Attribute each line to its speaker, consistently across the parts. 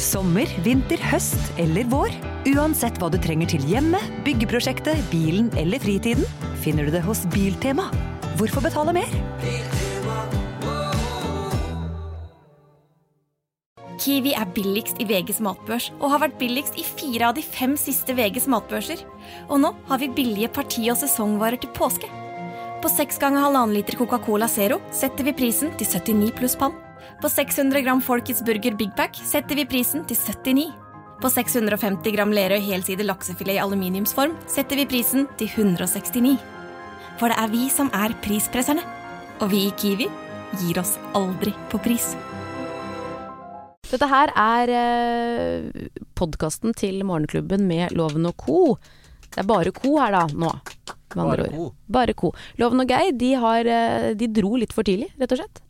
Speaker 1: Sommer, vinter, høst eller vår. Uansett hva du trenger til hjemmet, byggeprosjektet, bilen eller fritiden, finner du det hos Biltema. Hvorfor betale mer?
Speaker 2: Kiwi er billigst i VGs matbørs og har vært billigst i fire av de fem siste VGs matbørser. Og nå har vi billige parti- og sesongvarer til påske. På 6 ganger 1,5 liter Coca-Cola Zero setter vi prisen til 79 pluss pann. På 600 gram Folkets Burger Big Pack setter vi prisen til 79. På 650 gram Lerøy helside laksefilet i aluminiumsform setter vi prisen til 169. For det er vi som er prispresserne. Og vi i Kiwi gir oss aldri på pris.
Speaker 3: Dette her er eh, podkasten til Morgenklubben med Loven og co. Det er bare co her da, nå. med andre
Speaker 4: Bare
Speaker 3: ord.
Speaker 4: co.
Speaker 3: Bare co. Loven og Geir de, har, eh, de dro litt for tidlig, rett og slett.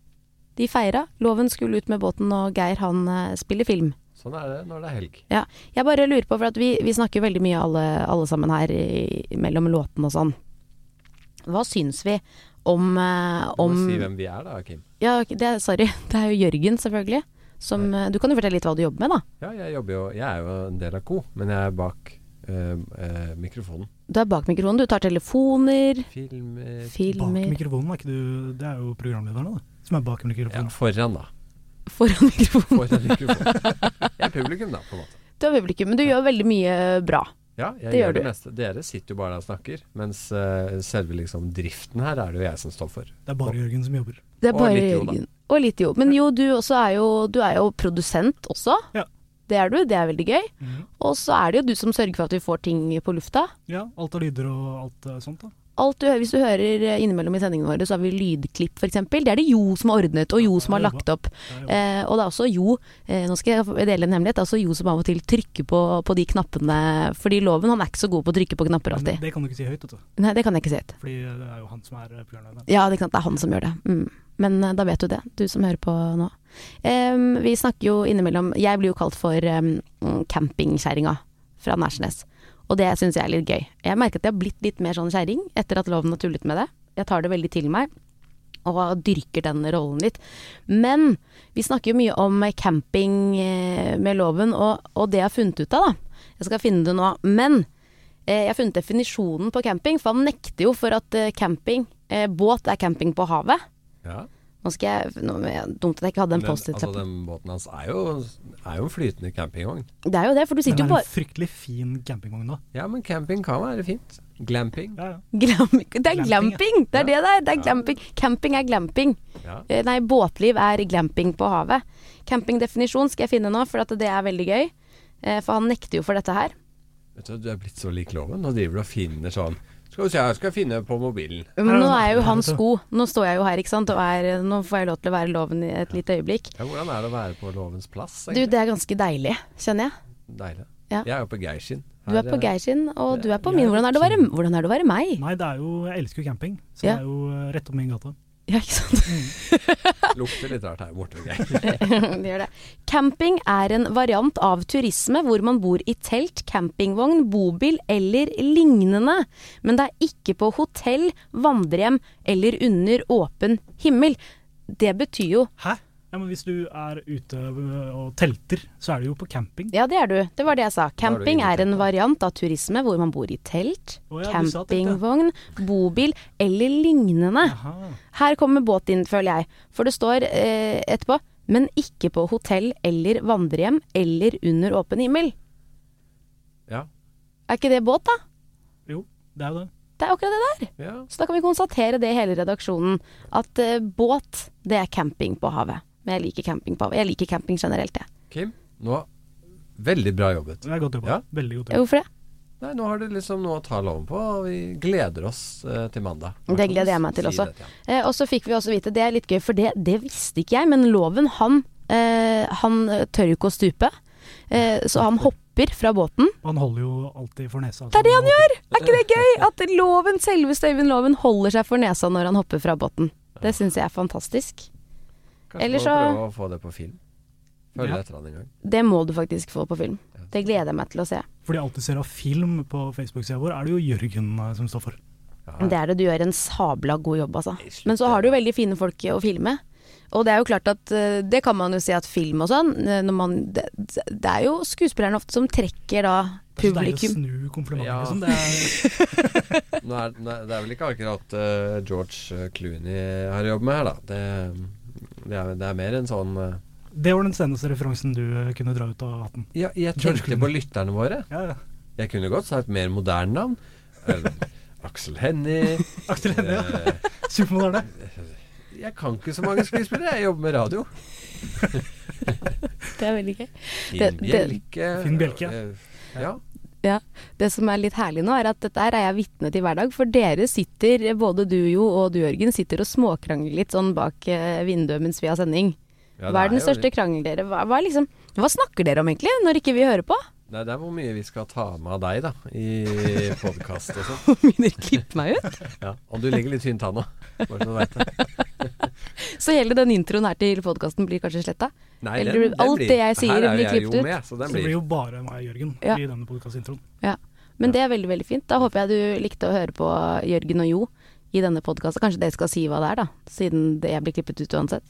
Speaker 3: De feira. Loven skulle ut med båten, og Geir han eh, spiller film.
Speaker 4: Sånn er det når det er helg.
Speaker 3: Ja. Jeg bare lurer på, for at vi, vi snakker veldig mye alle, alle sammen her i, mellom låtene og sånn. Hva syns vi om, eh,
Speaker 4: Du må
Speaker 3: om
Speaker 4: si hvem vi er da, Kim.
Speaker 3: ja, ok, det, er- Sorry, det er jo Jørgen, selvfølgelig. Som, eh, du kan jo fortelle litt hva du jobber med, da.
Speaker 4: Ja, jeg jobber jo Jeg er jo en del av Co, men jeg er bak eh, eh, mikrofonen.
Speaker 3: Du er bak mikrofonen, du tar telefoner,
Speaker 5: eh,
Speaker 4: Filmer
Speaker 5: Bak
Speaker 3: filmer
Speaker 5: mikrofonen er ikke du Det er jo programlederen, da. Som er bak
Speaker 4: Ja,
Speaker 5: mikrofonen.
Speaker 4: foran, da.
Speaker 3: foran mikrofonen.
Speaker 4: Foran mikrofonen. Jeg er publikum, da, på en måte.
Speaker 3: Du er publikum, men du gjør veldig mye bra.
Speaker 4: Ja, jeg
Speaker 3: Det
Speaker 4: det
Speaker 3: gjør
Speaker 4: gjør det
Speaker 3: du.
Speaker 4: meste. Dere sitter jo bare og snakker, mens eh, selve liksom driften her er det jo jeg som står for.
Speaker 5: Det er bare Jørgen som jobber.
Speaker 3: Det er
Speaker 4: Og
Speaker 3: bare
Speaker 4: litt jo, da.
Speaker 3: Jørgen. Og litt jo. Men jo, du også er jo, du er jo produsent også.
Speaker 5: Ja.
Speaker 3: Det er du, det er veldig gøy.
Speaker 5: Mm.
Speaker 3: Og så er det jo du som sørger for at vi får ting på lufta.
Speaker 5: Ja, alt av lyder og alt eh, sånt, da.
Speaker 3: Alt du hører, hvis du hører eh, innimellom i sendingene våre, så har vi lydklipp f.eks. Det er det Jo som har ordnet, og Jo som har
Speaker 5: Ja,
Speaker 3: lagt opp.
Speaker 5: jobba.
Speaker 3: Eh, og det er også Jo, eh, nå skal jeg dele en hemmelighet, det er også Jo som av og til trykker på, på de knappene. Fordi Loven han er ikke så god på å trykke på knapper
Speaker 5: Men
Speaker 3: alltid.
Speaker 5: det kan du ikke si høyt, vet du.
Speaker 3: Nei, det kan jeg ikke si ut.
Speaker 5: Fordi det er jo han som er eh, programlederen.
Speaker 3: Ja, det, er ikke sant? det er han som gjør det. Mm. Men eh, da vet du det, du som hører på nå. Em, vi snakker jo innimellom Jeg blir jo kalt for um, campingkjerringa fra Nærsnes. Og det syns jeg er litt gøy. Jeg merker at jeg har blitt litt mer sånn kjerring etter at loven har tullet med det. Jeg tar det veldig til meg. Og dyrker den rollen litt. Men vi snakker jo mye om eh, camping eh, med loven, og, og det jeg har funnet ut av, da. Jeg skal finne det nå. Men Eh, Jeg har funnet definisjonen på camping, for han nekter jo for at eh, camping, eh, båt er camping på havet.
Speaker 4: Ja.
Speaker 3: Nå skal jeg, nå, er det Dumt at jeg ikke hadde en
Speaker 4: Men altså,
Speaker 3: post-it-lapp.
Speaker 4: den båten hans er jo, er jo en flytende campingvogn.
Speaker 3: Det er jo det, for du
Speaker 5: Den
Speaker 3: sitter
Speaker 5: er
Speaker 3: jo
Speaker 5: en
Speaker 3: bare
Speaker 5: fryktelig fin campingvogn, da.
Speaker 4: Ja, men camping kan være fint. Glamping.
Speaker 5: Ja, ja.
Speaker 3: Glam,
Speaker 5: Glamping,
Speaker 3: Det er
Speaker 5: ja.
Speaker 3: glamping! Det er det det er. det er glamping. Camping er glamping.
Speaker 4: Ja.
Speaker 3: Eh, Nei, båtliv er glamping på havet. Campingdefinisjon skal jeg finne nå, for at det er veldig gøy. Eh, For han nekter jo for dette her.
Speaker 4: Vet du, du er blitt så lik loven. Nå driver du og finner sånn Skal vi se, jeg skal finne på mobilen.
Speaker 3: Men
Speaker 5: Her er
Speaker 3: nå
Speaker 5: den.
Speaker 3: er
Speaker 5: Her
Speaker 3: jo
Speaker 5: er
Speaker 3: hans
Speaker 5: den.
Speaker 3: sko. Nå står jeg jo her, ikke sant. Og er, nå får jeg lov til å være loven i et lite øyeblikk.
Speaker 4: Ja, hvordan er det å være på lovens plass?
Speaker 3: Du, det er ganske deilig, kjenner jeg.
Speaker 4: Deilig.
Speaker 3: Ja.
Speaker 4: Jeg er jo på Geir sin.
Speaker 3: Du er
Speaker 4: Her,
Speaker 3: på
Speaker 4: eh,
Speaker 3: Geir sin, og du er på
Speaker 5: jeg er
Speaker 3: min. Hvordan er det å være, hvordan er det å være meg?
Speaker 5: Nei, det er jo Jeg elsker jo camping, så
Speaker 3: Ja.
Speaker 5: det er jo eh, rett opp min gate.
Speaker 3: Ja, ikke sant?
Speaker 4: Lukter litt rart her borte ved Geir.
Speaker 3: det gjør det. Camping er en variant av turisme hvor man bor i telt, campingvogn, bobil eller lignende. Men det er ikke på hotell, vandrehjem eller under åpen himmel. Det betyr jo
Speaker 5: Hæ? Ja, men hvis du er ute eh, og telter, så er du jo på camping.
Speaker 3: Ja, det er du. Det var det jeg sa. Camping
Speaker 4: inne på
Speaker 3: er en
Speaker 4: teltet.
Speaker 3: variant av turisme hvor man bor i telt,
Speaker 5: Å ja, du sa telt, ja.
Speaker 3: campingvogn, bobil eller lignende.
Speaker 5: Aha.
Speaker 3: Her kommer båt inn, føler jeg. For det står eh, etterpå men ikke på hotell eller vandrehjem eller under åpen himmel.
Speaker 4: Ja.
Speaker 3: Er ikke det båt, da?
Speaker 5: Jo, det er jo det.
Speaker 3: Det er akkurat det der.
Speaker 4: ja.
Speaker 3: Så da kan vi konstatere det i hele redaksjonen. At eh, båt, det er camping på havet. Men jeg liker camping på havet. Jeg liker camping generelt, jeg.
Speaker 4: Kim, nå Veldig bra jobbet.
Speaker 5: Det er godt jobba.
Speaker 4: Ja.
Speaker 5: Veldig godt
Speaker 3: Ja,
Speaker 5: jobba.
Speaker 3: Hvorfor det?
Speaker 4: Nei, nå har du liksom noe å ta loven på, og vi gleder oss eh, til mandag.
Speaker 3: Det gleder jeg meg til
Speaker 4: Si
Speaker 3: også.
Speaker 4: dette, ja.
Speaker 3: Eh, og så fikk vi også vite, det er litt gøy, for det, det visste ikke jeg, men loven, han, eh, han tør jo ikke å stupe. Eh, så han hopper fra båten.
Speaker 5: Han holder jo alltid for nesa.
Speaker 3: Det er det han gjør! Er ikke det gøy? At loven, selveste Øyvind Loven holder seg for nesa når han hopper fra båten. Det syns jeg er fantastisk.
Speaker 4: Kanskje
Speaker 3: Eller
Speaker 4: må
Speaker 3: så-
Speaker 4: prøve å få det på film. Følge
Speaker 5: Ja.
Speaker 4: etter han en gang.
Speaker 3: Det må du faktisk få på film. Det gleder jeg meg til å se.
Speaker 5: For de alltid ser av film på Facebook-sida vår, er det jo Jørgen eh, som står for.
Speaker 3: Det er det, du gjør en sabla god jobb, altså. Men så har du jo veldig fine folk å filme. Og det er jo klart at eh, det kan man jo si at film og sånn eh, når man, det, det er jo skuespillerne ofte som trekker da
Speaker 5: Det er så deilig å
Speaker 3: publikum.
Speaker 5: snu komplimenter,
Speaker 4: Ja.
Speaker 5: liksom. Det er,
Speaker 4: Nå er, nå er- det er vel ikke akkurat eh, George Clooney har å jobbe med her, da. Det, det, er, det er mer en sånn eh,
Speaker 5: det var den seneste referansen du eh, kunne dra ut av hatten.
Speaker 4: Ja, jeg
Speaker 5: George
Speaker 4: tenkte på lytterne våre.
Speaker 5: Ja, ja.
Speaker 4: Jeg kunne godt sagt mer moderne navn. Eh, Aksel Hennie.
Speaker 5: Aksel Hennie, ja.
Speaker 4: Eh,
Speaker 5: Supermoderne.
Speaker 4: Jeg kan ikke så mange skuespillere, jeg jobber med radio.
Speaker 3: Det er veldig gøy.
Speaker 4: Finn
Speaker 3: Det- det-
Speaker 4: Bjelke.
Speaker 5: Finn Bjelke.
Speaker 4: eh, Ja.
Speaker 3: Ja. Det som er litt herlig nå, er at dette her er jeg vitne til hver dag. For dere sitter, både du Jo og du Jørgen, sitter og småkrangler litt sånn bak eh, vinduet mens vi har sending.
Speaker 4: Ja,
Speaker 3: hva
Speaker 4: det
Speaker 3: er den
Speaker 4: jo
Speaker 3: største krangelen dere hva, hva, er liksom, hva snakker dere om egentlig, når ikke vi hører på?
Speaker 4: Nei, det er hvor mye vi skal ta med av deg, da, i podkast og sånn.
Speaker 3: Begynner å klippe meg ut.
Speaker 4: Ja. Og du ligger litt tynntanna, bare så du veit det.
Speaker 3: Så hele den introen her til podkasten blir kanskje sletta.
Speaker 4: Nei,
Speaker 3: Eller alt det jeg sier
Speaker 4: her er
Speaker 3: blir
Speaker 4: jeg
Speaker 3: klippet
Speaker 4: jo
Speaker 3: ut.
Speaker 4: Med, så
Speaker 5: Så
Speaker 4: den
Speaker 5: det blir
Speaker 4: blir,
Speaker 5: jo bare meg og Jørgen
Speaker 3: Ja.
Speaker 5: i denne podkastintroen.
Speaker 3: Ja. Men det er veldig veldig fint. Da håper jeg du likte å høre på Jørgen og Jo i denne podkasten. Kanskje dere skal si hva det er, da. Siden det jeg blir klippet ut uansett.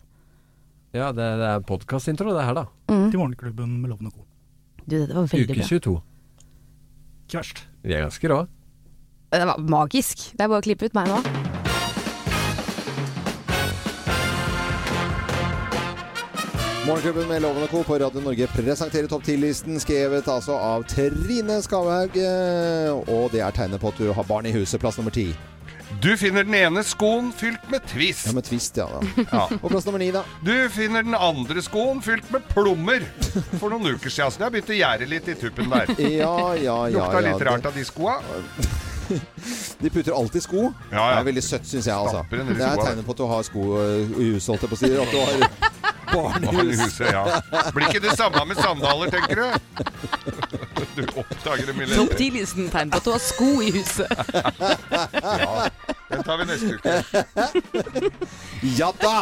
Speaker 4: ja, det, det er podkastintro, det her, da.
Speaker 5: Til Morgenklubben med Loven og Co.
Speaker 3: Mm. Du, dette var veldig
Speaker 4: Uke
Speaker 3: bra.
Speaker 4: 22.
Speaker 5: Ikke verst.
Speaker 4: Vi er ganske rå.
Speaker 3: Det var magisk. Det er bare å klippe ut meg nå.
Speaker 6: Morgenklubben med Loven og Co. på Radio Norge presenterer topp 10-listen, skrevet altså av Trine Skavhaug. eh, Og det er tegnet på at du har barn i huset, plass nummer ti.
Speaker 7: Du finner den ene skoen fylt med
Speaker 6: Ja,
Speaker 7: twist.
Speaker 6: med twist, ja da.
Speaker 7: Ja.
Speaker 6: Og plass nummer ni, da.
Speaker 7: Du finner den andre skoen fylt med plommer. For noen uker siden så jeg begynte å gjære litt i tuppen der.
Speaker 6: Ja, ja, ja.
Speaker 7: Lukta
Speaker 6: ja.
Speaker 7: litt rart av de skoa.
Speaker 6: De putter alltid sko.
Speaker 7: Ja, ja.
Speaker 6: Det er veldig søtt, syns jeg, altså.
Speaker 7: Stapper den i
Speaker 6: Det er
Speaker 7: skoa.
Speaker 6: tegnet på at du har sko eh, i huset, holdt jeg på å si. At du har barn i
Speaker 7: Barn i
Speaker 6: huset.
Speaker 7: huset, ja. Blir ikke det samme med sandaler, tenker du? Du oppdager det mye lettere.
Speaker 1: Topp 10-listen tegn på at du har sko i huset.
Speaker 7: Den tar vi neste uke.
Speaker 6: Ja da!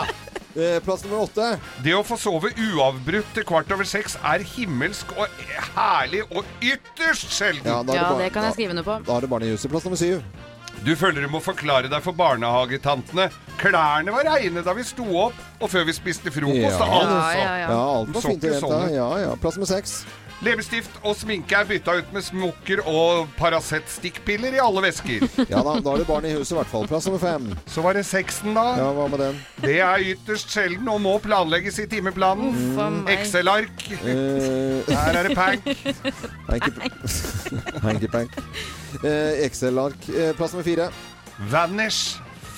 Speaker 6: Eh, Plass nummer åtte.
Speaker 7: Det å få sove uavbrutt til kvart over seks er himmelsk og herlig og ytterst
Speaker 6: Ja,
Speaker 7: sjelden.
Speaker 6: da er
Speaker 1: Ja,
Speaker 6: barn-
Speaker 1: det kan jeg skrive under på.
Speaker 6: Da har du barn i huset. Plass nummer syv.
Speaker 7: Du føler du må forklare deg for barnehagetantene. Klærne var reine da vi sto opp og før vi spiste frokost.
Speaker 6: Ja.
Speaker 1: Ja,
Speaker 7: Altså.
Speaker 1: ja,
Speaker 6: Ja,
Speaker 1: ja.
Speaker 6: alt var
Speaker 7: Så
Speaker 6: fint i
Speaker 7: ikke
Speaker 6: vente.
Speaker 7: sånn ut.
Speaker 6: Ja, ja. Plass nummer seks.
Speaker 7: Leppestift og sminke er bytta ut med smokker og Paracet-stikkpiller i alle vesker.
Speaker 6: Ja da, da har du barn i huset i hvert fall. Plass nummer fem.
Speaker 7: Så var det sexen, da.
Speaker 6: Ja, hva med den?
Speaker 7: Det er ytterst sjelden og må planlegges i timeplanen.
Speaker 1: For meg.
Speaker 7: Excel-ark.
Speaker 6: Eh,
Speaker 7: Her er det pank.
Speaker 6: hanky- Hanky-pank. Eh, Excel-ark. Eh, plass nummer fire.
Speaker 7: Vanish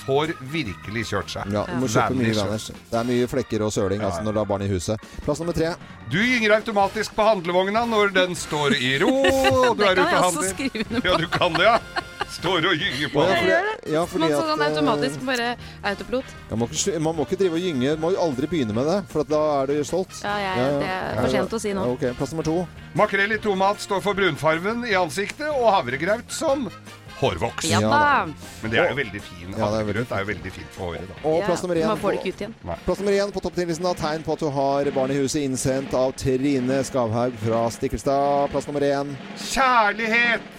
Speaker 7: får virkelig kjørt seg.
Speaker 6: Ja, du må kjøpe mye
Speaker 7: Vanish.
Speaker 6: vanners. Det er mye flekker og søling altså, når du har barn i huset. Plass nummer tre.
Speaker 7: Du gynger automatisk på handlevogna når den står i ro. og Du
Speaker 1: Det
Speaker 7: er
Speaker 1: kan
Speaker 7: ute
Speaker 1: jeg også
Speaker 7: og handler.
Speaker 1: skrive under på.
Speaker 7: Ja, du kan det, ja. Står og gynger på.
Speaker 6: Ja,
Speaker 7: handlevogna.
Speaker 6: fordi, ja, fordi
Speaker 1: Men
Speaker 6: at,
Speaker 1: sånn
Speaker 6: eh,
Speaker 1: automatisk, bare autopilot.
Speaker 6: ja, man, må ikke, slu- man må ikke drive og gynge. Man må jo aldri begynne med det, for at da er du stolt.
Speaker 1: Ja, jeg, det er for sent å si
Speaker 6: Ja,
Speaker 1: nå.
Speaker 6: ok, Plass nummer to.
Speaker 7: Makrell i tomat står for brunfarven i ansiktet, og havregraut som hårvoks.
Speaker 1: Ja da.
Speaker 7: Men det er jo veldig fin.
Speaker 6: Ja, det er
Speaker 7: Havregrøt er jo veldig fint for håret, da.
Speaker 6: Og
Speaker 1: Ja,
Speaker 6: plass nummer én.
Speaker 1: Man får det ikke ut igjen.
Speaker 6: Plass nummer én på topp 10-listen da, tegn på at du har barn i huset, innsendt av Trine Skavhaug fra Stikkelstad. Plass nummer én.
Speaker 7: Kjærlighet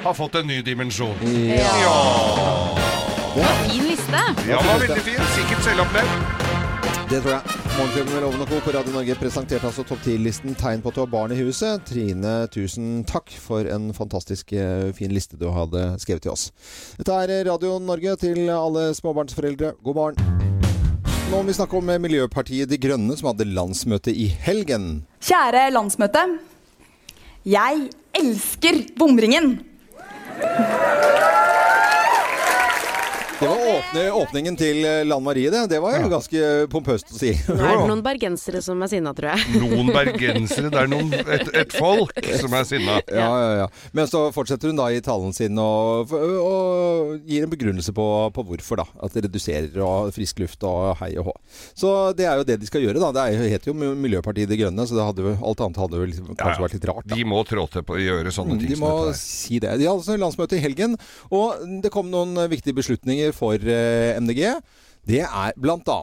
Speaker 7: har fått en ny dimensjon.
Speaker 6: Ja.
Speaker 1: Fin liste.
Speaker 7: Ja, den var veldig fin. Sikkert selvopplevd.
Speaker 6: Det tror jeg. Morgenklubben med Loven og Co. på Radio Norge presenterte altså topp 10-listen tegn på at du har barn i huset. Trine, tusen takk for en fantastisk eh, fin liste du hadde skrevet til oss. Dette er Radio Norge til alle småbarnsforeldre. God morgen. Nå må vi snakke om eh, Miljøpartiet De Grønne som hadde landsmøte i helgen.
Speaker 2: Kjære landsmøte. Jeg elsker bomringen.
Speaker 6: Det var åpne, åpningen til eh, Lan Marie, det. Det var jo ganske pompøst å si.
Speaker 3: Nå er det noen bergensere som er sinna, tror jeg.
Speaker 7: Noen bergensere, det er noen, et, et folk som er sinna.
Speaker 6: Ja, ja, ja. Men så fortsetter hun da i talen sin og, og gir en begrunnelse på, på hvorfor, da. At det reduserer og frisk luft og hei og hå. Så det er jo det de skal gjøre, da. Det er jo- heter jo Miljøpartiet De Grønne, så det hadde, jo- alt annet hadde jo liksom, kanskje
Speaker 7: Ja, ja.
Speaker 6: vært litt rart. Da.
Speaker 7: De må trå til på å gjøre sånne ting
Speaker 6: Mm, De
Speaker 7: som
Speaker 6: må
Speaker 7: dette her.
Speaker 6: si det. De hadde altså landsmøte i helgen, og det kom noen eh, viktige beslutninger for eh, MDG. Det er bl.a.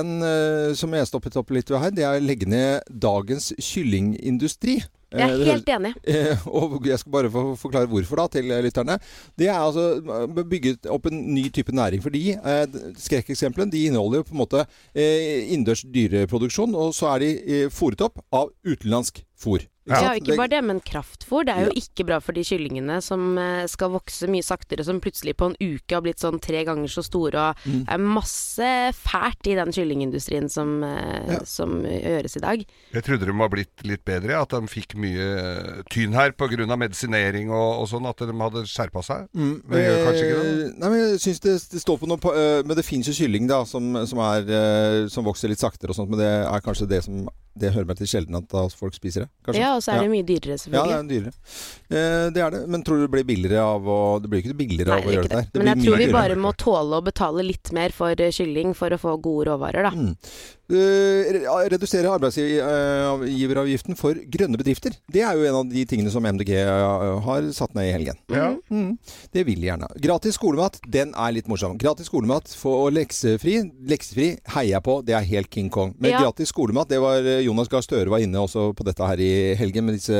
Speaker 6: en eh, som jeg stoppet opp litt ved her, det er å legge ned dagens kyllingindustri.
Speaker 3: Jeg er helt enig.
Speaker 6: Eh, Og jeg skal bare få forklare hvorfor da, til eh, lytterne. Det er altså bygget opp en ny type næring. Fordi eh, skrekkeksemplene de inneholder jo på en måte eh, innendørs dyreproduksjon, og så er de eh, fôret opp av utenlandsk fôr. Ikke
Speaker 3: Ja,
Speaker 6: sant?
Speaker 3: ikke bare det, men kraftfôr. Det er jo ikke bra for de kyllingene som eh, skal vokse mye saktere, som plutselig på en uke har blitt sånn tre ganger så store, og
Speaker 6: Mm.
Speaker 3: det er masse fælt i den kyllingindustrien som, eh,
Speaker 6: Ja.
Speaker 3: som gjøres i dag.
Speaker 7: Jeg trodde de var blitt litt bedre, at de fikk mye eh, tyn her pga. medisinering og, og sånn, at de hadde skjerpa seg. Men det gjør kanskje ikke det?
Speaker 6: Mm, Eh, Nei, men jeg synes det, det står på noe på, eh, Men det fins jo kylling da som, som, er, eh, som vokser litt saktere og sånt, men det er kanskje det som Det hører meg til sjelden at da folk spiser det. Kanskje.
Speaker 3: Ja, og så er det mye
Speaker 6: Ja,
Speaker 3: dyrere,
Speaker 6: det
Speaker 3: selvfølgelig.
Speaker 6: er dyrere. Eh, det er det. Men tror du det blir billigere av å Det blir ikke billigere
Speaker 3: Nei,
Speaker 6: av
Speaker 3: det
Speaker 6: å
Speaker 3: er
Speaker 6: gjøre
Speaker 3: ikke
Speaker 6: dette
Speaker 3: det.
Speaker 6: her.
Speaker 3: Men jeg
Speaker 6: blir
Speaker 3: tror
Speaker 6: mye
Speaker 3: vi
Speaker 6: dyrere.
Speaker 3: bare må tåle å betale litt mer for eh, kylling for å få gode råvarer, da.
Speaker 6: Mm. Eh, re- Redusere arbeidsgiveravgiften for grønne bedrifter. Det er jo en av de tingene som MDG eh, har satt ned i helgen.
Speaker 7: Ja.
Speaker 6: Mm, det vil de gjerne. Gratis skolemat, den er litt morsom. Gratis skolemat for og leksefri. Leksefri heier jeg på, det er helt King Kong. Men
Speaker 3: Ja.
Speaker 6: gratis skolemat, det var eh, Jonas Gahr Støre var inne også på dette her i helgen med disse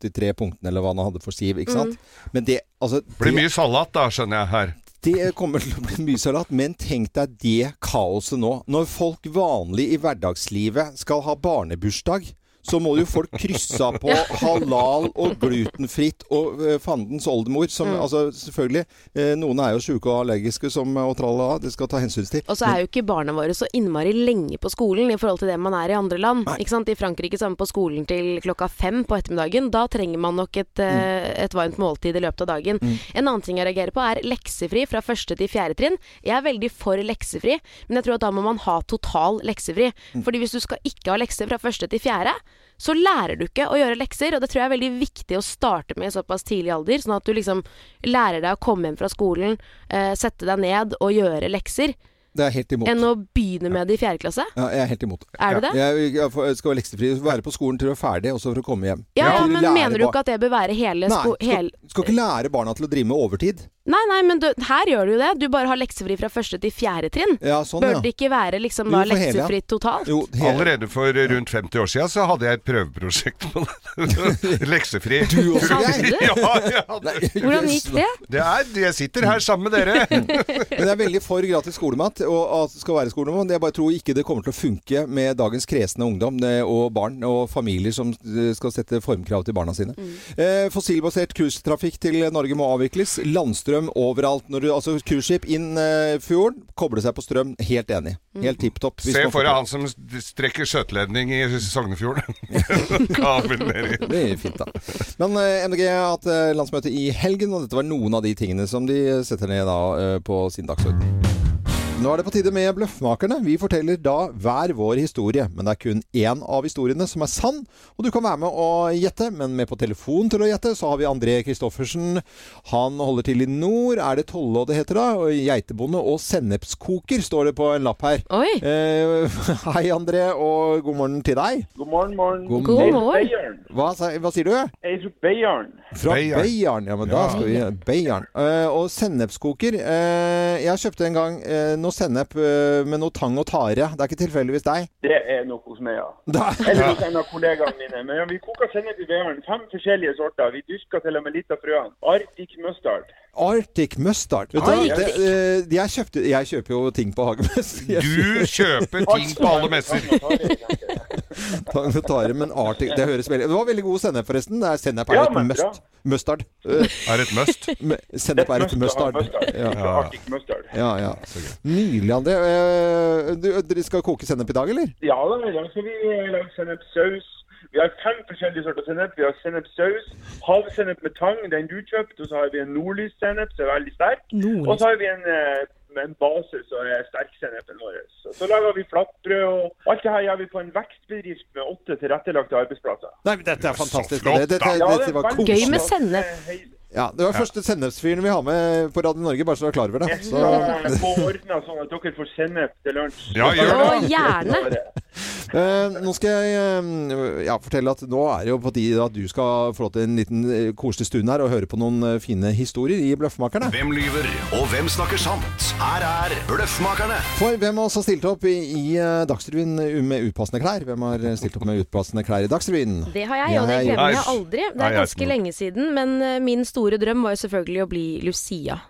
Speaker 6: 83 punktene eller hva han hadde for siv, ikke sant. Men det, altså
Speaker 7: Blir
Speaker 6: det-
Speaker 7: mye salat da, skjønner jeg her.
Speaker 6: det kommer til å bli mye salat, men tenk deg det kaoset nå. Når folk vanlig i hverdagslivet skal ha barnebursdag, så må jo folk krysse av på halal og glutenfritt og eh, fandens oldemor, som
Speaker 3: Mm.
Speaker 6: altså selvfølgelig eh, Noen er jo sjuke og allergiske som, eh, og tralala, det skal ta hensyn til.
Speaker 3: Og så er jo ikke barna våre så innmari lenge på skolen i forhold til det man er i andre land.
Speaker 6: Nei.
Speaker 3: Ikke sant? I Frankrike så er man på skolen til klokka fem på ettermiddagen. Da trenger man nok et,
Speaker 6: Mm.
Speaker 3: eh, et varmt måltid i løpet av dagen. En annen ting jeg reagerer på er leksefri fra første til fjerde trinn. Jeg er veldig for leksefri, men jeg tror at da må man ha total leksefri.
Speaker 6: Mm.
Speaker 3: Fordi hvis du skal ikke ha lekser fra første til fjerde, så lærer du ikke å gjøre lekser, og det tror jeg er veldig viktig å starte med i såpass tidlig alder, sånn at du liksom lærer deg å komme hjem fra skolen, eh, sette deg ned og gjøre lekser
Speaker 6: Det er jeg helt imot.
Speaker 3: enn å begynne med det i fjerde klasse?
Speaker 6: Ja, jeg er helt imot.
Speaker 3: Er du det?
Speaker 6: Jeg, jeg får- skal være leksefri, være på skolen til du er ferdig, og så for å komme hjem.
Speaker 3: Ja, ja,
Speaker 6: Du
Speaker 3: men
Speaker 6: lærer
Speaker 3: mener du
Speaker 6: bar-
Speaker 3: ikke at det bør være
Speaker 6: Nei,
Speaker 3: hele sko...
Speaker 6: skal,
Speaker 3: Hel...
Speaker 6: skal ikke lære barna til å drive med overtid.
Speaker 3: Nei, nei, men du, her gjør du jo det. Du bare har leksefri fra første til fjerde trinn.
Speaker 6: Ja, sånn,
Speaker 3: Bør
Speaker 6: ja.
Speaker 3: det ikke være liksom
Speaker 6: Jo,
Speaker 3: da
Speaker 6: for hele, ja.
Speaker 3: leksefritt totalt?
Speaker 6: Jo, he-
Speaker 7: Allerede for rundt 50 år siden så hadde jeg et prøveprosjekt på det. Leksefri.
Speaker 6: Du også,
Speaker 3: Hadde du?
Speaker 7: Ja, jeg hadde.
Speaker 3: Hvordan gikk det?
Speaker 7: Det er, jeg sitter her sammen med dere.
Speaker 6: Men jeg er veldig for gratis skolemat, og at det skal være skolemat. men Jeg bare tror ikke det kommer til å funke med dagens kresne ungdom det- og barn og familier som eh, skal sette formkrav til barna sine. Eh, Fossilbasert cruisetrafikk til Norge må avvikles. Landstrøm overalt. Når du, altså cruiseskip inn eh, fjorden, koble seg på strøm. Helt enig. Helt tipp topp.
Speaker 7: Mm. Se for deg han som strekker skjøteledning i Sognefjorden. Kabel nedi.
Speaker 6: Det er fint, da. Men eh, MDG har hatt eh, landsmøte i helgen, og dette var noen av de tingene som de setter ned da, eh, på sin dagsorden. Nå er det på tide med Bløffmakerne. Vi forteller da hver vår historie. Men det er kun én av historiene som er sann, og du kan være med og gjette. Men med på telefon til å gjette så har vi André Kristoffersen. Han holder til i nord. Er det Tolle det heter da? Og Geitebonde og sennepskoker står det på en lapp her.
Speaker 3: Oi,
Speaker 6: Eh, hei, André, og god morgen til deg.
Speaker 8: God morgen, morgen.
Speaker 6: God
Speaker 3: god morgen.
Speaker 6: Hva, sa- hva sier du?
Speaker 8: Jeg tror Beiarn.
Speaker 6: Fra
Speaker 7: Beiarn.
Speaker 6: Beiarn, ja, men da skal vi Beiarn. Eh, og sennepskoker. Eh, jeg kjøpte en gang eh, noe sennep eh, med noe tang og tare. Det er ikke tilfeldigvis deg?
Speaker 8: Det er nok hos meg, ja.
Speaker 6: Da,
Speaker 8: Eller hos en av kollegaene mine. Men ja, vi koker sennep i Beiarn. Fem forskjellige sorter. Vi dyrker til og med litt av frøene. Arctic mustard.
Speaker 6: Arctic mustard. Vet du, hva? det, eh, jeg, kjøpte, jeg kjøper jo ting på hagemess. Jeg
Speaker 7: Du kjøper ting på alle messer.
Speaker 6: kjøper Tang og tare, men Arctic Det høres veldig Det var veldig god sennep, forresten. Det er sennep er
Speaker 8: Ja,
Speaker 6: et
Speaker 8: men bra.
Speaker 6: must. Mustard. Eh,
Speaker 7: Er et must.
Speaker 6: me- sennep er et mustard.
Speaker 8: mustard. mustard.
Speaker 6: Ja.
Speaker 8: Arctic mustard.
Speaker 6: Ja, ja. Nydelig, André. Eh, du, dere skal koke sennep i dag, eller?
Speaker 8: Ja da, i dag skal vi lage sennepsaus. Vi har fem forskjellige sorter sennep. Vi har sennepsaus, havsennep med tang, den du kjøpte, og så har vi en nordlyssennep som er veldig sterk. Og så har vi en, eh, med en base som er sterksennepen vår. Så, så lager vi flatbrød og alt det her gjør vi på en vekstbedrift med åtte tilrettelagte arbeidsplasser.
Speaker 6: Nei, men dette er fantastisk.
Speaker 7: flott,
Speaker 6: Dette, dette,
Speaker 7: da.
Speaker 8: Ja,
Speaker 6: dette var
Speaker 8: veldig
Speaker 6: koselig.
Speaker 3: Gøy med
Speaker 8: flott,
Speaker 3: sennep.
Speaker 8: eh, hei-
Speaker 6: Ja, det var første sennepsfyren vi har med på Radio Norge, bare så du er klar over det.
Speaker 8: Jeg
Speaker 6: Så,
Speaker 8: skal få ordna sånn at dere får sennep til lunsj.
Speaker 7: Ja, gjør
Speaker 3: Å,
Speaker 7: det.
Speaker 3: gjerne.
Speaker 8: Bare-
Speaker 6: Eh, nå skal jeg eh, ja, fortelle at nå er det jo på tide at du skal få lov til en liten eh, koselig stund her og høre på noen eh, fine historier i Bløffmakerne.
Speaker 9: Hvem lyver, og hvem snakker sant? Her er Bløffmakerne.
Speaker 6: For hvem av oss har stilt opp i, i eh, Dagsrevyen med upassende klær? Hvem har eh, stilt opp med upassende klær i Dagsrevyen?
Speaker 3: Det har jeg, og det
Speaker 6: Jeg-
Speaker 3: glemmer jeg aldri. Det er ganske lenge siden, men eh, min store drøm var jo selvfølgelig å bli Lucia,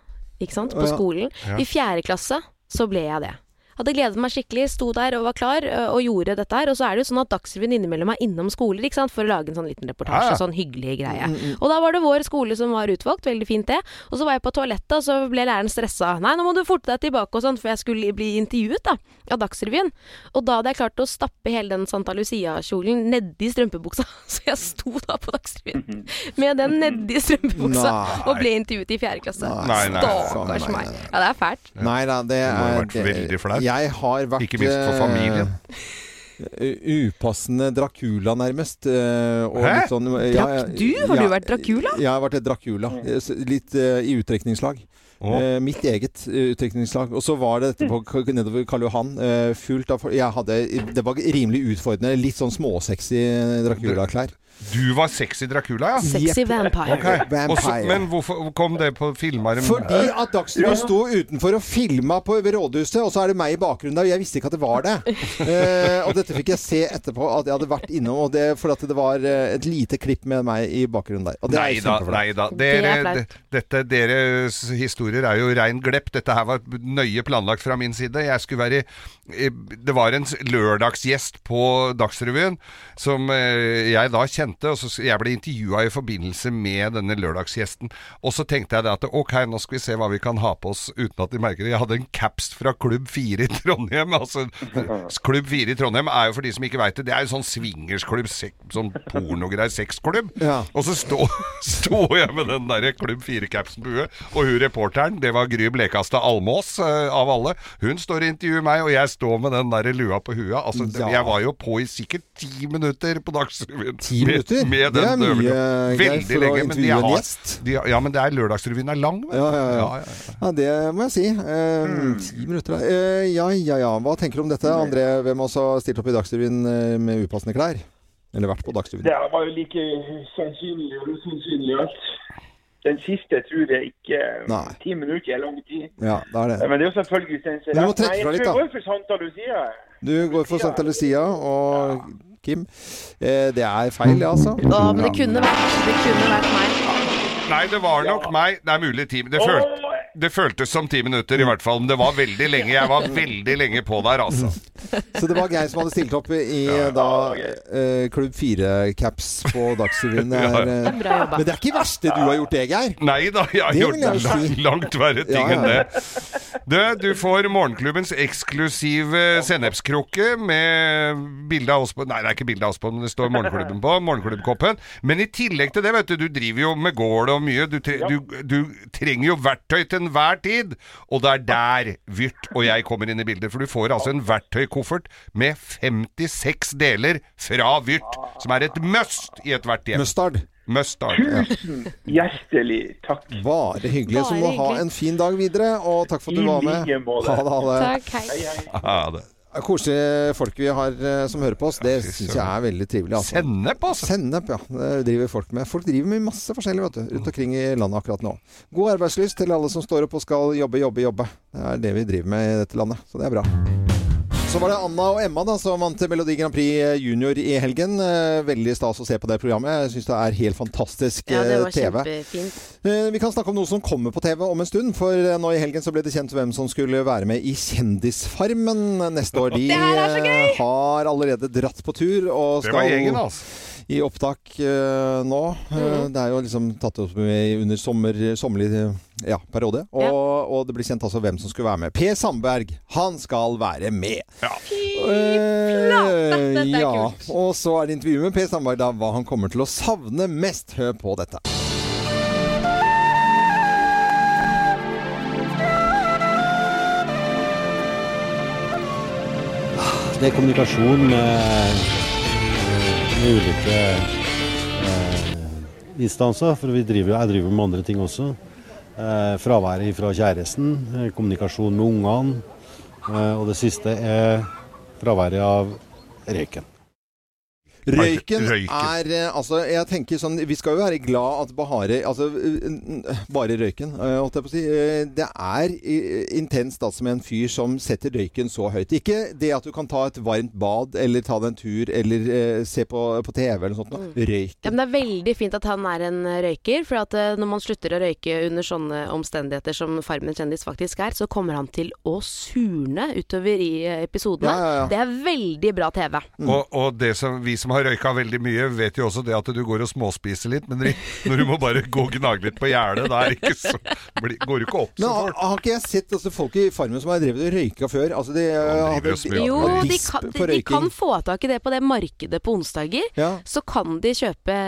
Speaker 3: ikke sant,
Speaker 6: Å,
Speaker 3: på
Speaker 6: ja.
Speaker 3: skolen.
Speaker 6: Ja.
Speaker 3: I fjerde klasse så ble jeg det. Hadde gledet meg skikkelig, sto der og var klar eh, og gjorde dette her. Og så er det jo sånn at Dagsrevyen innimellom er innom skoler ikke sant? for å lage en sånn liten
Speaker 10: Ja,
Speaker 3: reportasje.
Speaker 10: ja.
Speaker 3: Sånn hyggelig greie.
Speaker 10: Mm, mm.
Speaker 3: Og da var det vår skole som var utvalgt, veldig fint det. Og så var jeg på toalettet, og så ble læreren stressa. Nei, nå må du forte deg tilbake og sånn, for jeg skulle bli intervjuet da, av Dagsrevyen. Og da hadde jeg klart å stappe hele den Santa Lucia-kjolen nedi strømpebuksa. Så jeg sto da på Dagsrevyen med den nedi strømpebuksa
Speaker 6: Nei.
Speaker 3: og ble intervjuet i fjerde klasse.
Speaker 6: Nei, nei,
Speaker 3: Stakkars
Speaker 6: nei,
Speaker 3: meg. Ja, det er fælt.
Speaker 6: Nei da, det
Speaker 7: Det må ha
Speaker 6: er
Speaker 7: vært veldig flaut.
Speaker 6: Jeg har vært
Speaker 7: Ikke minst for familien.
Speaker 6: eh, upassende Dracula, nærmest. eh, og
Speaker 3: Hæ?
Speaker 6: litt sånn, eh,
Speaker 3: Drak- du? Har du vært Dracula? Mm.
Speaker 6: Jeg har vært et Dracula. eh, s- Litt eh, i utdrekningslag. Eh, mitt eget eh, utdrekningslag. Og så var det
Speaker 3: Mm.
Speaker 6: etterpå k- nedover Karl Johan. eh, fullt av folk. Jeg hadde, det var rimelig utfordrende. Litt sånn småsexy eh, Dracula-klær.
Speaker 7: Du var sexy Dracula, ja?
Speaker 6: Sexy Jepp. vampire.
Speaker 7: Ok. Og så- men hvorfor kom det på filmer?
Speaker 6: Fordi at Dagsrevyen sto utenfor og filma på ved rådhuset, og så er det meg i bakgrunnen der. og Jeg visste ikke at det var det. Eh, og dette fikk jeg se etterpå, at jeg hadde vært innom, og det, for at det var eh, et lite klipp med meg i bakgrunnen der. Og det er
Speaker 7: Nei da,
Speaker 6: kjempeflaut.
Speaker 7: nei da. Dere, de- dette, deres historier er jo rein glepp. Dette her var nøye planlagt fra min side. Jeg skulle være eh, Det var en s- lørdagsgjest på Dagsrevyen som eh, jeg da kjente. Og så s- jeg ble intervjua i forbindelse med denne lørdagsgjesten. Og så tenkte jeg det at ok, nå skal vi se hva vi kan ha på oss uten at de merker det. Jeg hadde en caps fra Klubb 4 i Trondheim. Altså, Klubb 4 i Trondheim er jo for de som ikke veit det, det er jo sånn swingersklubb, sek- sånn pornogreier, sexklubb. Og så står står jeg med den der Klubb 4-capsen på huet, og hun reporteren, det var Gry Blekastad Almås eh, av alle, hun står og intervjuer meg, og jeg står med den der lua på huet. Altså, det-
Speaker 6: Ja.
Speaker 7: jeg var jo på i sikkert ti minutter på Dagsrevyen.
Speaker 6: Ti minutter?
Speaker 7: Med, med
Speaker 6: Det er
Speaker 7: den
Speaker 6: mye,
Speaker 7: øvelsen.
Speaker 6: Geir, for
Speaker 7: Veldig
Speaker 6: å
Speaker 7: lenge, men de
Speaker 6: intervjue en
Speaker 7: har,
Speaker 6: gjest.
Speaker 7: de, har- ja, men det er Lørdagsrevyen er lang, vet du.
Speaker 6: Ja, ja, ja. ja, det må jeg si. Eh,
Speaker 7: Hmm.
Speaker 6: Ti minutter, da. Eh, ja, ja, ja. Hva tenker du om dette, André? Hvem også har stilt opp i Dagsrevyen eh, med upassende klær? Eller vært på Dagsrevyen?
Speaker 8: Det her var jo like sannsynlig og usannsynlig alt. Den siste tror jeg ikke
Speaker 6: Nei.
Speaker 8: Ti minutter er lang tid.
Speaker 6: Ja, det er det.
Speaker 8: Men det er jo selvfølgelig den som
Speaker 6: Men du må trekke
Speaker 8: Nei,
Speaker 6: fra litt,
Speaker 8: Jeg
Speaker 6: da.
Speaker 8: tror jeg går for Santa Lucia.
Speaker 6: Du går for Santa Lucia og Kim. Eh, det er feil, det, altså.
Speaker 3: Å, men det kunne vært, det kunne vært meg.
Speaker 7: Nei, det var nok meg. Det er mulig ti det, følt, det føltes som ti minutter i hvert fall, men det var veldig lenge. Jeg var veldig lenge på der, altså.
Speaker 6: Så det var Geir som hadde stilt opp i da, eh, Klubb 4-caps på Dagsrevyen. Det er, eh,
Speaker 7: Det er bra jobba.
Speaker 6: men det er ikke verst det du har gjort, det, Geir.
Speaker 7: Nei da, jeg har
Speaker 6: Det
Speaker 7: gjort
Speaker 6: vil jeg
Speaker 7: lang,
Speaker 6: si.
Speaker 7: langt verre ting
Speaker 6: Ja, ja.
Speaker 7: enn det. Du, du får morgenklubbens eksklusive sennepskrukke med bilde av oss på Nei, det er ikke bilde av oss på, men det står Morgenklubben på. Morgenklubbkoppen. Men i tillegg til det, vet du, du driver jo med gård og mye. Du, tre, du, du trenger jo verktøy til enhver tid. Og det er der Vyrt og jeg kommer inn i bildet. For du får altså en verktøykoffert med 56 deler fra Vyrt, som er et must i ethvert hjem.
Speaker 6: Mustard.
Speaker 7: Mustard. Ja.
Speaker 8: Hjertelig takk.
Speaker 7: Mm.
Speaker 6: Bare hyggelig. Så
Speaker 8: Bare
Speaker 6: må du ha
Speaker 8: hyggelig.
Speaker 6: en fin dag videre, og takk for at du var med.
Speaker 8: I like måte.
Speaker 6: Ha det, ha det.
Speaker 8: Hei, hei.
Speaker 7: Ha det.
Speaker 6: Det er Koselige folk vi har eh, som hører på oss. Det syns jeg er veldig trivelig. Altså.
Speaker 7: Sennep, altså!
Speaker 6: Sennep, ja. Det driver folk med. Folk driver med masse forskjellig vet
Speaker 7: Mm.
Speaker 6: du, rundt omkring i landet akkurat nå. God arbeidslyst til alle som står opp og skal jobbe, jobbe, jobbe. Det er det vi driver med i dette landet, så det er bra. Så var det Anna og Emma da, som vant Melodi Grand Prix eh, Junior i helgen. Eh, Veldig stas å se på det programmet. Jeg syns det er helt fantastisk
Speaker 3: Ja, det
Speaker 6: eh,
Speaker 3: var
Speaker 6: TV.
Speaker 3: kjempefint.
Speaker 6: Eh, Vi kan snakke om noe som kommer på TV om en stund, for eh, nå i helgen så ble det kjent hvem som skulle være med i Kjendisfarmen neste år. De
Speaker 3: Det her er så
Speaker 6: eh, har allerede dratt på tur og
Speaker 7: Det
Speaker 6: skal
Speaker 7: var gjengen, altså.
Speaker 6: i opptak eh, nå. Eh,
Speaker 3: Mm.
Speaker 7: Mhm.
Speaker 6: Det er jo liksom tatt opp med under sommer, sommerlig eh, ja, periode, og, og det ble kjent altså hvem som skulle være med. Per Sandberg, han skal være med!
Speaker 7: Ja.
Speaker 6: Eh,
Speaker 3: dette er
Speaker 6: ja. Og så er det intervju med Per Sandberg, da hva han kommer til å savne mest. Hør på dette.
Speaker 11: Det er kommunikasjon med, med ulike eh, instanser, for vi driver, jo- jeg driver med andre ting også. Eh, fraværet fra kjæresten, eh, kommunikasjon med ungene, eh, og det siste er fraværet av røyken.
Speaker 6: Røyken,
Speaker 11: Røyken.
Speaker 6: er eh, Altså, jeg tenker sånn Vi skal jo være glad at Bahare Altså, eh, n- bare røyken, eh, holdt jeg på å si. Eh, Det er eh, intenst altså med en fyr som setter røyken så høyt. Ikke det at du kan ta et varmt bad eller ta deg en tur eller eh, se på, på TV eller noe sånt. noe.
Speaker 3: Mm.
Speaker 6: Røyk.
Speaker 3: Ja, men det er veldig fint at han er en røyker, for at eh, når man slutter å røyke under sånne omstendigheter som Farmen kjendis faktisk er, så kommer han til å surne utover i eh, episodene.
Speaker 7: Ja, ja, ja.
Speaker 3: Det er veldig bra TV.
Speaker 6: Mm.
Speaker 7: Og, og det som, vi som har røyka veldig mye, vet jo også det at du går og småspiser litt, men når du må bare gå og gnage litt på gjerdet, da er det ikke så, blir, går du ikke opp.
Speaker 6: Men har, har ikke jeg sett altså, folk i Farmen som har drevet og røyka før? Altså, de, hadde
Speaker 3: Jo, de
Speaker 6: bisp
Speaker 3: kan,
Speaker 6: på
Speaker 3: de, de kan
Speaker 6: røyking.
Speaker 3: få tak i det på det markedet på onsdager.
Speaker 6: Ja.
Speaker 3: Så kan de kjøpe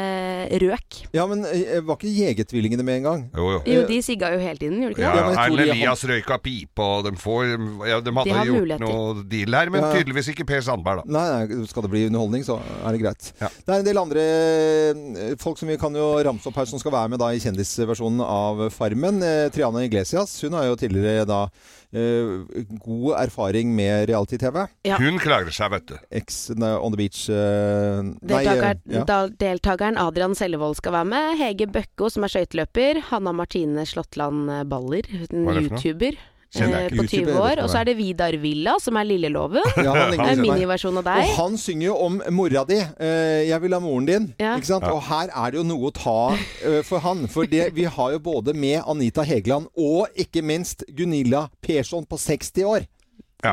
Speaker 3: røk.
Speaker 6: Ja, men eh, var ikke Jegertvillingene med en gang?
Speaker 7: Jo, jo.
Speaker 6: Eh,
Speaker 3: Jo, de sigga jo hele tiden, gjorde de
Speaker 7: Ja,
Speaker 3: ikke det?
Speaker 7: Erlend Elias røyka pipe, og de, får, ja, de hadde
Speaker 3: De har
Speaker 7: gjort
Speaker 3: muligheter.
Speaker 7: noe deal her, men
Speaker 6: Ja.
Speaker 7: tydeligvis ikke Per Sandberg, da.
Speaker 6: Nei, nei, skal det bli underholdning, så er det greit. Det er en del andre eh, folk som vi kan jo ramse opp her, som skal være med da i kjendisversjonen av Farmen. Eh, Triana Iglesias hun har jo tidligere da eh, god erfaring med reality-TV.
Speaker 3: Ja.
Speaker 7: Hun klarer seg, vet du.
Speaker 6: Ex nei, on the beach eh, nei, eh,
Speaker 3: Deltaker,
Speaker 6: ja.
Speaker 3: da, deltakeren Adrian Sellevold skal være med. Hege Bøkko, som er skøyteløper. Hanna Martine Slåttland Baller, en
Speaker 6: Hva er det for noe?
Speaker 3: YouTuber.
Speaker 6: Kjenner
Speaker 3: eh,
Speaker 6: jeg ikke.
Speaker 3: På
Speaker 6: YouTuber,
Speaker 3: 20
Speaker 6: vet
Speaker 3: år.
Speaker 6: jeg
Speaker 3: Og så
Speaker 6: hvem
Speaker 3: er det Vidar Villa, som er Lilleloven.
Speaker 6: Ja, han ligner
Speaker 3: en
Speaker 6: på meg.
Speaker 3: miniversjon av deg.
Speaker 6: Og han synger jo om mora di. eh, jeg vil ha moren din.
Speaker 3: Ja.
Speaker 6: Ikke sant?
Speaker 3: Ja.
Speaker 6: Og her er det jo noe å ta eh, for han. For det, vi har jo både med Anita Hegeland og ikke minst Gunilla Persson på 60 år.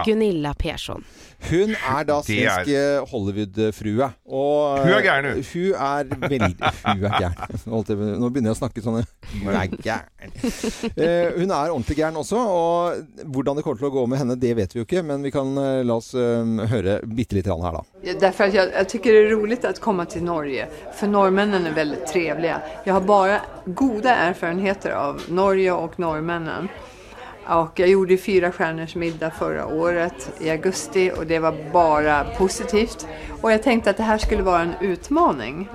Speaker 3: Gunilla Persson.
Speaker 6: Hun er da
Speaker 3: Det er-
Speaker 6: svensk eh, Hollywood-frue. Og, eh,
Speaker 3: Hun er gæren, hun.
Speaker 6: Hun er veldig Hun er gæren. Holdt jeg på- Nå begynner jeg å snakke sånn Hun er gæren. Eh, hun er ordentlig gæren også, og hvordan det kommer til å gå med henne, det vet vi jo ikke, men vi kan eh, la oss eh, høre bitte lite grann her, da.
Speaker 10: Därför att jag, jag tycker det är roligt att komma till Norge, för norrmännen är väldigt trevliga. Jag har bara goda erfarenheter av Norge och norrmännen. Och jag gjorde fyra stjärnors middag förra året i augusti och det var bara positivt. Och jag tänkte att det här skulle vara en utmaning.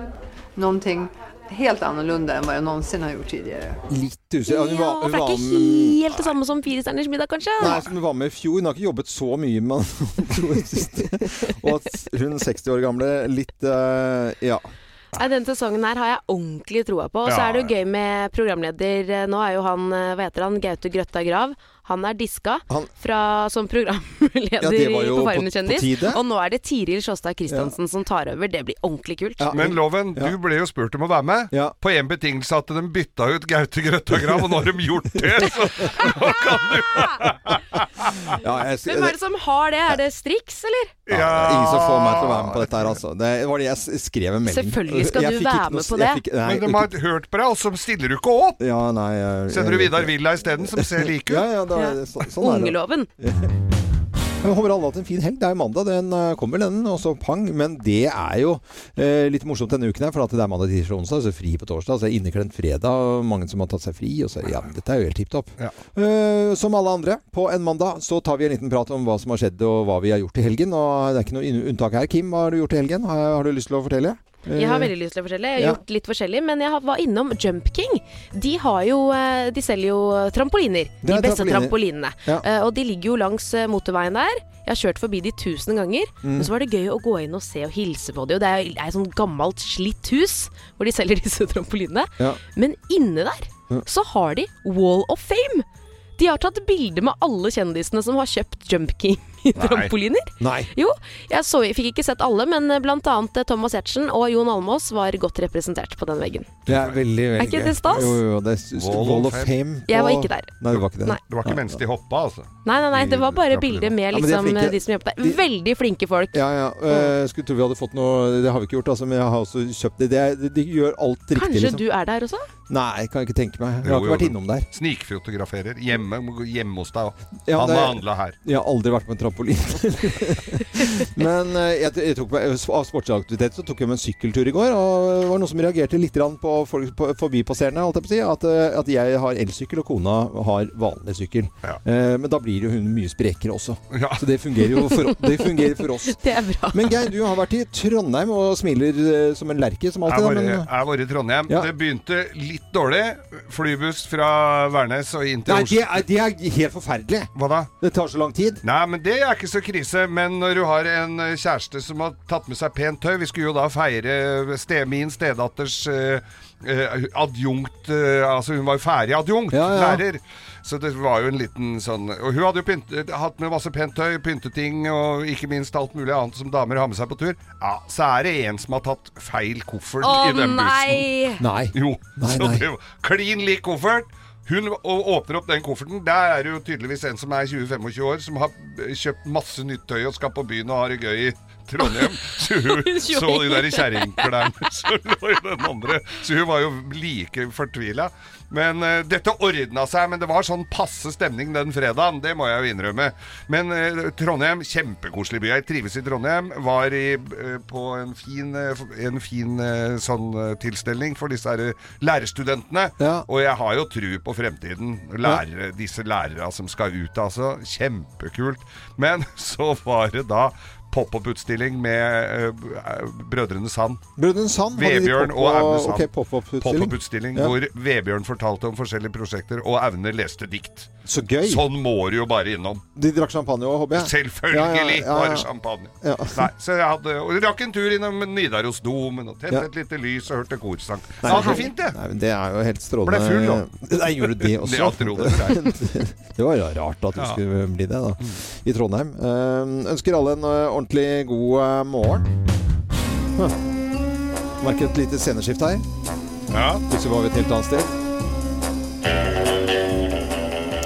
Speaker 10: Någonting helt annorlunda än vad jag någonsin har gjort tidigare.
Speaker 6: Litt usikker. Ja, hun
Speaker 3: Ja,
Speaker 6: var,
Speaker 3: for
Speaker 6: hun
Speaker 3: det er
Speaker 6: var
Speaker 3: ikke helt det samme som Fire stjerners middag, kanskje?
Speaker 6: Nei, som hun var med i fjor. Hun har ikke jobbet så mye med Og at hun 60 år gamle litt eh, Ja.
Speaker 3: Nei, Denne sesongen her har jeg ordentlig troa på. Og så
Speaker 6: Ja,
Speaker 3: er det jo gøy med programleder eh, Nå er jo han, eh, hva heter han, Gaute Grøtta Grav. Han er diska fra, som
Speaker 6: Ja,
Speaker 3: programleder
Speaker 6: det var
Speaker 3: i
Speaker 6: jo
Speaker 3: på
Speaker 6: på-
Speaker 3: Farmen
Speaker 6: på
Speaker 3: kjendis.
Speaker 6: tide.
Speaker 3: Og nå er det Tiril Sjåstad Christiansen som tar over. Det blir ordentlig kult.
Speaker 7: Men Loven, du ble jo spurt om å være med, på én betingelse at de bytta ut Gaute Grøtta Grav, og nå har de gjort det! Så
Speaker 6: ja jeg,
Speaker 3: Hvem er det som har det? Er det Strix, eller?
Speaker 6: Ja, det er Ingen som får meg til å være med på dette her, altså. Det var det jeg s- skrev en melding
Speaker 3: Selvfølgelig skal
Speaker 6: Jeg
Speaker 3: du
Speaker 6: fikk ikke
Speaker 3: være
Speaker 6: noe
Speaker 3: med
Speaker 6: s-
Speaker 3: på
Speaker 6: jeg
Speaker 3: det.
Speaker 6: fikk- nei,
Speaker 7: Men de har hørt på deg, og så stiller du ikke opp!
Speaker 6: Ja, nei jeg,
Speaker 7: Sender du
Speaker 6: jeg-
Speaker 7: Vidar Villa isteden, som ser lik ut?
Speaker 6: Ja, ja, da, så, sånn er det.
Speaker 3: Ungeloven.
Speaker 6: Jeg håper alle har hatt en fin helg. Det er jo mandag, den eh, kommer den, og så pang. Men det er jo eh, litt morsomt denne uken her, for at det er mandag, tirsdag, onsdag, så fri på torsdag. Så er det inneklemt fredag, og mange som har tatt seg fri. Og så, ja, dette er jo helt tipp topp. Eh, som alle andre, på en mandag så tar vi en liten prat om hva som har skjedd, og hva vi har gjort i helgen. Og det er ikke noe unn- unntak her. Kim, hva har du gjort i helgen? Har, har du lyst til å fortelle? Eh,
Speaker 3: Jeg har veldig lyst til å fortelle. Jeg
Speaker 6: Ja.
Speaker 3: har gjort litt forskjellig, men jeg har- var innom Jump King. De, har jo, eh, de selger jo trampoliner.
Speaker 6: Det
Speaker 3: De
Speaker 6: er
Speaker 3: beste
Speaker 6: trampoliner.
Speaker 3: trampolinene.
Speaker 6: Ja.
Speaker 3: Eh, Og de ligger jo langs eh, motorveien der. Jeg har kjørt forbi de tusen ganger.
Speaker 6: Mm.
Speaker 3: Men så var det gøy å gå inn og se og hilse på de. Og det er jo det er et sånn gammelt slitt hus hvor de selger disse trampolinene.
Speaker 6: Ja.
Speaker 3: Men inne der så har de Wall of Fame. De har tatt bilde med alle kjendisene som har kjøpt Jump King-trampoliner.
Speaker 6: Nei.
Speaker 3: Jo, jeg så, fikk ikke sett alle, men eh, blant annet Thomas Giertsen og Jon Almås var godt representert på den veggen.
Speaker 6: Det er veldig, veldig
Speaker 3: Er ikke
Speaker 6: gøy.
Speaker 3: det stas?
Speaker 6: Jo, jo, jo, det er s-
Speaker 7: Wall of
Speaker 6: Wall of
Speaker 7: Fame.
Speaker 6: Fame.
Speaker 3: Jeg var
Speaker 6: på-
Speaker 3: ikke der.
Speaker 6: Nei, du var ikke der.
Speaker 3: Nei.
Speaker 7: Det var ikke mens de hoppa, altså.
Speaker 3: Nei, nei, nei, det var bare
Speaker 6: Ja,
Speaker 3: bilder med
Speaker 6: men de er
Speaker 3: liksom,
Speaker 6: flinke.
Speaker 3: de som jobbet der. Veldig flinke folk.
Speaker 6: Ja, ja. eh,
Speaker 3: Mm.
Speaker 6: skulle tro vi hadde fått noe Det har vi ikke gjort, altså, men jeg har også kjøpt det. det er, de gjør alt riktig,
Speaker 3: Kanskje
Speaker 6: liksom.
Speaker 3: du er der også?
Speaker 6: Nei, kan jeg ikke tenke meg. Jeg
Speaker 7: Jo,
Speaker 6: har ikke
Speaker 7: jo,
Speaker 6: vært innom der.
Speaker 7: Snikfotograferer. Hjemme, må gå hjemme hos deg òg.
Speaker 6: Ja,
Speaker 7: Han
Speaker 6: det-
Speaker 7: har handla her.
Speaker 6: Jeg har aldri vært på en trampolin. men eh, jeg, jeg tok meg, av sportsaktivitet så tok jeg meg en sykkeltur i går, og det var noen som reagerte litt grann på folk på, forbipasserende, holdt jeg på å si, at, eh, at jeg har elsykkel og kona har vanlig sykkel. Eh, men da blir jo hun mye sprekere også. Så det fungerer jo for, det fungerer for oss.
Speaker 3: Det er bra.
Speaker 6: Men Geir, du har vært i Trondheim og smiler eh, som en lerke som
Speaker 7: Jeg
Speaker 6: alltid.
Speaker 7: var,
Speaker 6: da, men, eh,
Speaker 7: jeg var i Trondheim. Det begynte litt dårlig. Flybuss fra Værnes og inn til
Speaker 6: Nei,
Speaker 7: Oslo.
Speaker 6: det er, det er helt forferdelig.
Speaker 7: Hva da?
Speaker 6: Det tar så lang tid.
Speaker 7: Nei, men det er ikke så krise, men når du har en eh, kjæreste som har tatt med seg pent tøy Vi skulle jo da feire eh, ste, min stedatters eh, eh, adjunkt eh, Altså, hun var jo ferdig adjunkt,
Speaker 6: ja.
Speaker 7: lærer. Så det var jo en liten sånn Og hun hadde jo pynt, hatt med masse pent tøy, pynteting og ikke minst alt mulig annet som damer har med seg på tur. Ja, så er det en som har tatt feil koffert
Speaker 3: Å,
Speaker 7: i den
Speaker 3: nei!
Speaker 7: bussen.
Speaker 6: Nei.
Speaker 7: Jo,
Speaker 6: Nei,
Speaker 7: så
Speaker 6: nei.
Speaker 7: det var klin lik koffert. Hun å- åpner opp den kofferten. Der er det jo tydeligvis en som er 20-25 år, som har eh, kjøpt masse nytt tøy og skal på byen og har det gøy i Trondheim. Så hun så de der kjerringklærne som lå i den andre. Så hun var jo like fortvila. Men eh, dette ordna seg. Men det var sånn passe stemning den fredagen, det må jeg jo innrømme. Men eh, Trondheim, kjempekoselig by. Jeg trives i Trondheim. Var i, eh, på en fin, eh, f- en fin eh, sånn eh, tilstelning for disse her, eh, lærerstudentene. Og jeg har jo tru på fremtiden. Lærere, Disse lærere som skal ut, altså. Kjempekult. Men så var det da pop-opp-utstilling med eh, Brødrene Sand.
Speaker 6: Brødrene Sand hadde de
Speaker 7: Vebjørn
Speaker 6: pop-
Speaker 7: og Aune Sand.
Speaker 6: ok, pop-opp-utstilling.
Speaker 7: Pop-opp-utstilling
Speaker 6: Ja.
Speaker 7: Hvor Vebjørn fortalte om forskjellige prosjekter, og Aune leste dikt.
Speaker 6: Så gøy.
Speaker 7: Sånn må du jo bare innom.
Speaker 6: De eh, drakk champagne òg, håper jeg?
Speaker 7: Selvfølgelig bare champagne.
Speaker 6: Ja.
Speaker 7: Nei, så jeg hadde, og rakk en tur innom Nidarosdomen og tente
Speaker 6: Ja.
Speaker 7: et lite lys og hørte korsang.
Speaker 6: Nei,
Speaker 7: Ja, så
Speaker 6: men-
Speaker 7: fint, det.
Speaker 6: Nei, men det er jo helt strålende.
Speaker 7: Ble full, da.
Speaker 6: Nei, gjorde du det også?
Speaker 7: Det er alt rolig for
Speaker 6: det var jo rart at du
Speaker 7: Ja. Mm.
Speaker 6: skulle bli det, da. I Trondheim. Eh, ønsker alle en eh, ordentlig god eh, morgen. Huh. Merker et lite sceneskift her.
Speaker 7: Ja.
Speaker 6: Plutselig var vi et helt annet sted.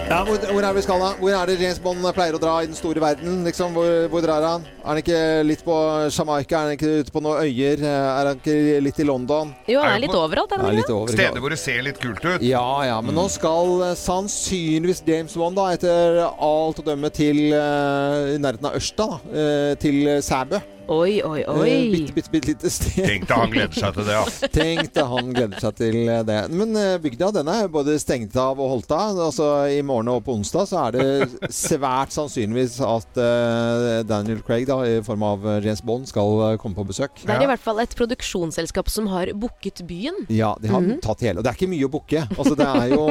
Speaker 6: Ja, hvor, hvor er vi skal da? Hvor er det James Bond pleier å dra i den store verden? Liksom, hvor, hvor drar han? Er han ikke litt på Jamaica? Er han ikke ute på noen øyer? Eh, Er han ikke litt i London?
Speaker 3: Jo, han
Speaker 6: Er
Speaker 3: er
Speaker 6: det
Speaker 3: litt
Speaker 6: på-
Speaker 3: overalt, er
Speaker 6: Ja,
Speaker 3: han
Speaker 6: litt over-
Speaker 7: Steder hvor det ser litt kult ut.
Speaker 6: Ja, ja, men nå skal eh, sannsynligvis James Bond da, etter alt å dømme til eh, i nærheten av Ørsta, da, eh, til eh, Sæbø.
Speaker 3: Oi, oi, oi.
Speaker 6: Eh, bitte, bitte, bitte lite sted.
Speaker 7: Tenk deg han gleder seg til det, ja.
Speaker 6: Tenk deg eh, han gleder seg til det. Men eh, bygda den er jo både stengt av og holdt av. Altså I morgen og på onsdag så er det svært sannsynligvis at eh, Daniel Craig da, i form av eh, James Bond skal eh, komme på besøk.
Speaker 3: Det er i hvert fall et produksjonsselskap som har booket byen.
Speaker 6: Ja, de har
Speaker 3: Mhm.
Speaker 6: tatt hele. Og det er ikke mye å booke. Altså, det er jo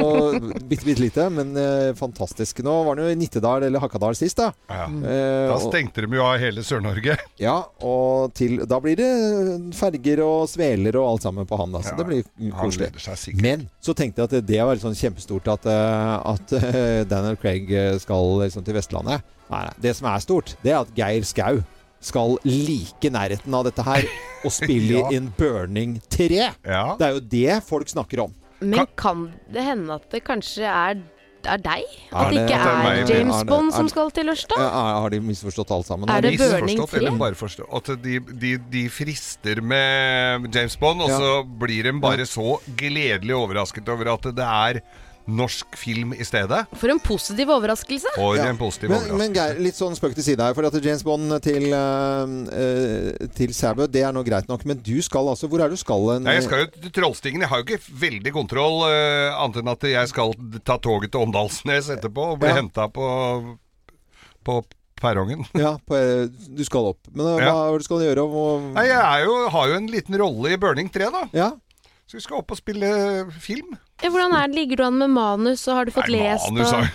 Speaker 6: bitte, bitte lite, men eh, fantastisk. Nå var det jo i Nittedal eller Hakadal sist, da.
Speaker 7: Ja.
Speaker 6: Eh,
Speaker 7: Da
Speaker 6: og-
Speaker 7: stengte de jo av hele Sør-Norge.
Speaker 6: ja, og til, da blir det ferger og sveler og alt sammen på han. Da, så det blir
Speaker 7: han
Speaker 6: koselig.
Speaker 7: gleder seg
Speaker 6: Men så tenkte jeg at det var sånn kjempestort at, eh, at eh, Daniel Craig eh, skal liksom til Vestlandet. Nei, nei, det som er stort, det er at Geir Skau skal like nærheten av dette her og spille
Speaker 3: Ja.
Speaker 6: i In Burning 3. Det er jo det folk snakker om.
Speaker 3: Men kan det hende at det kanskje er, er deg? At det
Speaker 6: det-
Speaker 3: ikke
Speaker 6: at det er
Speaker 3: er
Speaker 6: meg, men-
Speaker 3: James
Speaker 6: er det-
Speaker 3: Bond
Speaker 6: er
Speaker 3: som
Speaker 6: det-
Speaker 3: skal til Ørsta?
Speaker 6: Ja, er- har de misforstått alt sammen?
Speaker 3: Er
Speaker 6: da?
Speaker 3: det Burning
Speaker 7: Misforstått, eller bare forstå- At de, de, de frister med James Bond, og
Speaker 6: Ja.
Speaker 7: så blir de bare så gledelig overrasket over at det er norsk film i stedet.
Speaker 3: For en positiv overraskelse.
Speaker 7: For en positiv
Speaker 6: men,
Speaker 7: overraskelse.
Speaker 6: men Geir, litt sånn spøk til side her. For at James Bond til, eh, eh, til Sæbø, det er nå greit nok. Men du skal altså Hvor er det du skal? En,
Speaker 7: Nei, jeg skal jo til Trollstigen. Jeg har jo ikke veldig kontroll, eh, annet enn at jeg skal ta toget til Åndalsnes etterpå og bli
Speaker 6: Ja.
Speaker 7: hentet henta på, på perrongen.
Speaker 6: Ja, på, eh, du skal opp. Men eh,
Speaker 7: Ja.
Speaker 6: hva er det du skal gjøre? Og,
Speaker 7: Nei, jeg er jo, har jo en liten rolle i Burning 3, da. Så vi skal opp og spille
Speaker 6: eh,
Speaker 7: film.
Speaker 3: Ja, Hvordan er det? Ligger du an med manus, og har du fått lest
Speaker 7: Manus har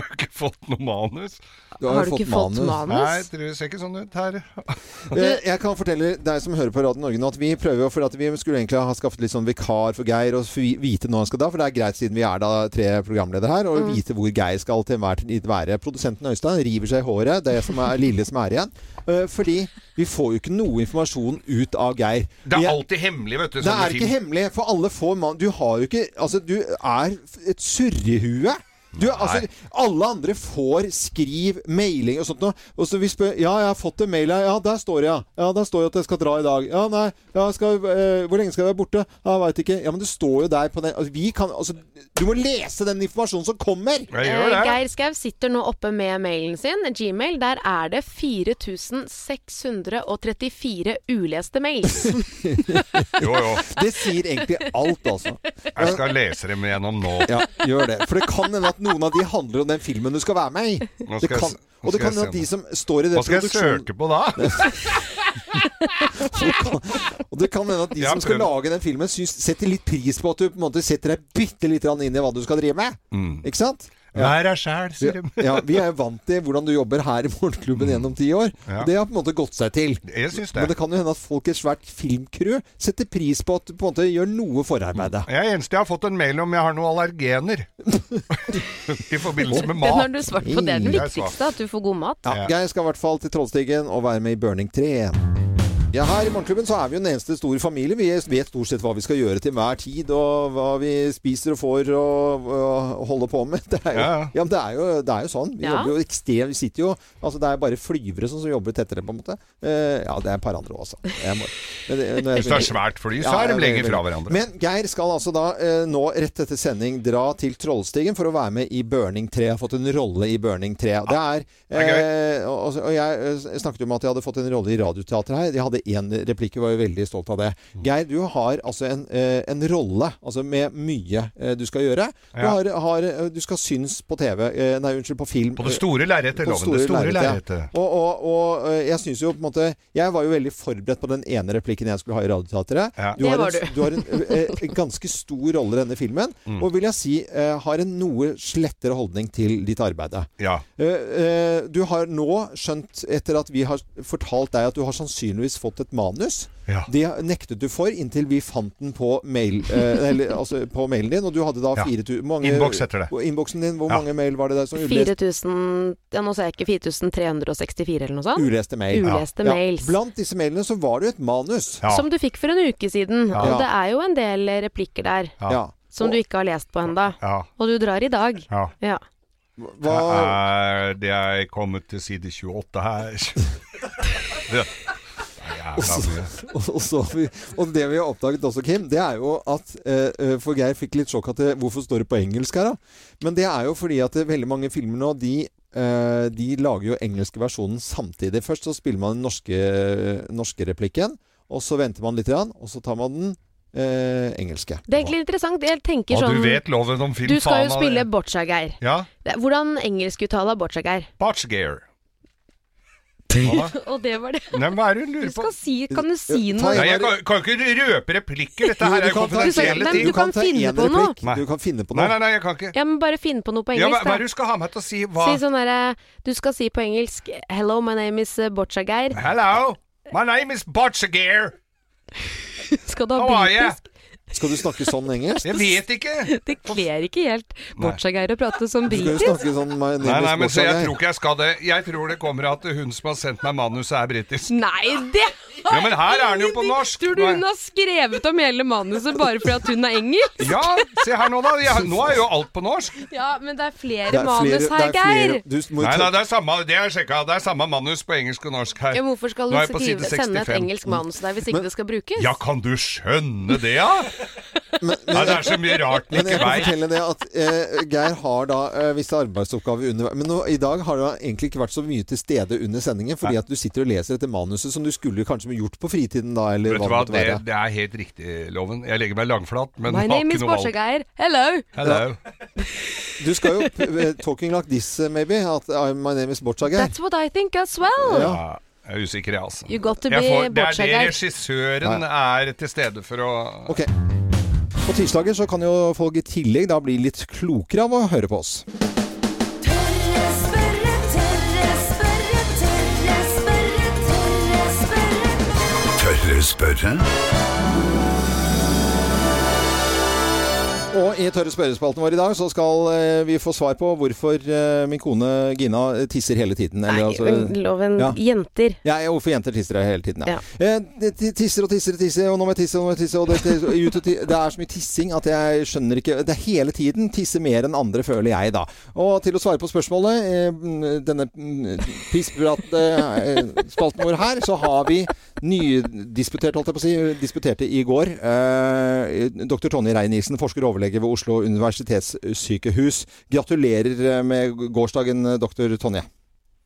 Speaker 3: og
Speaker 7: jeg har jo ikke fått noe manus.
Speaker 6: Du har jo Har du fått ikke fått manus? manus?
Speaker 7: Nei, jeg tror det ser ikke sånn ut her.
Speaker 6: Eh, Jeg kan fortelle deg som hører på Radio Norge nå, at vi prøver jo for at vi skulle egentlig ha skaffet litt sånn vikar for Geir, og fi- vite når han skal da, for det er greit siden vi er da tre programledere her, og
Speaker 7: Mm.
Speaker 6: vite hvor Geir skal til enhver tid være. Produsenten Øystein river seg i håret, det er som er lille som er igjen, eh, fordi vi får jo ikke noe informasjon ut av Geir.
Speaker 7: Det
Speaker 6: Vi
Speaker 7: er alltid hemmelig, vet du.
Speaker 6: det
Speaker 7: sånne
Speaker 6: er ikke
Speaker 7: film.
Speaker 6: hemmelig, for alle får mann... Du har jo ikke Altså, du er et surrehue. Du, altså, alle andre får skriv, mailing og sånt noe. Og så vi spør Ja, jeg har fått en mail. ja. Ja, der står det, ja. ja. Der står det at jeg skal dra i dag. Ja, nei. Ja, skal, eh, hvor lenge skal jeg være borte? Ja, jeg veit ikke. Ja, men det står jo der på den altså, Vi kan Altså, du må lese den informasjonen som kommer!
Speaker 3: Eh, Geir Skau sitter nå oppe med mailen sin, Gmail. Der er det 4634 uleste mails.
Speaker 7: Jo, jo.
Speaker 6: Det sier egentlig alt, altså.
Speaker 7: Jeg skal lese dem gjennom nå.
Speaker 6: Ja, gjør det. For det kan hende at noen av de handler om den filmen du skal være med i.
Speaker 7: Nå skal
Speaker 6: Det
Speaker 7: jeg
Speaker 6: kan,
Speaker 7: se- nå
Speaker 6: og det
Speaker 7: skal
Speaker 6: kan
Speaker 7: jeg
Speaker 6: hende
Speaker 7: se
Speaker 6: at de
Speaker 7: den.
Speaker 6: som står i det
Speaker 7: Hva skal jeg søke på
Speaker 6: Ah!
Speaker 7: da?
Speaker 6: Og det kan hende at de
Speaker 7: Ja,
Speaker 6: som skal
Speaker 7: prøv.
Speaker 6: lage den filmen, syns, setter litt pris på at du på en måte setter deg bitte litt inn i hva du skal drive med.
Speaker 7: Mm.
Speaker 6: Ikke sant?
Speaker 7: Vær deg sjæl, sier de.
Speaker 6: Ja, vi er jo vant til hvordan du jobber her i Morgenklubben gjennom ti år.
Speaker 7: Mm. Ja.
Speaker 6: Og det har på en måte gått seg til.
Speaker 7: Jeg syns det.
Speaker 6: Men det kan jo hende at folk i et svært filmcrew setter pris på at du på en måte gjør noe forarbeide.
Speaker 7: Jeg er eneste jeg har fått en mail om jeg har noen allergener. I forbindelse med
Speaker 3: Det
Speaker 7: mat.
Speaker 3: er når du svarer på det, er den
Speaker 6: Jeg
Speaker 3: viktigste, at du får god mat.
Speaker 6: Ja, Jeg skal i hvert fall til Trollstigen og være med i Burning 3. Ja, Her i Morgenklubben så er vi jo den eneste store familie. Vi vet stort sett hva vi skal gjøre til hver tid, og hva vi spiser og får og, og holder på med. Det er jo,
Speaker 7: Ja,
Speaker 6: ja,
Speaker 7: ja.
Speaker 6: men det er jo, det er jo sånn. Vi
Speaker 7: Ja.
Speaker 6: jobber jo ekstremt Vi sitter jo Altså, det er bare flyvere som, som jobber tettere, på en måte. Eh, ja, det er et par andre òg, altså. Jeg må- men det- når jeg-
Speaker 7: Hvis det er svært fly, så er de
Speaker 6: jeg-
Speaker 7: lenger fra hverandre.
Speaker 6: Men Geir skal altså da eh, nå rett etter sending dra til Trollstigen for å være med i Burning 3. Jeg har fått en rolle i Burning 3. Det er, eh, og, og jeg eh, snakket jo om at jeg hadde fått en rolle i Radioteatret her. Jeg hadde én replikk og var jo veldig stolt av det.
Speaker 7: Mm.
Speaker 6: Geir, du har altså en, eh, en rolle altså med mye eh, du skal gjøre. Du,
Speaker 7: Ja.
Speaker 6: har, har, eh, du skal synes på TV eh, Nei, unnskyld, på film. eh,
Speaker 7: På det store lerretet,
Speaker 6: På det
Speaker 7: Loven, det store
Speaker 6: lerretet, ja.
Speaker 7: lerretet.
Speaker 6: Og, og, og eh, jeg synes jo på en måte Jeg var jo veldig forberedt på den ene replikken jeg skulle ha i Radioteatret. Du,
Speaker 12: Det
Speaker 6: har
Speaker 12: var
Speaker 6: en,
Speaker 12: du.
Speaker 6: du har en eh, eh, ganske stor rolle i denne filmen,
Speaker 12: Mm.
Speaker 6: og vil jeg si eh, har en noe slettere holdning til ditt arbeide.
Speaker 7: Ja.
Speaker 6: Eh, eh, du har nå skjønt, etter at vi har fortalt deg at du har sannsynligvis fått et manus.
Speaker 7: Ja.
Speaker 6: Det nektet du for inntil vi fant den på, mail, eh, eller, altså, på mailen din, og du hadde da
Speaker 7: Ja.
Speaker 6: fire tu- mange-
Speaker 7: Innboks heter det.
Speaker 6: og Innboksen din, hvor
Speaker 7: Ja.
Speaker 6: mange mail var det der som uleste?
Speaker 3: 4000 Ja, nå sa jeg ikke 4364 eller noe sånt.
Speaker 6: Uleste mail.
Speaker 3: Sånn. Uleste
Speaker 6: Ja.
Speaker 3: mails.
Speaker 6: Ja. Blant disse mailene så var det jo et manus.
Speaker 3: Som du fikk for en uke siden.
Speaker 6: Ja.
Speaker 3: Og det er jo en del replikker der
Speaker 6: Ja.
Speaker 3: som du ikke har lest på enda.
Speaker 7: Ja.
Speaker 3: Og du drar i dag.
Speaker 7: Ja.
Speaker 3: Ja.
Speaker 7: Er det er kommet til side 28 her. Ja. Jævla
Speaker 6: Og så,
Speaker 7: mye.
Speaker 6: og, så, har vi- og det vi har oppdaget også, Kim, det er jo at eh, eh, For Geir fikk litt sjokk at det, hvorfor står det på engelsk her, da? Men det er jo fordi at det, veldig mange filmer nå, de eh, de lager jo engelske versjonen samtidig. Først så spiller man den norske, norske replikken, og så venter man litt, grann, og så tar man den eh, engelske.
Speaker 3: Det er egentlig interessant. Jeg tenker
Speaker 6: Og du
Speaker 3: sånn
Speaker 6: vet loven om film,
Speaker 3: Du skal
Speaker 6: faen
Speaker 3: jo
Speaker 6: av
Speaker 3: spille
Speaker 6: det.
Speaker 3: Boccia-Geir.
Speaker 7: Ja.
Speaker 3: Det er- Hvordan engelskuttale av Boccia-Geir?
Speaker 7: Botchgear.
Speaker 3: Og det var det.
Speaker 7: Nei, hva er det hun lurer
Speaker 3: Du
Speaker 7: på?
Speaker 3: skal si Kan du si noe?
Speaker 7: Nei, jeg kan, kan ikke røpe replikker. Dette her er jo
Speaker 3: Men
Speaker 7: konfidensielle ting.
Speaker 3: du kan finne på noe.
Speaker 6: Du kan finne på
Speaker 7: Nei,
Speaker 6: noe.
Speaker 7: nei, nei, jeg kan ikke.
Speaker 3: Ja, men bare finn på noe på
Speaker 7: Ja, hva,
Speaker 3: engelsk,
Speaker 7: hva er
Speaker 3: da.
Speaker 7: det du skal ha meg til å si? Hva?
Speaker 3: Si sånn derre Du skal si på engelsk 'Hello, my name is eh, Boccia-Geir'.
Speaker 7: Hello, my name is Botchgear.
Speaker 3: Skal du ha
Speaker 7: How are you?
Speaker 3: britisk?
Speaker 6: Skal du snakke sånn engelsk?
Speaker 7: Jeg vet ikke.
Speaker 3: Det kler ikke helt
Speaker 7: Nei.
Speaker 3: Boccia-Geir å prate som
Speaker 6: Du skal jo
Speaker 3: britisk.
Speaker 6: snakke sånn my name
Speaker 7: Nei,
Speaker 6: is
Speaker 7: nei, men så jeg
Speaker 6: Boccia-Geir.
Speaker 7: tror ikke jeg skal det. Jeg tror det kommer at hun som har sendt meg manuset, er britisk.
Speaker 3: Nei, det
Speaker 7: Ja, men her er den jo på norsk.
Speaker 3: Tror du hun har skrevet om hele manuset bare fordi at hun er engelsk?
Speaker 7: Ja, se her nå, da. Jeg, nå er jo alt på norsk.
Speaker 3: Ja, men det er flere
Speaker 7: Det er flere-
Speaker 3: manus her,
Speaker 7: det er flere-
Speaker 3: Geir.
Speaker 6: må jo
Speaker 7: Nei,
Speaker 6: ta-
Speaker 7: nei, det er samme, det er sjekka. Det er samme manus på engelsk og norsk her.
Speaker 3: Ja, hvorfor skal
Speaker 7: Nå
Speaker 3: hun
Speaker 7: er jeg på
Speaker 3: skrive,
Speaker 7: side
Speaker 3: sende et
Speaker 7: 65.
Speaker 3: engelsk manus der hvis ikke det skal brukes?
Speaker 7: Ja, kan du skjønne det, ja? Nei, det er så mye rart den
Speaker 6: Men jeg
Speaker 7: ikke
Speaker 6: kan
Speaker 7: veit.
Speaker 6: fortelle det at eh, Geir har da eh, visse arbeidsoppgaver under Men nå, i dag har du egentlig ikke vært så mye til stede under sendingen, fordi at du sitter og leser etter manuset som du skulle kanskje gjort på fritiden da, eller hva
Speaker 7: Vet du
Speaker 6: det
Speaker 7: hva,
Speaker 6: måtte
Speaker 7: det,
Speaker 6: være.
Speaker 7: det er helt riktig, Loven. Jeg legger meg langflat, men
Speaker 3: My
Speaker 7: har
Speaker 3: name
Speaker 7: ikke
Speaker 3: is
Speaker 7: noe valg.
Speaker 3: Boccia-Geir. Hello!
Speaker 7: Hello.
Speaker 6: Du skal jo p- eh, talking like this, eh, maybe. At I'm- my name is Boccia Geir.
Speaker 3: That's what I think as well.
Speaker 7: Ja, jeg er usikker, jeg, altså.
Speaker 3: You got to
Speaker 7: Jeg
Speaker 3: be
Speaker 7: får, det er det
Speaker 3: Boccia-Geir.
Speaker 7: regissøren er til stede for å
Speaker 6: Ok. På tirsdager så kan jo folk i tillegg da bli litt klokere av å høre på oss.
Speaker 9: Tørre spørre?
Speaker 6: Og i tørre spørrespalten vår i dag så skal eh, vi få svar på hvorfor eh, min kone Gina eh, tisser hele tiden. Eller, altså-
Speaker 3: Loven,
Speaker 6: Ja.
Speaker 3: jenter.
Speaker 6: Ja, ja, hvorfor jenter tisser jeg hele tiden, ja.
Speaker 3: Ja.
Speaker 6: Eh, de ti- tisser og tisser og tisser, og nå må jeg tisse, og nå må jeg tisse, og det, det, ut og ti- det er så mye tissing at jeg skjønner ikke Det er hele tiden tisse mer enn andre, føler jeg, da. Og til å svare på spørsmålet, eh, mm, denne mm, pisspratspalten eh, spalten vår her, så har vi nydisputert, holdt jeg på å si, disputerte i går. Eh, Dr. Tonje Rein-Isen, forsker og overlege ved Oslo universitetssykehus. Gratulerer eh, med gårsdagen, eh, doktor Tonje.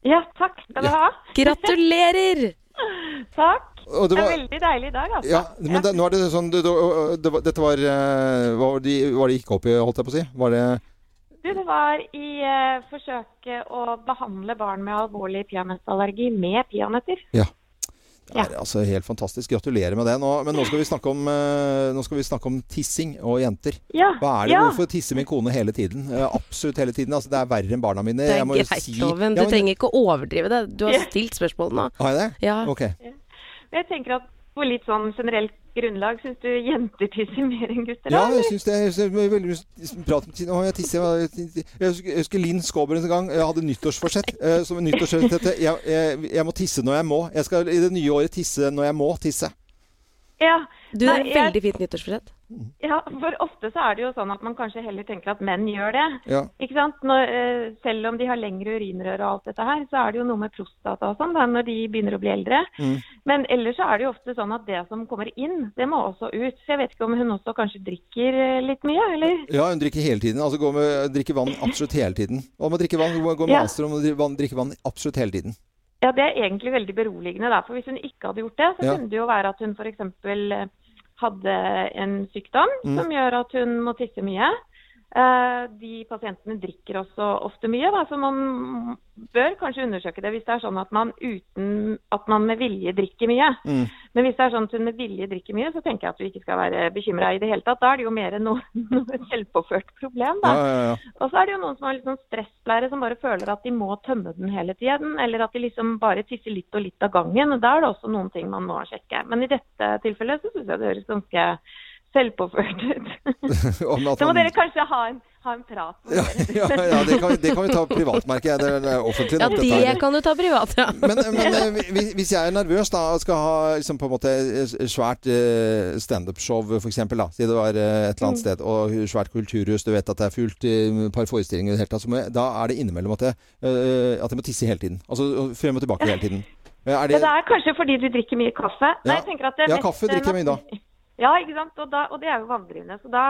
Speaker 13: Ja, takk skal du ha.
Speaker 3: Gratulerer!
Speaker 13: takk.
Speaker 6: Og det
Speaker 13: det,
Speaker 6: var-
Speaker 13: er veldig deilig i dag, altså.
Speaker 6: Ja, men det, nå er det sånn det, det, det, var- Dette var eh, Hva var det hva det gikk opp i, holdt jeg på å si? Var det
Speaker 13: Du, det var i eh, forsøket å behandle barn med alvorlig peanøttallergi med peanøtter.
Speaker 6: Det er altså helt fantastisk. Gratulerer med det. Nå, men nå skal, vi snakke om, eh, nå skal vi snakke om tissing og jenter.
Speaker 13: Ja,
Speaker 6: Hva er det?
Speaker 13: ja.
Speaker 6: Hvorfor tisser min kone hele tiden? Eh, Absolutt hele tiden. Altså, det er verre enn barna mine.
Speaker 3: Det
Speaker 6: Jeg
Speaker 3: er
Speaker 6: må jo
Speaker 3: greit,
Speaker 6: si-
Speaker 3: Loven.
Speaker 6: Ja, men-
Speaker 3: Du trenger ikke å overdrive det. Du har
Speaker 13: Ja.
Speaker 3: stilt spørsmål nå.
Speaker 6: Har jeg det?
Speaker 3: Ja.
Speaker 6: Ok.
Speaker 13: Jeg tenker at på litt sånn generelt grunnlag, syns du jenter tisser mer enn gutter?
Speaker 6: Ja,
Speaker 13: eller?
Speaker 6: jeg syns det. Jeg synes det er veldig mye prat om tid. Å, jeg tisser. Jeg husker- jeg husker Linn Skåber en gang. Jeg hadde nyttårsforsett. eh, Som nyttårsforsett heter, jeg, jeg, jeg må tisse når jeg må. Jeg skal i det nye året tisse når jeg må tisse.
Speaker 13: Ja.
Speaker 3: Du har
Speaker 13: Nei,
Speaker 3: et
Speaker 13: jeg-
Speaker 3: veldig fint nyttårsforsett.
Speaker 13: Ja, for ofte så er det jo sånn at man kanskje heller tenker at menn gjør det.
Speaker 6: Ja.
Speaker 13: Ikke sant? Når, eh, selv om de har lengre urinrør og alt dette her, så er det jo noe med prostata og sånn da, når de begynner å bli eldre.
Speaker 6: Mm.
Speaker 13: Men ellers så er det jo ofte sånn at det som kommer inn, det må også ut. Så jeg vet ikke om hun også kanskje drikker eh, litt mye, eller?
Speaker 6: Ja, hun drikker hele tiden. Altså går med, drikker vann absolutt hele tiden. Og man drikker vann, hun går
Speaker 13: Ja.
Speaker 6: master om å drikke vann, drikke vann absolutt hele tiden.
Speaker 13: Ja, det er egentlig veldig beroligende da, for hvis hun ikke hadde gjort det, så
Speaker 6: Ja.
Speaker 13: kunne det jo være at hun for eksempel eh, hadde en sykdom
Speaker 6: Mm.
Speaker 13: som gjør at hun må tisse mye. Eh, De pasientene drikker også ofte mye, da, så man bør kanskje undersøke det hvis det er sånn at man uten at man med vilje drikker mye.
Speaker 6: Mm.
Speaker 13: Men hvis det er sånn at hun med vilje drikker mye, så tenker jeg at du ikke skal være bekymra i det hele tatt. Da er det jo mer noe, noe selvpåført problem, da.
Speaker 6: Ja, ja, ja.
Speaker 13: Og så er det jo noen som har litt sånn stressblære, som bare føler at de må tømme den hele tiden. Eller at de liksom bare tisser litt og litt av gangen. og Da er det også noen ting man må sjekke. Men i dette tilfellet så syns jeg det høres ganske selvpåført ut.
Speaker 6: Om at
Speaker 13: Så må
Speaker 6: man-
Speaker 13: dere kanskje ha en, ha en prat. med
Speaker 6: ja,
Speaker 13: dere.
Speaker 6: ja, ja det, kan, vi- det kan vi ta privat, merker jeg. Det er- det er offentlig
Speaker 3: Ja,
Speaker 6: nok, dette her.
Speaker 3: det kan du ta privat, ja.
Speaker 6: Men, men eh, hvis- hvis jeg er nervøs da, og skal ha liksom, på en måte eh, svært eh, standup-show, f.eks., si det var eh, et eller
Speaker 11: Mm.
Speaker 6: annet sted, og svært kulturhus, du vet at det er fullt i mm, et par forestillinger i det hele tatt, så må jeg, da er det innimellom at jeg, eh, at jeg må tisse hele tiden. Altså frem og tilbake hele tiden. Er
Speaker 13: Men
Speaker 6: det,
Speaker 13: det er kanskje fordi du drikker mye kaffe. Nei,
Speaker 6: Ja.
Speaker 13: jeg tenker at det er
Speaker 6: ja,
Speaker 13: mest- eh,
Speaker 6: kaffe drikker jeg mye da.
Speaker 13: Ja, ikke sant? Og, da, og det er jo vanndrivende. Så da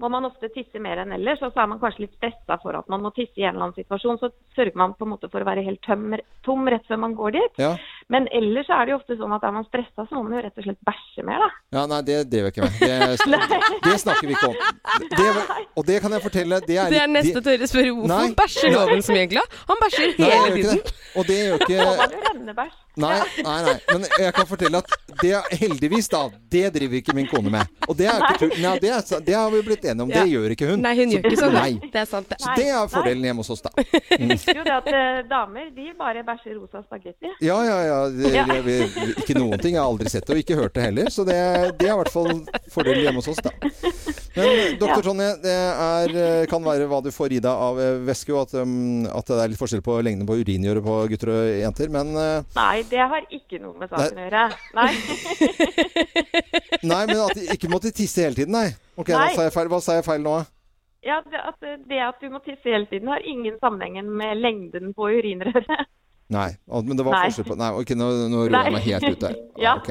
Speaker 13: må man ofte tisse mer enn ellers. Og så er man kanskje litt stressa for at man må tisse i en eller annen situasjon. Så sørger man på en måte for å være helt tøm, tom rett før man går dit.
Speaker 6: Ja.
Speaker 13: Men ellers så er det jo ofte sånn at er man stressa, så må man jo rett og slett bæsje mer, da.
Speaker 6: Ja, nei, det driver jeg ikke med. Det, det snakker vi ikke om. Det, og det kan jeg fortelle Det er,
Speaker 3: Det er
Speaker 6: litt-
Speaker 3: neste Tørre spørre hvorfor
Speaker 6: Nei.
Speaker 3: bæsjer Loven som egentlig? Han bæsjer
Speaker 6: Nei, jeg
Speaker 3: hele
Speaker 6: gjør ikke
Speaker 3: tiden.
Speaker 6: det. Og det gjør ikke
Speaker 13: Rennebæsj.
Speaker 6: Nei, nei, nei. Men jeg kan fortelle at det heldigvis, da, det driver ikke min kone med. Og det er ikke tull. Nei, det, er, det har vi blitt enige om. Det
Speaker 3: Ja.
Speaker 6: gjør ikke hun.
Speaker 3: Nei, hun gjør ikke
Speaker 6: Så-
Speaker 3: sånn.
Speaker 6: Nei.
Speaker 3: Det er sant, det.
Speaker 6: Så det er fordelen hjemme hos oss, da.
Speaker 13: Jeg husker jo det at eh, damer, de bare bæsjer rosa spagetti.
Speaker 6: Ja, ja, ja. Det,
Speaker 13: Ja.
Speaker 6: det, vi, ikke noen ting. Jeg har aldri sett det, og ikke hørt det heller. Så det, det er i hvert fall fordelen hjemme hos oss, da. Men doktor Tonje, det er, eh, kan være hva du får i deg av eh, væske, og at, um, at det er litt forskjell på lengden på uringjøret på gutter og jenter. Men eh,
Speaker 13: Nei, det har ikke noe med saken å gjøre. Nei.
Speaker 6: Nei, men at de ikke måtte tisse hele tiden, nei. Ok,
Speaker 13: Nei.
Speaker 6: Da sa jeg feil. Hva sa jeg feil nå?
Speaker 13: Ja, det at, eh, det at du må tisse hele tiden, har ingen sammenheng med lengden på urinrøret.
Speaker 6: Nei, å, men det var
Speaker 13: Nei.
Speaker 6: forskjell på Nei, ok, nå, nå roer jeg meg helt ut der. Ah,
Speaker 13: Ja.
Speaker 6: Ok.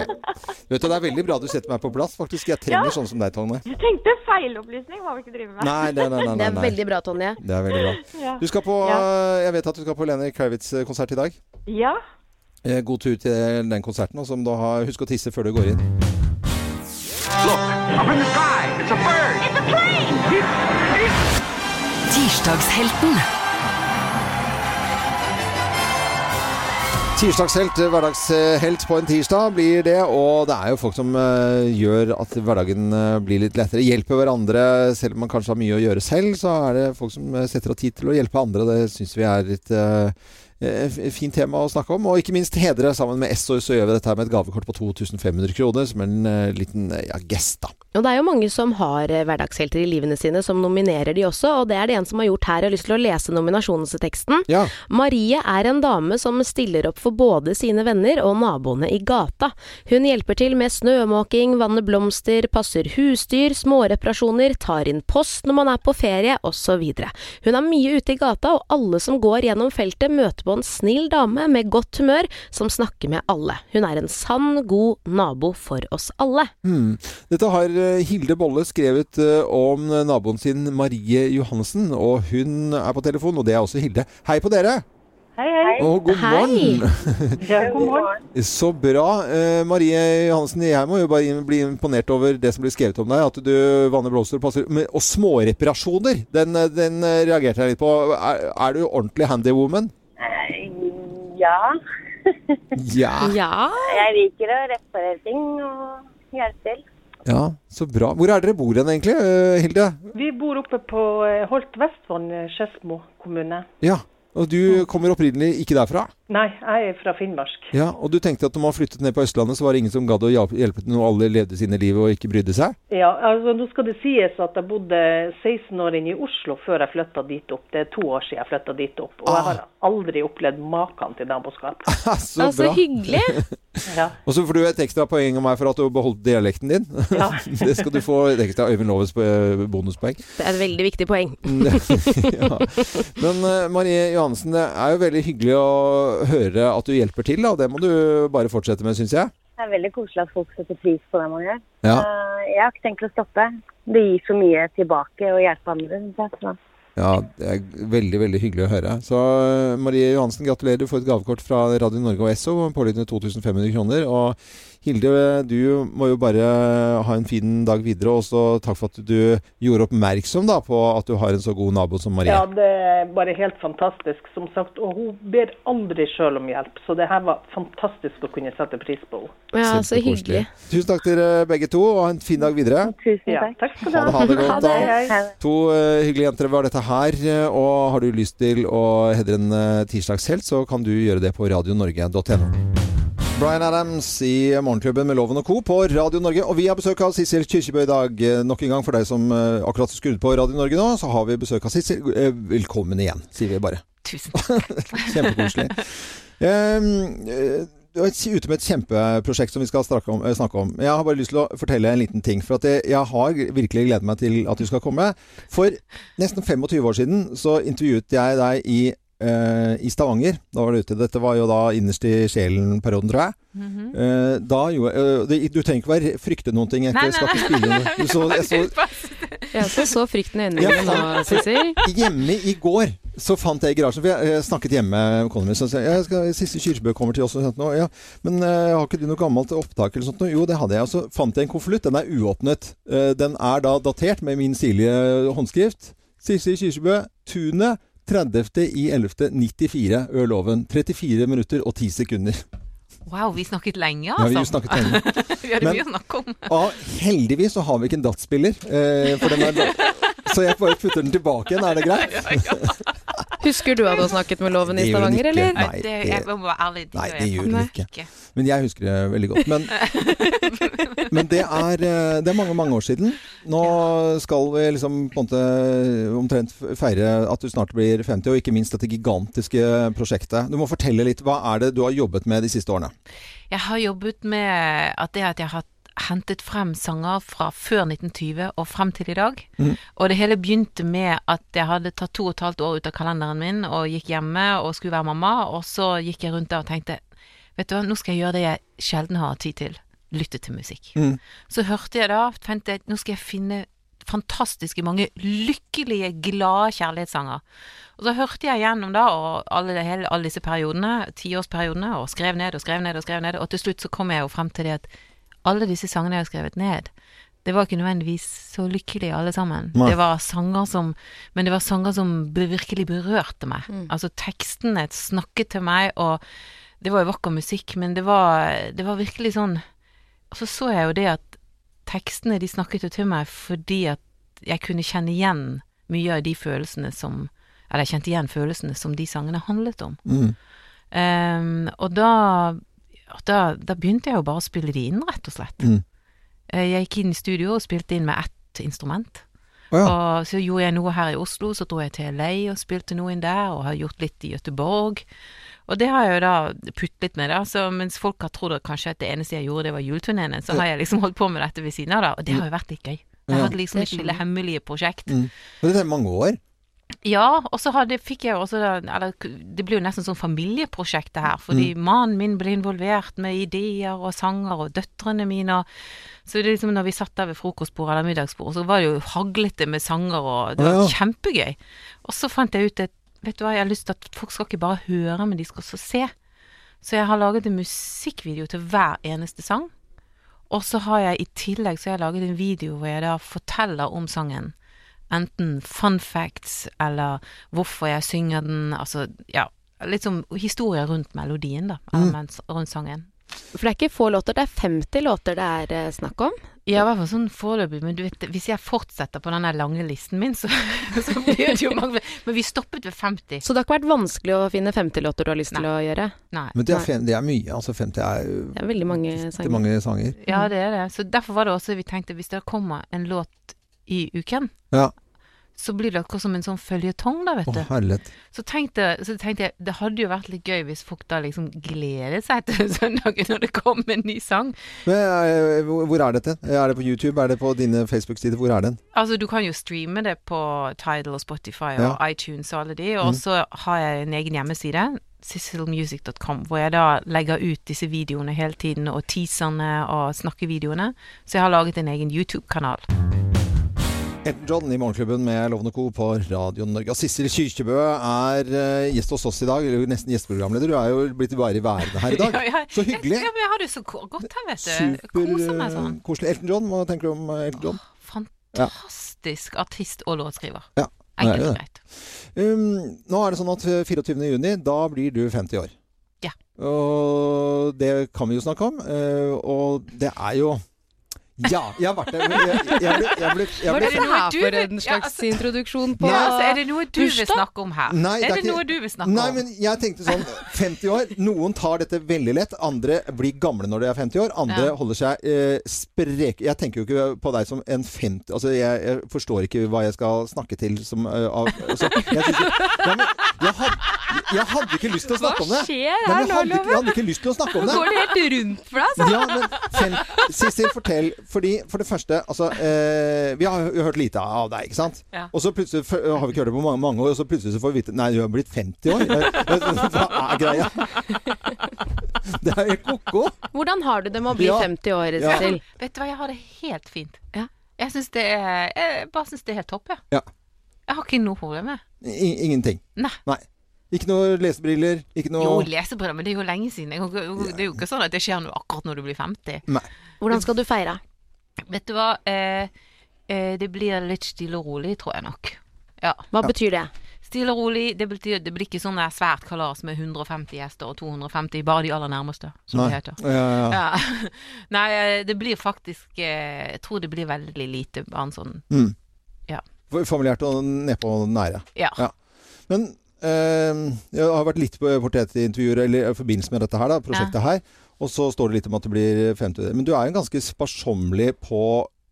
Speaker 6: Vet du, Det er veldig bra du setter meg på plass, faktisk. Jeg trenger
Speaker 13: Ja.
Speaker 6: sånn som deg, Tonje.
Speaker 13: Jeg tenkte feilopplysning må vi ikke drive med.
Speaker 6: Nei, nei, nei, nei,
Speaker 3: Det
Speaker 6: nei,
Speaker 3: er
Speaker 6: nei.
Speaker 3: veldig bra, Tonje.
Speaker 6: Det er veldig bra.
Speaker 13: Ja.
Speaker 6: Du skal på
Speaker 13: Ja.
Speaker 6: eh, Jeg vet at du skal på Lene Kravitz-konsert i dag.
Speaker 13: Ja.
Speaker 6: Eh, God tur til den konserten, og som da har Husk å tisse før du går inn.
Speaker 9: Up in the sky, it's a bird. It's a plane.
Speaker 14: Tirsdagshelten.
Speaker 6: Tirsdagshelt, eh, hverdagshelt på en tirsdag blir det, og det er jo folk som eh, gjør at hverdagen eh, blir litt lettere. Hjelper hverandre, selv om man kanskje har mye å gjøre selv, så er det folk som eh, setter av tid til å hjelpe andre. Det syns vi er et eh, eh, f- fint tema å snakke om. Og ikke minst hedre. Sammen med SOS så gjør vi dette her med et gavekort på 2500 kroner, som en eh, liten eh, ja, gest, da.
Speaker 3: Og det er jo mange som har eh, hverdagshelter i livene sine, som nominerer de også, og det er det en som har gjort her. Jeg har lyst til å lese nominasjonsteksten. Marie er en dame som stiller opp for både sine venner og naboene i gata. Hun hjelper til med snømåking, vanner blomster, passer husdyr, småreparasjoner, tar inn post når man er på ferie, osv. Hun er mye ute i gata, og alle som går gjennom feltet møter på en snill dame med godt humør, som snakker med alle. Hun er en sann, god nabo for oss alle.
Speaker 6: Hmm. Dette har eh, Hilde Bolle skrevet eh, om naboen sin Marie Johannessen, og hun er på telefon, og det er også Hilde. Hei på dere!
Speaker 12: Hei, hei.
Speaker 6: Og god morgen!
Speaker 12: Ja, god morgen.
Speaker 6: Så bra. Eh, Marie Johansen, jeg må jo bare inn- bli imponert over det som blir skrevet om deg. At du vanner blomster og passer men- Og småreparasjoner! Den, eh, den eh, reagerte jeg litt på. Er, er du ordentlig handywoman?
Speaker 12: Ja.
Speaker 6: Ja.
Speaker 12: Jeg liker å reparere ting og hjelpe til.
Speaker 6: ja, så bra. Hvor er dere bor hen egentlig, eh, Hilde?
Speaker 15: Vi bor oppe på eh, Holt Vestvann, eh, Skedsmo kommune.
Speaker 6: Ja, og du kommer opprinnelig ikke derfra?
Speaker 15: Nei, jeg er fra Finnmark.
Speaker 6: Ja, og du tenkte at når man flyttet ned på Østlandet, så var det ingen som gadd å hjelpe- hjelpe til når alle levde sine liv og ikke brydde seg?
Speaker 15: Ja, altså Nå skal det sies at jeg bodde 16 år inne i Oslo før jeg flytta dit opp. Det er to år siden jeg flytta dit opp, og jeg har aldri opplevd maken til naboskap.
Speaker 6: Ah. Så
Speaker 3: Ah,
Speaker 6: Ja, så bra. hyggelig.
Speaker 15: ja.
Speaker 6: Og så får du et ekstra poeng av meg for at du beholdt dialekten din.
Speaker 3: Ja.
Speaker 6: det skal du få et ekstra Øyvind Loves eh, bonuspoeng.
Speaker 3: Det er et veldig viktig poeng.
Speaker 16: Mm.
Speaker 6: ja. Men eh, Marie Johansen, det er jo veldig hyggelig å høre at du hjelper til. Da. Det må du bare fortsette med, syns jeg.
Speaker 12: Det er veldig koselig at folk setter pris på det man gjør.
Speaker 6: Ja.
Speaker 12: Eh, Jeg har ikke tenkt å stoppe. Det gir så mye tilbake å hjelpe andre. synes jeg, så
Speaker 6: Ja, det er veldig, veldig hyggelig å høre. Så eh, Marie Johansen, gratulerer. Du får et gavekort fra Radio Norge og Esso, pålydende 2500 kroner. Og Hilde, du må jo bare eh, ha en fin dag videre, og så takk for at du gjorde oppmerksom da, på at du har en så god nabo som Marie.
Speaker 15: ja, det er bare helt fantastisk, som sagt. Og hun ber aldri sjøl om hjelp, så det her var fantastisk å kunne sette pris på henne.
Speaker 3: Ja,
Speaker 6: Kjempekoselig.
Speaker 3: så hyggelig.
Speaker 6: Tusen takk til dere begge to, og ha en fin dag videre.
Speaker 12: Tusen
Speaker 15: takk. takk skal
Speaker 6: Ha det, ha det godt.
Speaker 15: Ha det.
Speaker 6: Da. To eh, hyggelige jenter var dette her. eh, og har du lyst til å hedre en eh, tirsdagshelt, så kan du gjøre det på radionorge.no. Bryan Adams i Morgenklubben med Loven og Co. på Radio Norge. Og vi har besøk av Sissel Kyrkjebø i dag. Eh, Nok en gang for deg som eh, akkurat skrudde på Radio Norge nå, så har vi besøk av Sissel. Eh, Velkommen igjen, sier vi bare.
Speaker 12: Tusen takk.
Speaker 6: Kjempekoselig. Ehm, eh, Du er ute med et kjempeprosjekt som vi skal snakke om, eh, snakke om. Jeg har bare lyst til å fortelle en liten ting. For at jeg, jeg har virkelig gledet meg til at du skal komme. For nesten 25 år siden så intervjuet jeg deg i, eh, i Stavanger. Da var du ute. Dette var jo da innerst i sjelen-perioden, tror jeg.
Speaker 12: Mhm.
Speaker 6: Eh, da gjorde, eh, det- du trenger ikke være frykte noen ting. Jeg
Speaker 3: Nei, nei,
Speaker 6: skal ikke
Speaker 3: nei,
Speaker 6: spille
Speaker 3: nei,
Speaker 6: noe.
Speaker 3: nei,
Speaker 6: Du så- jeg så-
Speaker 3: Ja, så så frykten i øynene
Speaker 6: Ja,
Speaker 3: dine nå,
Speaker 6: for-
Speaker 3: Sissel.
Speaker 6: Hjemme i går så fant jeg i garasjen For jeg, jeg snakket hjemme med kona mi. Så sa jeg, jeg skal, Siste Kyrsbø kommer til oss og sånt nå. Ja, men eh, har ikke du noe gammelt opptak eller sånt nå? Jo, det hadde jeg. Og så fant jeg en konvolutt. Den er uåpnet. Eh, den er da datert med min sirlige håndskrift. Sissel Kyrsbø, Tunet. 30.11.94 Ø-loven. 34 minutter og 10 sekunder.
Speaker 16: Wow, vi snakket lenge,
Speaker 6: Ja, vi
Speaker 16: altså.
Speaker 6: snakket lenge.
Speaker 16: vi hadde
Speaker 6: Men-
Speaker 16: mye å snakke om.
Speaker 6: Ja, heldigvis så har vi ikke en DAT-spiller. eh, for den er da- så jeg bare putter den tilbake igjen, er det greit?
Speaker 3: Husker du at du har snakket med Loven i
Speaker 6: Det gjør hun ikke.
Speaker 3: Stavanger, eller?
Speaker 6: Nei, det-
Speaker 16: Jeg må være ærlig.
Speaker 6: Nei,
Speaker 16: gjør
Speaker 6: det
Speaker 16: jeg
Speaker 6: gjør
Speaker 16: faktisk
Speaker 6: hun ikke. Men jeg husker det veldig godt. Men, men det, er, eh, det er mange, mange år siden. Nå skal vi liksom på en måte omtrent feire at du snart blir 50, og ikke minst dette gigantiske prosjektet. Du må fortelle litt. Hva er det du har jobbet med de siste årene?
Speaker 16: Jeg har jobbet med at det at jeg har hentet frem sanger fra før 1920 og frem til i dag.
Speaker 1: Mhm.
Speaker 16: Og det hele begynte med at jeg hadde tatt to og et halvt år ut av kalenderen min og gikk hjemme og skulle være mamma, og så gikk jeg rundt der og tenkte Vet du hva, nå skal jeg gjøre det jeg sjelden har tid til. Lytte til musikk.
Speaker 3: Mm.
Speaker 1: Mhm.
Speaker 16: Så hørte jeg da, tenkte jeg, nå skal jeg finne fantastiske mange lykkelige, glade kjærlighetssanger. Og så hørte jeg gjennom da, og alle, de- hele, alle disse periodene, tiårsperiodene, og skrev ned og skrev ned og skrev ned, og til slutt så kom jeg jo frem til det at alle disse sangene jeg har skrevet ned, det var ikke nødvendigvis så lykkelige alle sammen.
Speaker 1: Nei.
Speaker 16: Det var sanger som Men det var sanger som be- virkelig berørte meg.
Speaker 1: Mm.
Speaker 16: Altså tekstene snakket til meg, og det var jo vakker musikk, men det var, det var virkelig sånn og så så jeg jo det at tekstene de snakket jo til meg fordi at jeg kunne kjenne igjen mye av de følelsene som Eller jeg kjente igjen følelsene som de sangene handlet om.
Speaker 6: Mm.
Speaker 16: Ehm, og da, og da Da begynte jeg jo bare å spille de inn, rett og slett.
Speaker 6: Mm.
Speaker 16: Eh, Jeg gikk inn i studio og spilte inn med ett instrument.
Speaker 6: Å
Speaker 16: Og så gjorde jeg noe her i Oslo, så dro jeg til LA og spilte noe inn der, og har gjort litt i Gøteborg. Og det har jeg jo da putlet med, da. Så mens folk har trodd at kanskje at det eneste jeg gjorde, det var juleturneene, så har jeg liksom holdt på med dette ved siden av, da. Og det har jo vært litt gøy. Det har
Speaker 6: Ja.
Speaker 16: vært liksom et lille hemmelig prosjekt.
Speaker 6: Mm. Men dette er mange år.
Speaker 16: Ja, og så hadde, fikk jeg jo også da- Eller det blir jo nesten sånn familieprosjekt det her. Fordi
Speaker 1: Mm.
Speaker 16: mannen min ble involvert med ideer og sanger, og døtrene mine og Så det er liksom når vi satt der ved frokostbordet eller middagsbordet, så var det jo haglete med sanger, og det var
Speaker 1: Ja, ja.
Speaker 16: kjempegøy. Og så fant jeg ut at Vet du hva, jeg har lyst til at folk skal ikke bare høre, men de skal også se. Så jeg har laget en musikkvideo til hver eneste sang. Og så har jeg i tillegg så har jeg laget en video hvor jeg da forteller om sangen. Enten fun facts eller hvorfor jeg synger den, altså ja, litt sånn historier rundt melodien, da.
Speaker 6: Mm.
Speaker 16: Eller mens- rundt sangen.
Speaker 3: For det er ikke få låter, det er 50 låter det er eh, snakk om.
Speaker 16: Ja, i hvert fall sånn foreløpig. Men du vet, hvis jeg fortsetter på den der lange listen min, så, så blir det jo mange Men vi stoppet ved 50.
Speaker 3: Så det har ikke vært vanskelig å finne 50 låter du har lyst til å gjøre?
Speaker 16: Nei.
Speaker 6: Men det er, fem, det er mye. Altså 50 er jo
Speaker 3: Det er veldig mange
Speaker 6: det
Speaker 3: sanger.
Speaker 6: er mange sanger.
Speaker 16: Ja, det er det. Så derfor var det også vi tenkte hvis det kommer en låt i uken,
Speaker 6: Ja.
Speaker 16: så blir det akkurat som en sånn føljetong, da, vet
Speaker 6: Å,
Speaker 16: du.
Speaker 6: herlighet.
Speaker 16: Så tenkte, så tenkte jeg det hadde jo vært litt gøy hvis folk da liksom gleder seg til søndagen når det kom en ny sang.
Speaker 6: Men, eh, hvor hvor er dette? Er det på YouTube? Er det på dine Facebook-sider? Hvor er den?
Speaker 16: Altså, du kan jo streame det på Tidal og Spotify og
Speaker 6: Ja.
Speaker 16: iTunes og alle de, og
Speaker 6: Mhm.
Speaker 16: så har jeg en egen hjemmeside, sisselmusic.com, hvor jeg da legger ut disse videoene hele tiden, og teaserne og snakkevideoene. Så jeg har laget en egen YouTube-kanal.
Speaker 6: Elton John i Morgenklubben med Lovende Co. på Radio Norge. Og Sissel Kyrkjebø er eh, gjest hos oss i dag, eller nesten gjesteprogramleder. Du er jo blitt bare værende her i dag.
Speaker 16: Ja, ja.
Speaker 6: Så hyggelig.
Speaker 16: Ja, men jeg har det så ko- godt her, vet du.
Speaker 6: Super
Speaker 16: Koser meg sånn.
Speaker 6: eh, koselig. Elton John, hva tenker du om eh, Elton John? Ja.
Speaker 16: Fantastisk artist og låtskriver.
Speaker 6: Ja, det er
Speaker 16: Enkelt
Speaker 6: jo
Speaker 16: og
Speaker 6: det. Um, nå er det sånn at 24. juni, da blir du 50 år.
Speaker 16: Ja.
Speaker 6: Og det kan vi jo snakke om. eh, og det er jo Ja, jeg har vært der. men Jeg, jeg, jeg ble, jeg ble, jeg
Speaker 17: Var
Speaker 6: ble,
Speaker 17: dette her
Speaker 16: du
Speaker 17: for
Speaker 16: vil-
Speaker 17: en
Speaker 16: ja, altså,
Speaker 17: slags introduksjon på
Speaker 16: Nei, altså, er det noe du vil
Speaker 17: bursdag?
Speaker 16: snakke om her?
Speaker 6: Nei,
Speaker 16: er det,
Speaker 6: ikke-
Speaker 16: noe du vil snakke
Speaker 6: Nei,
Speaker 16: om?
Speaker 6: men jeg tenkte sånn 50 år. Noen tar dette veldig lett. Andre blir gamle når de er 50 år. Andre
Speaker 16: Ja.
Speaker 6: holder seg eh, spreke. Jeg tenker jo ikke på deg som en 50 Altså, jeg, jeg forstår ikke hva jeg skal snakke til som eh, av altså, jeg, synes, ja, men, jeg, had, jeg hadde ikke lyst til å snakke om det.
Speaker 17: skjer
Speaker 6: Nei,
Speaker 17: her
Speaker 6: men jeg
Speaker 17: nå,
Speaker 6: hadde ikke-
Speaker 17: Loven?
Speaker 6: Jeg hadde ikke lyst til å snakke om det.
Speaker 17: Går det helt rundt for deg, altså?
Speaker 6: Ja, men fem, Sissel, fortell. Fordi, for det første, altså eh, Vi har jo hørt lite av deg, ikke sant?
Speaker 17: Ja.
Speaker 6: Og så plutselig f- har vi ikke hørt det på mange, mange år, og så plutselig så får vi vite Nei, du har blitt 50 år. Eh, Hva er greia? Det er helt ko-ko.
Speaker 3: Hvordan har du det med å bli
Speaker 6: Ja.
Speaker 3: 50 år,
Speaker 6: Ja.
Speaker 3: Sissel?
Speaker 16: Vet du hva, jeg har det helt fint. Jeg, synes det er, jeg bare syns det er helt topp, jeg.
Speaker 6: Ja.
Speaker 16: Jeg har ikke noe problem med det.
Speaker 6: I, ingenting.
Speaker 16: Nei.
Speaker 6: Ikke noe lesebriller, ikke noe
Speaker 16: Jo, lesebriller, men det er jo lenge siden. Jeg, kan ikke- det er jo ikke sånn at det skjer noe akkurat når du blir 50.
Speaker 6: Nei.
Speaker 3: Hvordan skal du feire?
Speaker 16: Vet du hva, eh, eh, det blir litt stille og rolig, tror jeg nok. Ja.
Speaker 3: Hva betyr det?
Speaker 16: Stille og rolig, det betyr, det blir ikke sånn der svært kalas med 150 gjester og 250, bare de aller nærmeste, som
Speaker 6: Nei.
Speaker 16: det heter.
Speaker 6: Ja, ja, ja.
Speaker 16: Ja. Nei, eh, det blir faktisk eh, Jeg tror det blir veldig lite annet sånn
Speaker 6: Mm.
Speaker 16: Ja.
Speaker 6: For- Formulert og nedpå og nære.
Speaker 16: Ja.
Speaker 6: Men eh, jeg har vært litt på portrettintervjuer eller i forbindelse med dette her, da, prosjektet her. Og så står det litt om at det blir 50 Men du er jo ganske sparsommelig på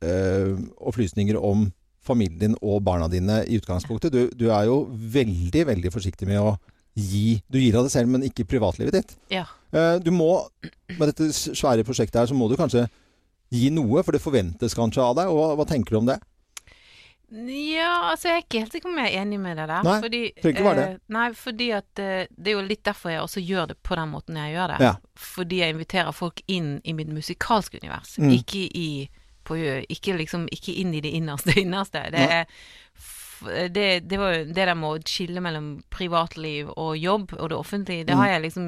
Speaker 6: eh, opplysninger om familien din og barna dine i utgangspunktet. Du, du er jo veldig, veldig forsiktig med å gi. Du gir av deg selv, men ikke i privatlivet ditt.
Speaker 16: Ja.
Speaker 6: Eh, Du må, med dette svære prosjektet her, så må du kanskje gi noe, for det forventes kanskje av deg. Og hva, hva tenker du om det?
Speaker 16: Ja, altså jeg er ikke helt sikker om jeg er enig med deg der.
Speaker 6: Nei,
Speaker 16: fordi,
Speaker 6: trenger ikke være det.
Speaker 16: eh, Nei, fordi at eh, det er jo litt derfor jeg også gjør det på den måten jeg gjør det.
Speaker 6: Ja.
Speaker 16: Fordi jeg inviterer folk inn i mitt musikalske univers,
Speaker 3: Mm.
Speaker 16: ikke i på, ikke, liksom, ikke inn i det innerste innerste. Det,
Speaker 3: Nei.
Speaker 16: er, f- det, det var jo det der med å skille mellom privatliv og jobb og det offentlige, det
Speaker 3: Mm.
Speaker 16: har jeg liksom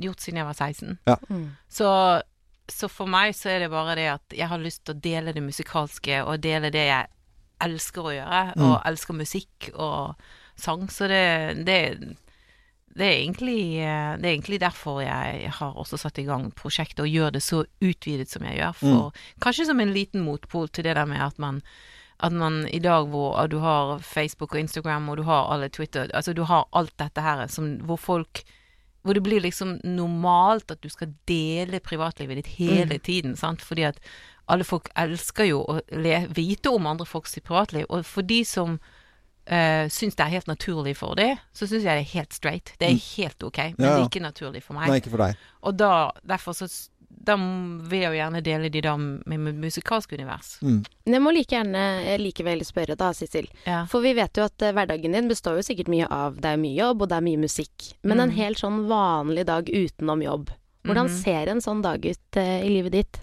Speaker 16: gjort siden jeg var 16.
Speaker 6: Ja.
Speaker 1: Mm.
Speaker 16: Så, så for meg så er det bare det at jeg har lyst til å dele det musikalske, og dele det jeg elsker å gjøre,
Speaker 6: Mm.
Speaker 16: og elsker musikk og sang, så det, det, det, er egentlig, eh, det er egentlig derfor jeg har også satt i gang prosjektet, og gjør det så utvidet som jeg gjør, for kanskje som en liten motpol til det der med at man at man i dag hvor du har Facebook og Instagram og du har alle Twitter, altså du har alt dette her som, hvor folk hvor det blir liksom normalt at du skal dele privatlivet ditt hele
Speaker 3: Mm.
Speaker 16: tiden, sant? fordi at alle folk elsker jo å le, vite om andre folks privatliv, og for de som uh, syns det er helt naturlig for dem, så syns jeg det er helt straight. Det er
Speaker 6: Mm.
Speaker 16: helt ok, men
Speaker 6: Ja,
Speaker 16: det
Speaker 6: ja.
Speaker 16: er ikke naturlig for meg.
Speaker 6: Nei, ikke for deg.
Speaker 16: Og da, derfor så s- da m- vil jeg jo gjerne dele de da med mitt musikalske univers.
Speaker 6: Mm.
Speaker 3: Men jeg må like gjerne eh, likevel spørre da, Sissel. For vi vet jo at eh, hverdagen din består jo sikkert mye av det er mye jobb, og det er mye musikk. Men en
Speaker 16: Mm.
Speaker 3: helt sånn vanlig dag utenom jobb. Hvordan
Speaker 16: Mhm.
Speaker 3: ser en sånn dag ut eh, i livet ditt?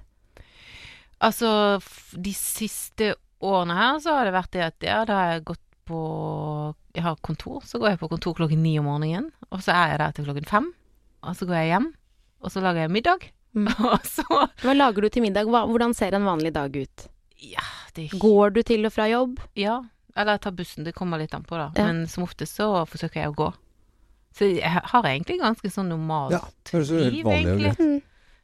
Speaker 16: Altså, f- de siste årene her så har det vært det at ja, da har jeg gått på Jeg har kontor, så går jeg på kontor klokken ni om morgenen, og så er jeg der til klokken fem. Og så går jeg hjem, og så lager jeg middag. Og så
Speaker 3: Hva lager du til middag? Hva, hvordan ser en vanlig dag ut?
Speaker 16: det-
Speaker 3: Går du til og fra jobb?
Speaker 16: Ja, eller jeg tar bussen, det kommer litt an på, da.
Speaker 3: Ja.
Speaker 16: Men som oftest så forsøker jeg å gå. Så jeg har egentlig ganske sånn normalt
Speaker 6: Ja, høres jo helt
Speaker 16: liv,
Speaker 6: vanlig og
Speaker 16: egentlig.
Speaker 6: greit.
Speaker 3: Mm.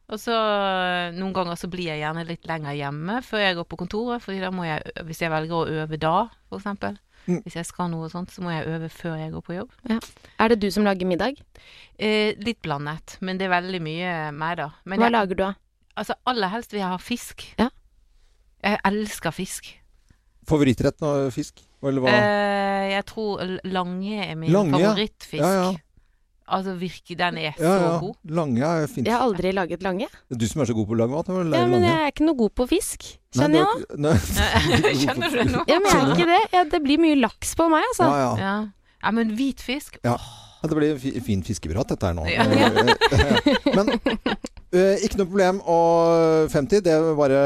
Speaker 16: Og så eh, Noen ganger så blir jeg gjerne litt lenger hjemme før jeg går på kontoret, fordi da må jeg, hvis jeg velger å øve da, f.eks.
Speaker 6: Mm.
Speaker 16: Hvis jeg skal noe sånt, så må jeg øve før jeg går på jobb.
Speaker 3: Ja. Er det du som lager middag?
Speaker 16: Eh, litt blandet, men det er veldig mye meg, da. Men
Speaker 3: Hva
Speaker 16: jeg,
Speaker 3: lager du da?
Speaker 16: Altså, aller helst vil jeg ha fisk. Jeg elsker fisk.
Speaker 6: Favorittretten av fisk? Eller hva?
Speaker 16: Eh, jeg tror l- lange er min
Speaker 6: Lange, ja.
Speaker 16: favorittfisk.
Speaker 6: Ja, ja.
Speaker 16: Altså virkelig, den er
Speaker 6: ja,
Speaker 16: så
Speaker 6: ja.
Speaker 16: god.
Speaker 6: Lange er fint.
Speaker 3: Jeg har aldri laget lange.
Speaker 6: Du som er så god på å lage mat, må
Speaker 3: Ja,
Speaker 6: lære
Speaker 3: men
Speaker 6: lange.
Speaker 3: jeg er ikke noe god på fisk.
Speaker 6: Nei,
Speaker 3: Skjønner jeg
Speaker 6: du
Speaker 3: nå?
Speaker 6: er ikke- Nei.
Speaker 16: Skjønner Eh, du det nå?
Speaker 3: Ja, men jeg er ikke det. Ja, det blir mye laks på meg, altså.
Speaker 6: Ja, ja.
Speaker 16: Ja. Ja, men hvit fisk
Speaker 6: Ja. ja, det blir en fi- fin fiskeprat dette her nå.
Speaker 16: Ja.
Speaker 6: Eh, Eh, ikke noe problem og 50. Det er, bare,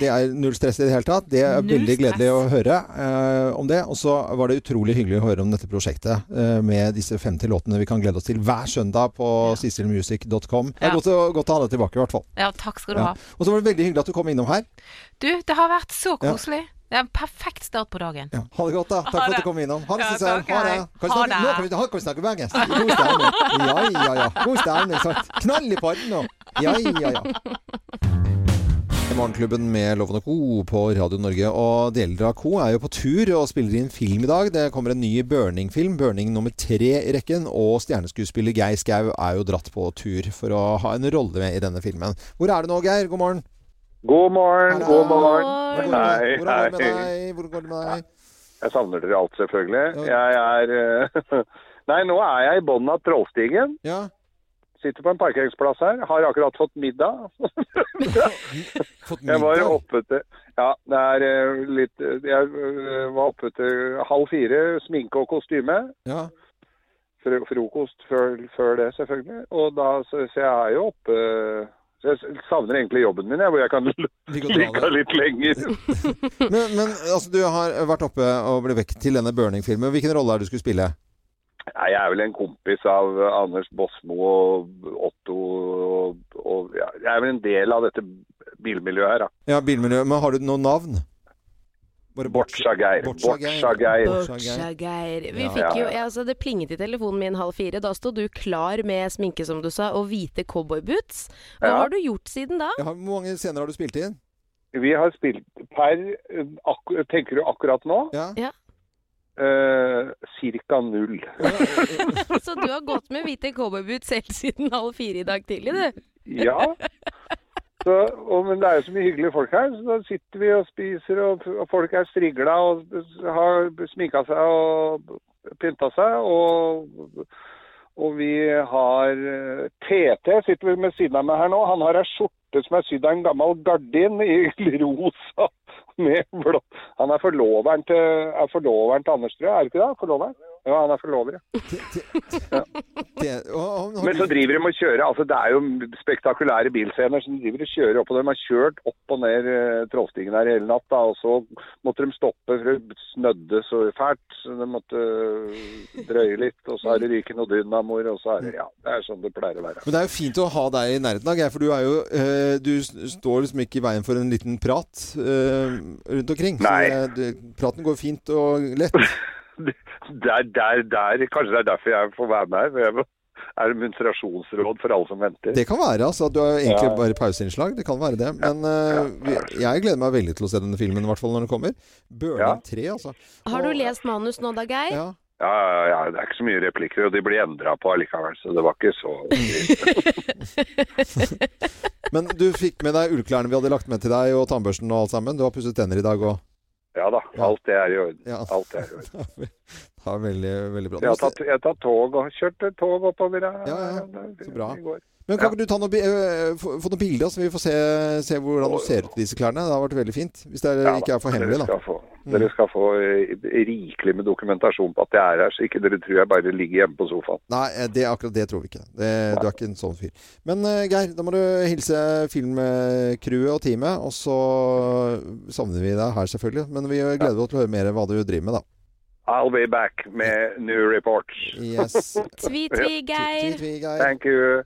Speaker 6: det er null stress i det hele tatt. Det er
Speaker 1: Null
Speaker 6: veldig gledelig å høre eh, om det. Og så var det utrolig hyggelig å høre om dette prosjektet eh, med disse 50 låtene vi kan glede oss til hver søndag på sisselmusic.com. Det
Speaker 16: Ja.
Speaker 6: er godt, å, godt å ha deg tilbake, i hvert fall.
Speaker 16: Ja, takk skal du
Speaker 6: Ja.
Speaker 16: ha.
Speaker 6: Og så var det veldig hyggelig at du kom innom her.
Speaker 16: Du, det har vært så
Speaker 6: Ja.
Speaker 16: koselig. Det er en perfekt start på dagen.
Speaker 6: Ha det godt, da. Takk
Speaker 16: Ha
Speaker 6: for at
Speaker 16: det.
Speaker 6: du kom innom. Ha det,
Speaker 16: Ja,
Speaker 6: Sissel.
Speaker 16: takk,
Speaker 6: Ha det.
Speaker 16: hei.
Speaker 6: Kan vi
Speaker 16: Ha
Speaker 6: snakke,
Speaker 16: det.
Speaker 6: nå kan vi, nå kan vi snakke bergensk. God stemning. Ja, ja, ja. God stemning. sant? Knall i pannen nå. Ja, ja, ja. Morgenklubben med Loven og Co. på Radio Norge. Og deler av Co. er jo på tur og spiller inn film i dag. Det kommer en ny Burning-film. Burning nummer tre i rekken. Og stjerneskuespiller Geir Skau er jo dratt på tur for å ha en rolle med i denne filmen. Hvor er du nå, Geir? God morgen.
Speaker 18: God morgen, god morgen.
Speaker 6: Hvordan går det- hvordan går det med
Speaker 18: hei.
Speaker 6: deg? Hvordan går det med deg?
Speaker 18: Jeg savner dere alt, selvfølgelig. Jeg er eh, Nei, nå er jeg i bunnen av Trollstigen.
Speaker 6: Ja.
Speaker 18: Sitter på en parkeringsplass her. Har akkurat fått middag. Jeg var oppe til Ja, det er eh, litt Jeg eh, var oppe til halv fire, sminke og kostyme.
Speaker 6: Ja.
Speaker 18: Fro- Frokost før, før det, selvfølgelig. Og da Så, så jeg er jo oppe så Jeg savner egentlig jobben min, jeg, hvor jeg kan ligge litt lenger.
Speaker 6: Men, men altså, du har vært oppe og ble vekk til denne Burning-filmen. Hvilken rolle er det du skulle spille?
Speaker 18: Nei, jeg er vel en kompis av Anders Båsmo og Otto og, og ja, Jeg er vel en del av dette bilmiljøet her, da.
Speaker 6: Ja, bilmiljø. Men har du noe navn?
Speaker 18: Bortsjageir. Bortsjageir.
Speaker 3: Bortsjageir. Vi
Speaker 18: Ja.
Speaker 3: fikk jo,
Speaker 18: Ja, ja.
Speaker 3: ja, altså Det plinget i telefonen min halv fire. Da sto du klar med sminke, som du sa, og hvite cowboyboots. Hva
Speaker 18: Ja.
Speaker 3: har du gjort siden da?
Speaker 6: Hvor mange scener har du spilt inn?
Speaker 18: Vi har spilt per ak Tenker du akkurat nå?
Speaker 3: Ja.
Speaker 18: Eh, cirka null.
Speaker 3: Så du har gått med hvite cowboyboots helt siden halv fire i dag tidlig, du.
Speaker 18: Ja. Så, og, men det er jo så mye hyggelige folk her, så da sitter vi og spiser, og, og folk er strigla og har sminka seg og pynta seg. Og, og vi har eh, TT sitter vi med siden av meg her nå. Han har ei skjorte som er sydd av en gammel gardin i rosa med blå. Han er forloveren til, er forloveren til Anders, tror jeg. Er det ikke det? Forloveren? Ja, han er forlover, ja.
Speaker 6: Det, og, og,
Speaker 18: Men så driver de og kjører, altså det er jo spektakulære bilscener som driver og kjører opp, og de har kjørt opp og ned eh, Trollstigen her hele natt, da, og så måtte de stoppe for det snødde så fælt, så de måtte eh, drøye litt, og så er det ryken og dynamoer, og så er det, ja, det er sånn det pleier å være.
Speaker 6: men det er jo fint å ha deg i nærheten av, Geir, for du er jo eh, Du s- står liksom ikke i veien for en liten prat eh, rundt omkring.
Speaker 18: Nei.
Speaker 6: Så det, det, praten går fint og lett.
Speaker 18: Der, der, der, kanskje det er derfor jeg får være med her, for jeg må- er det munstrasjonsråd for alle som venter.
Speaker 6: Det kan være altså, at du har egentlig
Speaker 18: Ja.
Speaker 6: bare pauseinnslag. Det kan være det. Men eh, vi- jeg gleder meg veldig til å se denne filmen, i hvert fall når den kommer. Burning 3, altså.
Speaker 3: Har du lest manus nå da, Geir?
Speaker 6: Ja.
Speaker 18: Ja, ja, ja, det er ikke så mye replikker, og de blir endret på allikevel, så det var ikke så...
Speaker 6: Men du fikk med deg ullklærne vi hadde lagt med til deg, og tannbørsten og alt sammen. Du har pusset tenner i dag òg.
Speaker 18: Ja da, alt det er i orden. Alt er i orden.
Speaker 6: Det er veldig, veldig bra.
Speaker 18: Jeg har tatt, jeg har tatt tog og kjørt tog oppover her.
Speaker 6: Så bra.
Speaker 18: i går.
Speaker 6: Men kan ikke du ta noen, bi- øh, få få noen bilder, så vi får se, se hvordan du ser ut i disse klærne? Det har vært veldig fint. Hvis det er,
Speaker 18: Ja da,
Speaker 6: ikke er for hemmelig,
Speaker 18: dere
Speaker 6: da. Mm.
Speaker 18: skal få- Dere skal få eh, rikelig med dokumentasjon på at jeg er her, så ikke dere tror jeg bare ligger hjemme på sofaen.
Speaker 6: Nei, eh, det, akkurat det tror vi ikke. Det, du er ikke en sånn fyr. Men eh, Geir, da må du hilse filmcrewet og teamet. Og så savner vi deg her, selvfølgelig. Men vi gleder oss til å høre mer hva du driver med, da.
Speaker 18: I'll be back med new reports.
Speaker 6: Yes.
Speaker 3: Tvi, tvi, Geir.
Speaker 18: Thank you.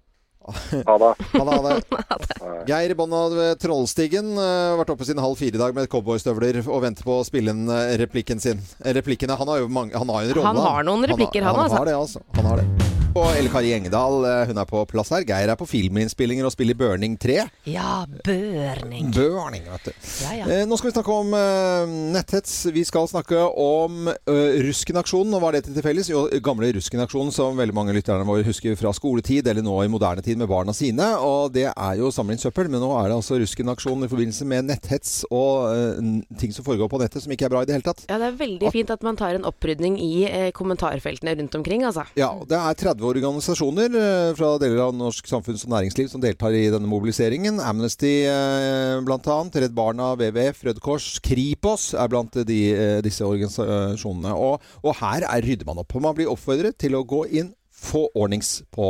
Speaker 18: Ha det.
Speaker 6: Ha det, ha det. Geir i bånn av Trollstigen. eh, Vært oppe siden halv fire i dag med cowboystøvler og venter på å spille inn eh, replikken sin. Eh, Replikkene. Han har jo mange, han har jo en rolle.
Speaker 3: Han har noen replikker, han,
Speaker 6: han
Speaker 3: altså.
Speaker 6: Har det, altså. Han har det. Og Elle Kari Engedal, eh, hun er på plass her. Geir er på filminnspillinger og spiller Burning 3.
Speaker 1: Ja, børning.
Speaker 6: Burning, vet du.
Speaker 1: Ja, ja.
Speaker 6: Eh, nå skal vi snakke om eh, netthets. Vi skal snakke om eh, Rusken-aksjonen. Og hva er dette til felles? Jo, gamle Rusken-aksjonen som veldig mange lytterne våre husker fra skoletid, eller nå i moderne tid med barna sine. Og det er jo samle inn søppel, men nå er det altså Rusken-aksjonen i forbindelse med netthets og eh, n- ting som foregår på nettet som ikke er bra i det hele tatt.
Speaker 3: Ja, det er veldig fint at man tar en opprydning i eh, kommentarfeltene rundt omkring, altså.
Speaker 6: Ja, og det er 30 organisasjoner eh, fra deler av norsk samfunns- og næringsliv som deltar i denne mobiliseringen. Amnesty eh, blant annet, Redd Barna, WWF, Rød Kors, Kripos er blant de, eh, disse organisasjonene. Og, og her er, rydder man opp. Og man blir oppfordret til å gå inn, få ordnings på,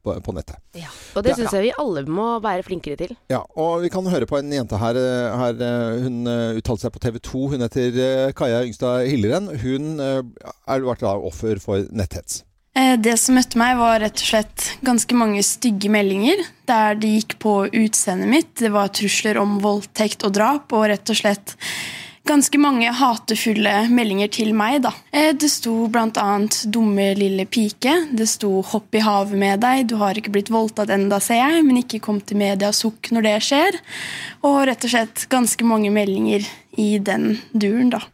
Speaker 6: på, på nettet.
Speaker 3: Og det
Speaker 6: Det-
Speaker 3: syns jeg vi alle må være flinkere til.
Speaker 6: Ja, og vi kan høre på en jente her. eh, her eh, hun eh, uttalte seg på TV 2. Hun heter eh, Kaja Yngstad Hilleren. Hun eh, er vært da offer for netthets.
Speaker 19: Eh, Det som møtte meg, var rett og slett ganske mange stygge meldinger. Der det gikk på utseendet mitt. Det var trusler om voldtekt og drap. Og rett og slett ganske mange hatefulle meldinger til meg, da. Eh, Det sto bl.a.: 'Dumme lille pike'. Det sto 'Hopp i havet med deg'. 'Du har ikke blitt voldtatt enda, ser jeg', men ikke kom til media og sukk når det skjer. Og rett og slett ganske mange meldinger i den duren, da.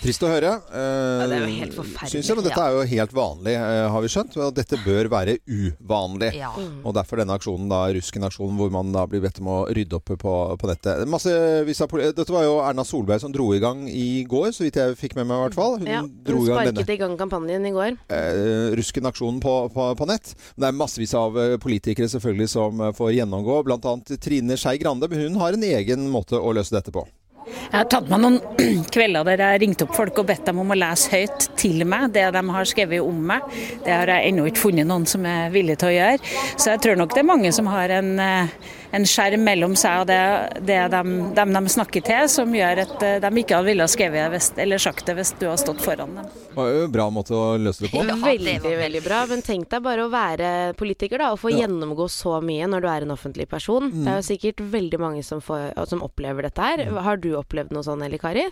Speaker 6: Trist å høre. Eh,
Speaker 19: det er jo helt forferdelig.
Speaker 6: Synes jeg, men dette
Speaker 19: Ja.
Speaker 6: er jo helt vanlig, eh, har vi skjønt. Og dette bør være uvanlig.
Speaker 1: Ja. Mm.
Speaker 6: Og derfor denne aksjonen, da, Rusken-aksjonen, hvor man da blir bedt om å rydde opp på, på nettet. Massevis av poli- Dette var jo Erna Solberg som dro i gang i går, så vidt jeg fikk med meg i hvert fall. Hun
Speaker 3: Ja,
Speaker 6: Mm, dro
Speaker 3: hun
Speaker 6: i gang
Speaker 3: sparket
Speaker 6: denne.
Speaker 3: i gang kampanjen i går.
Speaker 6: eh, Rusken-aksjonen på, på, på nett. Men Det er massevis av eh, politikere selvfølgelig som eh, får gjennomgå, bl.a. Trine Skei Grande. Men hun har en egen måte å løse dette på.
Speaker 20: Jeg har tatt meg noen kvelder der jeg har ringt opp folk og bedt dem om å lese høyt til meg det de har skrevet om meg. Det har jeg ennå ikke funnet noen som er villig til å gjøre. Så jeg tror nok det er mange som har en, eh, en skjerm mellom seg og det, det de, dem de snakker til, som gjør at eh, de ikke hadde villet skrevet det hvis- eller sagt det hvis du har stått foran dem.
Speaker 6: Det var jo en bra måte å løse det på.
Speaker 3: veldig, veldig bra. Men tenk deg bare å være politiker, da. Og få gjennomgå så mye når du er en offentlig person.
Speaker 16: Mm.
Speaker 3: Det er jo sikkert veldig mange som, får, som opplever dette her.
Speaker 6: Mm.
Speaker 3: Har du opplevd noe sånn, Eli Kari?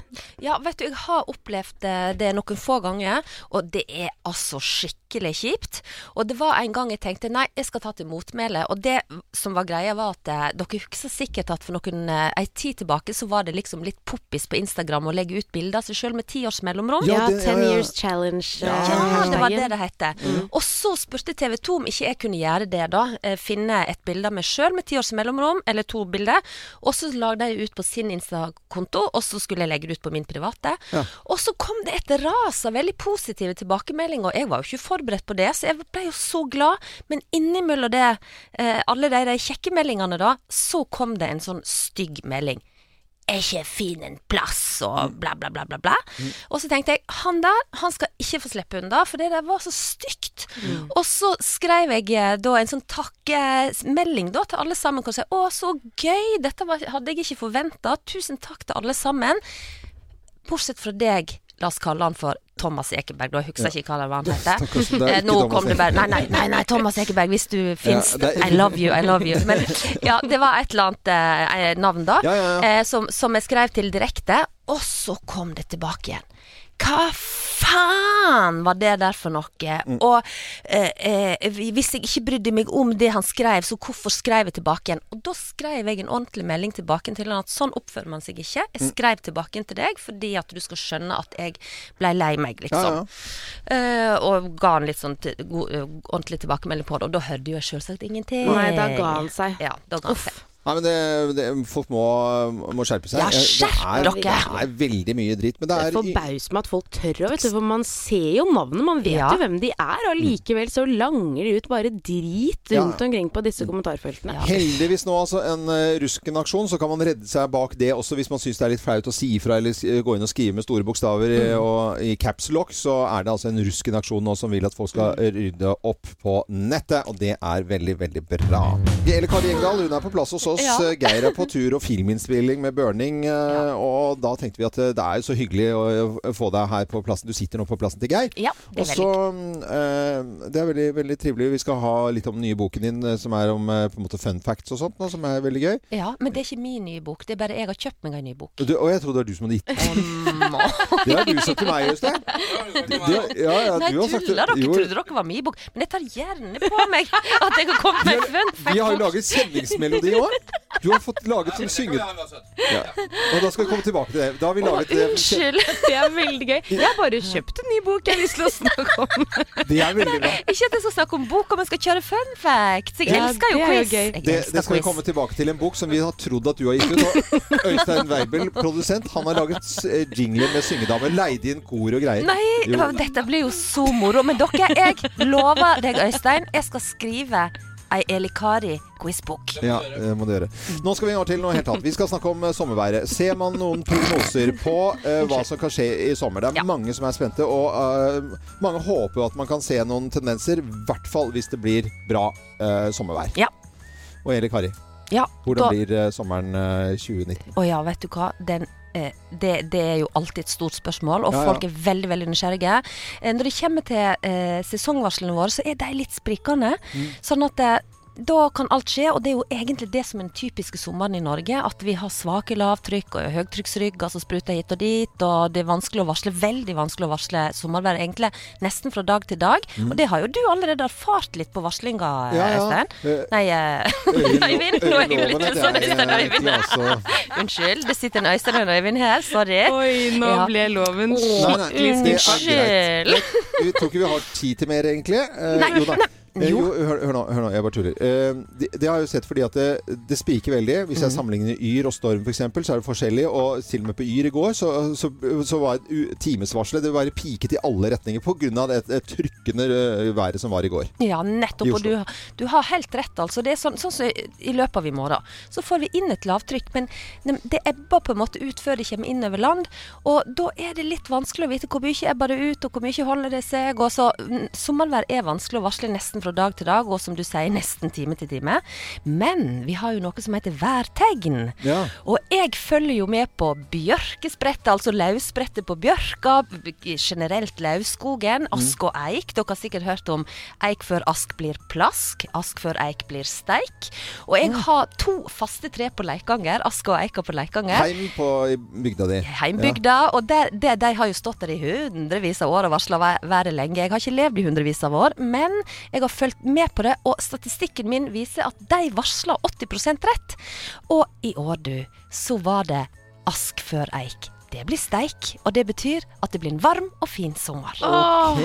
Speaker 1: Ja, vet du, jeg har opplevd eh, det noen få ganger, og det er altså skikkelig kjipt. Og det var en gang jeg tenkte nei, jeg skal ta til motmæle. Og det som var greia, var at eh, dere husker sikkert at for noen eh, ei tid tilbake så var det liksom litt poppis på Instagram å legge ut bilder av seg sjøl med ti års mellomrom.
Speaker 3: Ja, Ten Years Challenge.
Speaker 1: Ja, det var det det hette. Og så spurte TV 2 om ikke jeg kunne gjøre det, da. Eh, Finne et bilde av meg sjøl med ti års mellomrom, eller to bilder. Og så lagde jeg det ut på sin Insta-konto, og så skulle jeg legge det ut på min private. Og så kom det et ras av veldig positive tilbakemeldinger, og jeg var jo ikke forberedt på det, så jeg ble jo så glad. Men innimellom det, eh, alle de, de kjekke meldingene, da, så kom det en sånn stygg melding. Er ikke fin en plass, og
Speaker 6: Mm.
Speaker 1: bla, bla, bla, bla, bla. Og så tenkte jeg, han der, han skal ikke få slippe unna, for det der var så stygt.
Speaker 6: Mm.
Speaker 1: Og så skrev jeg eh, da en sånn takkemelding da til alle sammen, hvor jeg sa, å, så gøy, dette var, hadde jeg ikke forventet. Tusen takk til alle sammen. Bortsett fra deg, la oss kalle han for Thomas Ekeberg, da. Jeg husker
Speaker 6: Ja.
Speaker 1: ikke hva det var han
Speaker 6: Stakkars,
Speaker 1: heter.
Speaker 6: det er
Speaker 1: Eh,
Speaker 6: ikke
Speaker 1: Nå
Speaker 6: Thomas
Speaker 1: kom det bare Nei,
Speaker 6: Ekeberg.
Speaker 1: nei, nei, nei Thomas Ekeberg, hvis du fins.
Speaker 6: Ja, det er-
Speaker 1: I love you, I love you. Men ja, det var et eller annet eh, navn da, Eh, som, som jeg skrev til direkte, og så kom det tilbake igjen. Hva faen var det der for noe?
Speaker 20: Mm.
Speaker 1: Og eh, eh, hvis jeg ikke brydde meg om det han skrev, så hvorfor skrev jeg tilbake igjen? Og da skrev jeg en ordentlig melding tilbake til han at sånn oppfører man seg ikke. Jeg
Speaker 20: Mm.
Speaker 1: skrev tilbake til deg fordi at du skal skjønne at jeg ble lei meg, liksom.
Speaker 20: Ja, ja.
Speaker 1: Eh, og ga han litt sånn til, god, eh, ordentlig tilbakemelding på det, og da hørte jo jeg selvsagt ingenting.
Speaker 3: Nei, da ga han seg.
Speaker 1: Ja, da ga han seg.
Speaker 6: Nei, men det, det, folk må, må skjerpe seg.
Speaker 3: Ja,
Speaker 6: Det er-
Speaker 3: skjerp
Speaker 6: det er,
Speaker 3: dere!
Speaker 6: Det er veldig mye dritt. Men det
Speaker 3: Det
Speaker 6: er
Speaker 3: forbauser meg at folk tør å, vet du. For man ser jo navnet, man vet jo hvem de er. Og likevel så langer de ut bare drit
Speaker 6: Mm. Ja. Mm.
Speaker 3: rundt omkring på disse kommentarfeltene.
Speaker 6: Heldigvis nå altså en eh, rusken-aksjon, så kan man redde seg bak det også hvis man syns det er litt flaut å si ifra eller s- gå inn og skrive med store bokstaver eh,
Speaker 3: Mm.
Speaker 6: og i caps lock, så er det altså en rusken-aksjon nå som vil at folk skal
Speaker 3: Mm.
Speaker 6: rydde opp på nettet, og det er veldig, veldig bra. Eller Kari Engdahl, hun er på plass hos oss oss
Speaker 1: Ja.
Speaker 6: eh, Geir er på tur og filminnspilling med Børning. eh, Og da tenkte vi at eh, det er jo så hyggelig å eh, få deg her på plassen. Du sitter nå på plassen til Geir.
Speaker 1: Ja, det er
Speaker 6: Og så, eh, det er veldig, veldig trivelig. Vi skal ha litt om den nye boken din, eh, som er om eh, på en måte fun facts og sånt, nå, som er veldig gøy.
Speaker 1: Ja, men det er ikke min nye bok. Det er bare jeg har kjøpt meg en ny bok.
Speaker 6: Du, og jeg trodde det var du som hadde gitt Det har du sagt til meg, Øystein. Det- det- ja, ja,
Speaker 1: Nei,
Speaker 6: du har sagt det.
Speaker 1: tuller dere?
Speaker 6: Jo.
Speaker 1: Trodde dere var min bok? Men jeg tar gjerne på meg at jeg har kommet med en fun
Speaker 6: Vi har jo
Speaker 1: fact.
Speaker 6: laget kjenningsmelodi òg. Du har fått laget sånn synge... Ja. Og da skal vi komme tilbake til det. Da har vi laget eh,
Speaker 3: Unnskyld, det er veldig gøy. Jeg har bare kjøpt en ny bok jeg har lyst til å snakke om.
Speaker 6: Det er veldig bra.
Speaker 1: Ikke at jeg skal snakke om boka, men skal kjøre fun facts. Jeg
Speaker 6: Ja,
Speaker 1: elsker jo
Speaker 3: det er jo
Speaker 1: quiz. Jeg
Speaker 6: Det,
Speaker 1: elsker
Speaker 6: det skal vi
Speaker 1: quiz.
Speaker 6: komme tilbake til en bok som vi har trodd at du har gitt ut. Og Øystein Weibel, produsent, han har laget eh, jingler med syngedame. Leide inn kor og greier.
Speaker 1: Nei,
Speaker 6: Jo.
Speaker 1: hva- dette blir jo så moro. Men dere, jeg lover deg, Øystein, jeg skal skrive ei Eli Kari-quizbok.
Speaker 6: Ja, det må du gjøre. Nå skal vi over til noe helt annet. Vi skal snakke om eh, sommerværet. Ser man noen prognoser på eh, hva som kan skje i sommer? Det er mange som er spente, og eh, mange håper jo at man kan se noen tendenser. I hvert fall hvis det blir bra eh, sommervær. Og Eli Kari,
Speaker 1: Ja,
Speaker 6: hvordan
Speaker 1: da-
Speaker 6: blir eh, sommeren eh, 2019?
Speaker 1: Å ja, vet du hva. Den, eh, det, det er jo alltid et stort spørsmål, og
Speaker 6: Ja, ja.
Speaker 1: folk er veldig veldig nysgjerrige. Eh, når det kommer til eh, sesongvarslene våre, så er de litt sprikende.
Speaker 2: Mm.
Speaker 1: Sånn at eh, da kan alt skje, og det er jo egentlig det som er den typiske sommeren i Norge. At vi har svake lavtrykk og høytrykksrygger som spruter hit og dit. Og det er vanskelig å varsle, veldig vanskelig å varsle sommervær, egentlig. Nesten fra dag til dag.
Speaker 6: Mm.
Speaker 1: Og det har jo du allerede erfart litt på varslinga, eh,
Speaker 6: Ja, ja.
Speaker 1: Øystein.
Speaker 6: Eh,
Speaker 1: Nei, eh, Øyvind. Nå er jeg jo litt sånn Øystein og Øyvind. Unnskyld, det sitter en Øystein og en Øyvind her, sorry. Oi,
Speaker 17: nå ble loven
Speaker 6: det er greit.
Speaker 1: Unnskyld.
Speaker 6: Jeg tror ikke vi har tid til mer, egentlig. Eh,
Speaker 1: Nei,
Speaker 6: jo da. Eh, Jo, hør, hør, nå, hør nå, jeg bare tuller. Eh, det, det har jeg jo sett fordi at det, det spiker veldig. Hvis jeg sammenligner Yr og Storm f.eks., så er det forskjellig. Og til og med på Yr i går så, så, så var u- timesvarselet Det var piket i alle retninger pga. det, det trykkende eh, været som var i går.
Speaker 1: Ja,
Speaker 6: I
Speaker 1: nettopp. Og
Speaker 6: Oslo.
Speaker 1: du, du har helt rett, altså. Det er sånn, sånn som i løpet av i morgen. Så får vi inn et lavtrykk, men det- det ebber på en måte ut før det kommer inn over land. Og da er det litt vanskelig å vite hvor mye ebber det ut, og hvor mye holder det seg. Og så mm, Sommervær er vanskelig å varsle nesten fra dag til dag, og som du sier, nesten time til time. Men vi har jo noe som heter værtegn.
Speaker 6: Ja.
Speaker 1: Og jeg følger jo med på bjørkesprettet, altså løvsprettet på bjørka, b- generelt lauvskogen, ask og eik. Dere har sikkert hørt om eik før ask blir plask, ask før eik blir steik. Og jeg har to faste tre på Leikanger, ask og eika på Leikanger.
Speaker 6: Heim på i bygda di.
Speaker 1: Heimbygda, og der, der, de har jo stått der i hundrevis av år og varsla været lenge. Jeg har ikke levd i hundrevis av år, men jeg har fulgt med på det, og statistikken min viser at de varsla 80 rett. Og i år, du, så var det ask før eik. Det blir steik, og det betyr at det blir en varm og fin sommer.
Speaker 6: Ja. Ok,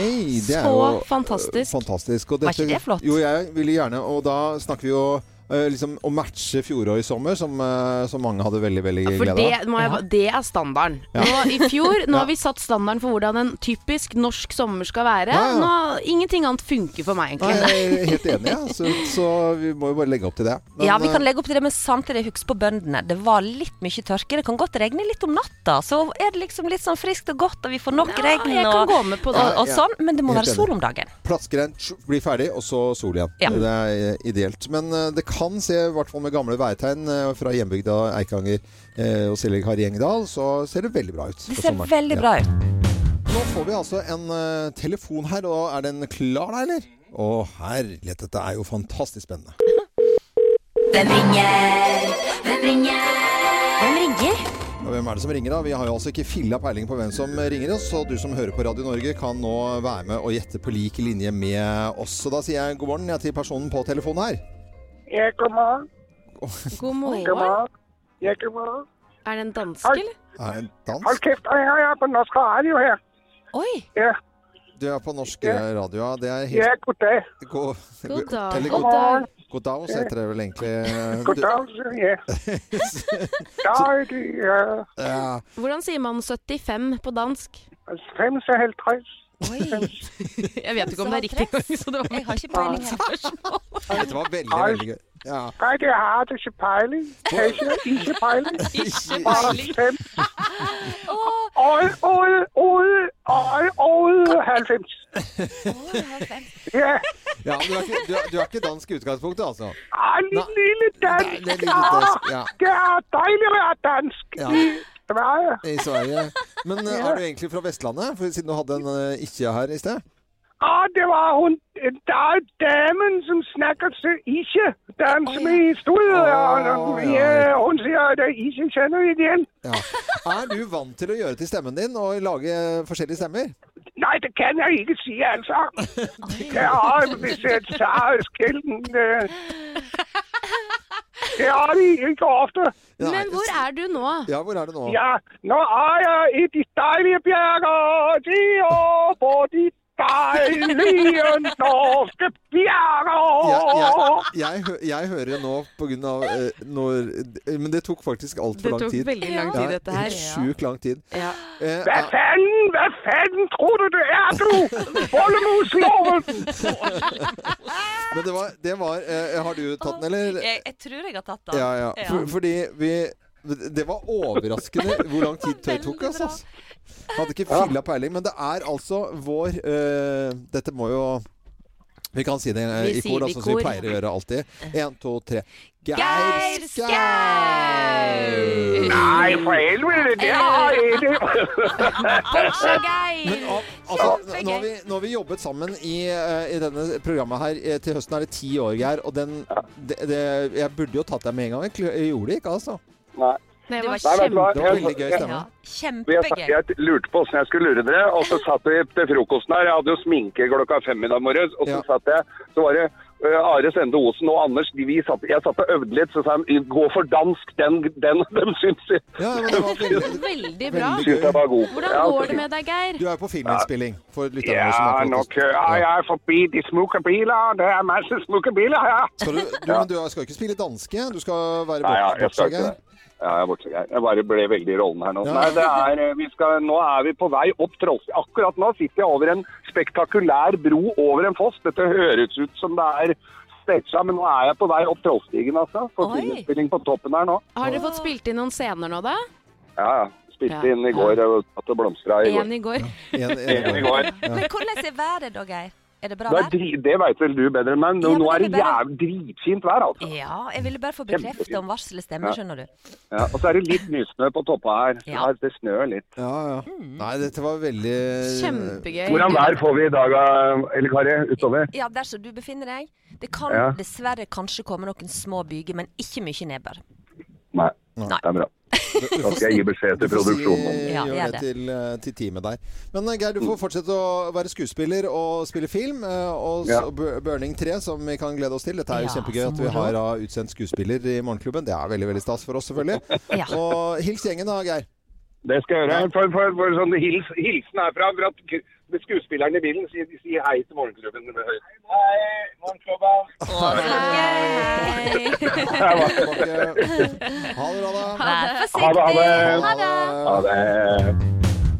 Speaker 6: det er jo eh, fantastisk. Og
Speaker 1: Var ikke det flott?
Speaker 6: Jo, jeg ville gjerne Og da snakker vi jo eh, liksom å matche fjoråret i sommer, som, eh, som mange hadde veldig, veldig
Speaker 5: For
Speaker 6: glede av.
Speaker 5: det, må jeg, ba- det er standarden.
Speaker 6: Ja.
Speaker 5: Nå, I fjor nå har vi satt standarden for hvordan en typisk norsk sommer skal være.
Speaker 6: Ja, ja.
Speaker 5: Nå, ingenting annet funker for meg,
Speaker 6: Nei,
Speaker 5: egentlig.
Speaker 6: jeg er helt enig, ja. så, så vi må jo bare legge opp til det. Men,
Speaker 1: ja, vi
Speaker 6: eh,
Speaker 1: kan legge opp til det, men samtidig husk på bøndene. Det var litt mye tørke. Det kan godt regne litt om natta, så er det liksom litt sånn friskt og godt, og vi får nok regn
Speaker 5: jeg kan
Speaker 1: og,
Speaker 5: gå med på det.
Speaker 1: og, og
Speaker 6: Ja, ja.
Speaker 1: sånn, men det må
Speaker 6: Helt
Speaker 1: være
Speaker 6: enig.
Speaker 1: sol om dagen.
Speaker 6: Plaskregn, tsk, blir ferdig, og så sol igjen.
Speaker 1: Ja.
Speaker 6: Det er eh, ideelt. Men eh, det kan se, i hvert fall med gamle værtegn eh, fra hjembygda Eikanger eh, og Silje Kari Engedal, så ser det veldig bra ut.
Speaker 1: Det
Speaker 6: for
Speaker 1: ser
Speaker 6: sommeren.
Speaker 1: veldig
Speaker 6: Ja.
Speaker 1: bra ut.
Speaker 6: Nå får vi altså en eh, telefon her, og er den klar da, eller? Å herlighet, dette er jo fantastisk spennende.
Speaker 2: Hvem ringer? Hvem ringer? Hvem ringer?
Speaker 6: Ja, Hvem er det som ringer da? Vi har jo altså ikke filla peiling på hvem som ringer oss, og du som hører på Radio Norge kan nå være med og gjette på lik linje med oss. Så da sier jeg god morgen jeg, til personen på telefonen her.
Speaker 2: Ja, god morgen.
Speaker 5: God
Speaker 2: God morgen.
Speaker 5: morgen.
Speaker 2: Ja, god morgen.
Speaker 5: Er det en danske, eller?
Speaker 6: Er det en
Speaker 2: Hold
Speaker 6: dansk?
Speaker 2: kæft, og jeg er på norsk radio her.
Speaker 1: Oi.
Speaker 2: Ja,
Speaker 6: Du er på norsk eh, radio, ja. Det er helt...
Speaker 2: ja goddag.
Speaker 6: God,
Speaker 2: God dag.
Speaker 6: Eller
Speaker 2: God
Speaker 6: god dag.
Speaker 2: morgen.
Speaker 6: God dag, så heter det vel egentlig. eh,
Speaker 2: Goddag, siger jeg. Dag, ja.
Speaker 6: du- Ja,
Speaker 5: Hvordan sier man 75 på dansk?
Speaker 2: 55.
Speaker 5: Jeg vet ikke om det er riktig engang, så det var Jeg
Speaker 1: har ikke
Speaker 2: peiling
Speaker 6: dette var veldig,
Speaker 2: Oi.
Speaker 6: veldig gøy. Ja.
Speaker 2: Nej, det har du ikke peiling. Ikke, ikke peiling.
Speaker 6: Ikke
Speaker 2: peiling.
Speaker 6: Oh.
Speaker 2: Åh, åh, åh, åh, åh, 90. Ja,
Speaker 6: Ja, du er ikke, du er, du er ikke dansk i utgangspunktet, altså?
Speaker 2: Lille, Ah, lille dansk!
Speaker 6: Nei, det er lille dansk, ja.
Speaker 2: Det er deilig å være dansk!
Speaker 6: Ja.
Speaker 2: I Sverige.
Speaker 6: I Sverige. Men eh,
Speaker 2: Ja.
Speaker 6: er du egentlig fra Vestlandet, For, siden du hadde en eh, ikke her i sted?
Speaker 2: Ah, det var hun der, damen som snakker til ikke. Damen som er i studiet. og, og, ja, hun sier at det er ikke kjenner vi igjen.
Speaker 6: Ja. Er du vant til å gjøre til stemmen din og lage forskjellige stemmer?
Speaker 2: Nei, det kan jeg ikke si, altså. Ja, hvis jeg tar skilten eh. Det har de ikke ofte.
Speaker 3: Men hvor er du nå?
Speaker 6: Ja, hvor er du nå?
Speaker 2: Ja, nå er jeg i de dejlige bjerger, de er på de dejlige norske bjerger.
Speaker 6: Jeg, jeg, jeg, hø- jeg hører nå på grunn av eh, når, Men det tok faktisk altfor
Speaker 2: Det
Speaker 6: lang
Speaker 2: tok
Speaker 6: tid.
Speaker 2: veldig lang tid, dette her.
Speaker 6: helt Sjukt lang tid. Eh,
Speaker 2: Hvad fanden, hvad fanden tror du det er, du? Bollemusloven!
Speaker 6: Men det var, det var eh, Har du tatt den, eller?
Speaker 1: Jeg, jeg tror jeg har tatt den.
Speaker 6: Ja, ja. For, fordi vi Det var overraskende hvor lang tid det tok oss, altså. Hadde ikke filla peiling. Men det er altså vår eh, Dette må jo vi kan si det eh,
Speaker 2: Vi
Speaker 6: i
Speaker 2: sier
Speaker 6: kor,
Speaker 2: det i
Speaker 6: altså, som vi
Speaker 2: kor.
Speaker 6: pleier å gjøre alltid. Én, to, tre.
Speaker 2: Geir Skau! Nej, for helvede, det har jeg ikke.
Speaker 6: Men av, altså, nå, har vi, nå har vi jobbet sammen i, eh, i denne programmet her. Eh, Til høsten er det ti år, Geir. Og den det, det, Jeg burde jo tatt deg med en gang. Jeg kl- Jeg gjorde det ikke, altså.
Speaker 18: Nei.
Speaker 1: Det var
Speaker 18: Nei, vet du hva?
Speaker 6: Det var veldig gøy stemme.
Speaker 18: Vi har sagt-
Speaker 1: kjempegøy.
Speaker 18: Jeg lurte på åssen jeg skulle lure dere, og så satt vi til frokosten her. Jeg hadde jo sminke klokka fem i dag morges, og så satt jeg Så var det ø, Are Sende Osen og Anders de, vi satt, Jeg satt og øvde litt, så sa han gå for dansk, den, den de syns jeg
Speaker 3: Veldig bra.
Speaker 18: Synes jeg var god.
Speaker 3: Hvordan
Speaker 18: Ja,
Speaker 3: går det med deg, Geir?
Speaker 6: Du er på filminnspilling for lytterne
Speaker 18: Ja,
Speaker 6: som er på
Speaker 18: nå kører jeg forbi de smukke biler. Det er masse smukke biler her.
Speaker 6: Skal du, du, men du skal ikke spille danske? Du skal være
Speaker 18: Nei, ja,
Speaker 6: bort-
Speaker 18: jeg skal
Speaker 6: bortsager?
Speaker 18: ikke det. Ja, jeg er bortsett her. Jeg bare ble veldig i rollen her nå.
Speaker 6: Ja.
Speaker 18: Nei, det er, eh, vi skal, nå er vi på vei opp Trollfjell. Akkurat nå sitter jeg over en spektakulær bro over en foss. Dette høres ut som det er staged, men nå er jeg på vei opp Trollstigen, altså. For filminnspilling på toppen her nå.
Speaker 3: Har dere fått spilt inn noen scener nå, da?
Speaker 18: Ja, ja. Spilte
Speaker 3: Ja.
Speaker 18: inn i går og satt og blomstra i går.
Speaker 3: En i går.
Speaker 18: En i går.
Speaker 1: Men hvordan er været da, Geir? Er det bra
Speaker 18: Det, er
Speaker 1: vær?
Speaker 18: dri det vet vel du bedre enn meg. Nå,
Speaker 1: Ja, men
Speaker 18: nå er
Speaker 1: det
Speaker 18: det
Speaker 1: er bare-
Speaker 18: jæv dritfint vær, altså.
Speaker 1: Ja, jeg ville bare få bekreftet om varselet stemmer,
Speaker 18: Ja.
Speaker 1: skjønner du.
Speaker 18: Ja, og så er det litt nysnø på toppa her. Ja. Det snør litt.
Speaker 6: Ja, ja. Nei, dette var veldig
Speaker 1: Kjempegøy.
Speaker 18: Hvordan vær får vi i dag, eh, Elle Kari, utover?
Speaker 1: Ja, der som du befinner deg. Det kan
Speaker 18: Ja.
Speaker 1: dessverre kanskje komme noen små byger, men ikke mye nedbør.
Speaker 18: Nei. Det er bra. Da skal jeg gi beskjed til produksjonen.
Speaker 6: Vi
Speaker 1: Ja,
Speaker 6: gjør
Speaker 1: gjør
Speaker 6: det
Speaker 1: det.
Speaker 6: til, eh, til teamet der. Men eh, Geir, du får fortsette å være skuespiller og spille film. eh, Og s-
Speaker 18: Ja.
Speaker 6: og Bur- Burning 3, som vi kan glede oss til. Dette er jo
Speaker 18: Ja,
Speaker 6: kjempegøy
Speaker 18: så
Speaker 6: at vi
Speaker 18: moro.
Speaker 6: har eh, utsendt skuespiller i Morgenklubben. Det er veldig veldig stas for oss, selvfølgelig. Og hils gjengen da, Geir.
Speaker 18: Det skal jeg gjøre. For, for, for sånn hils, hilsen herfra for at ku- skuespilleren i bilen sier, sier hei til morgenklubben. Hei, morgenklubben.
Speaker 6: Ha det bra, da.
Speaker 2: Vær
Speaker 18: Ha det, ha det.
Speaker 6: Ha det.
Speaker 18: Ha det.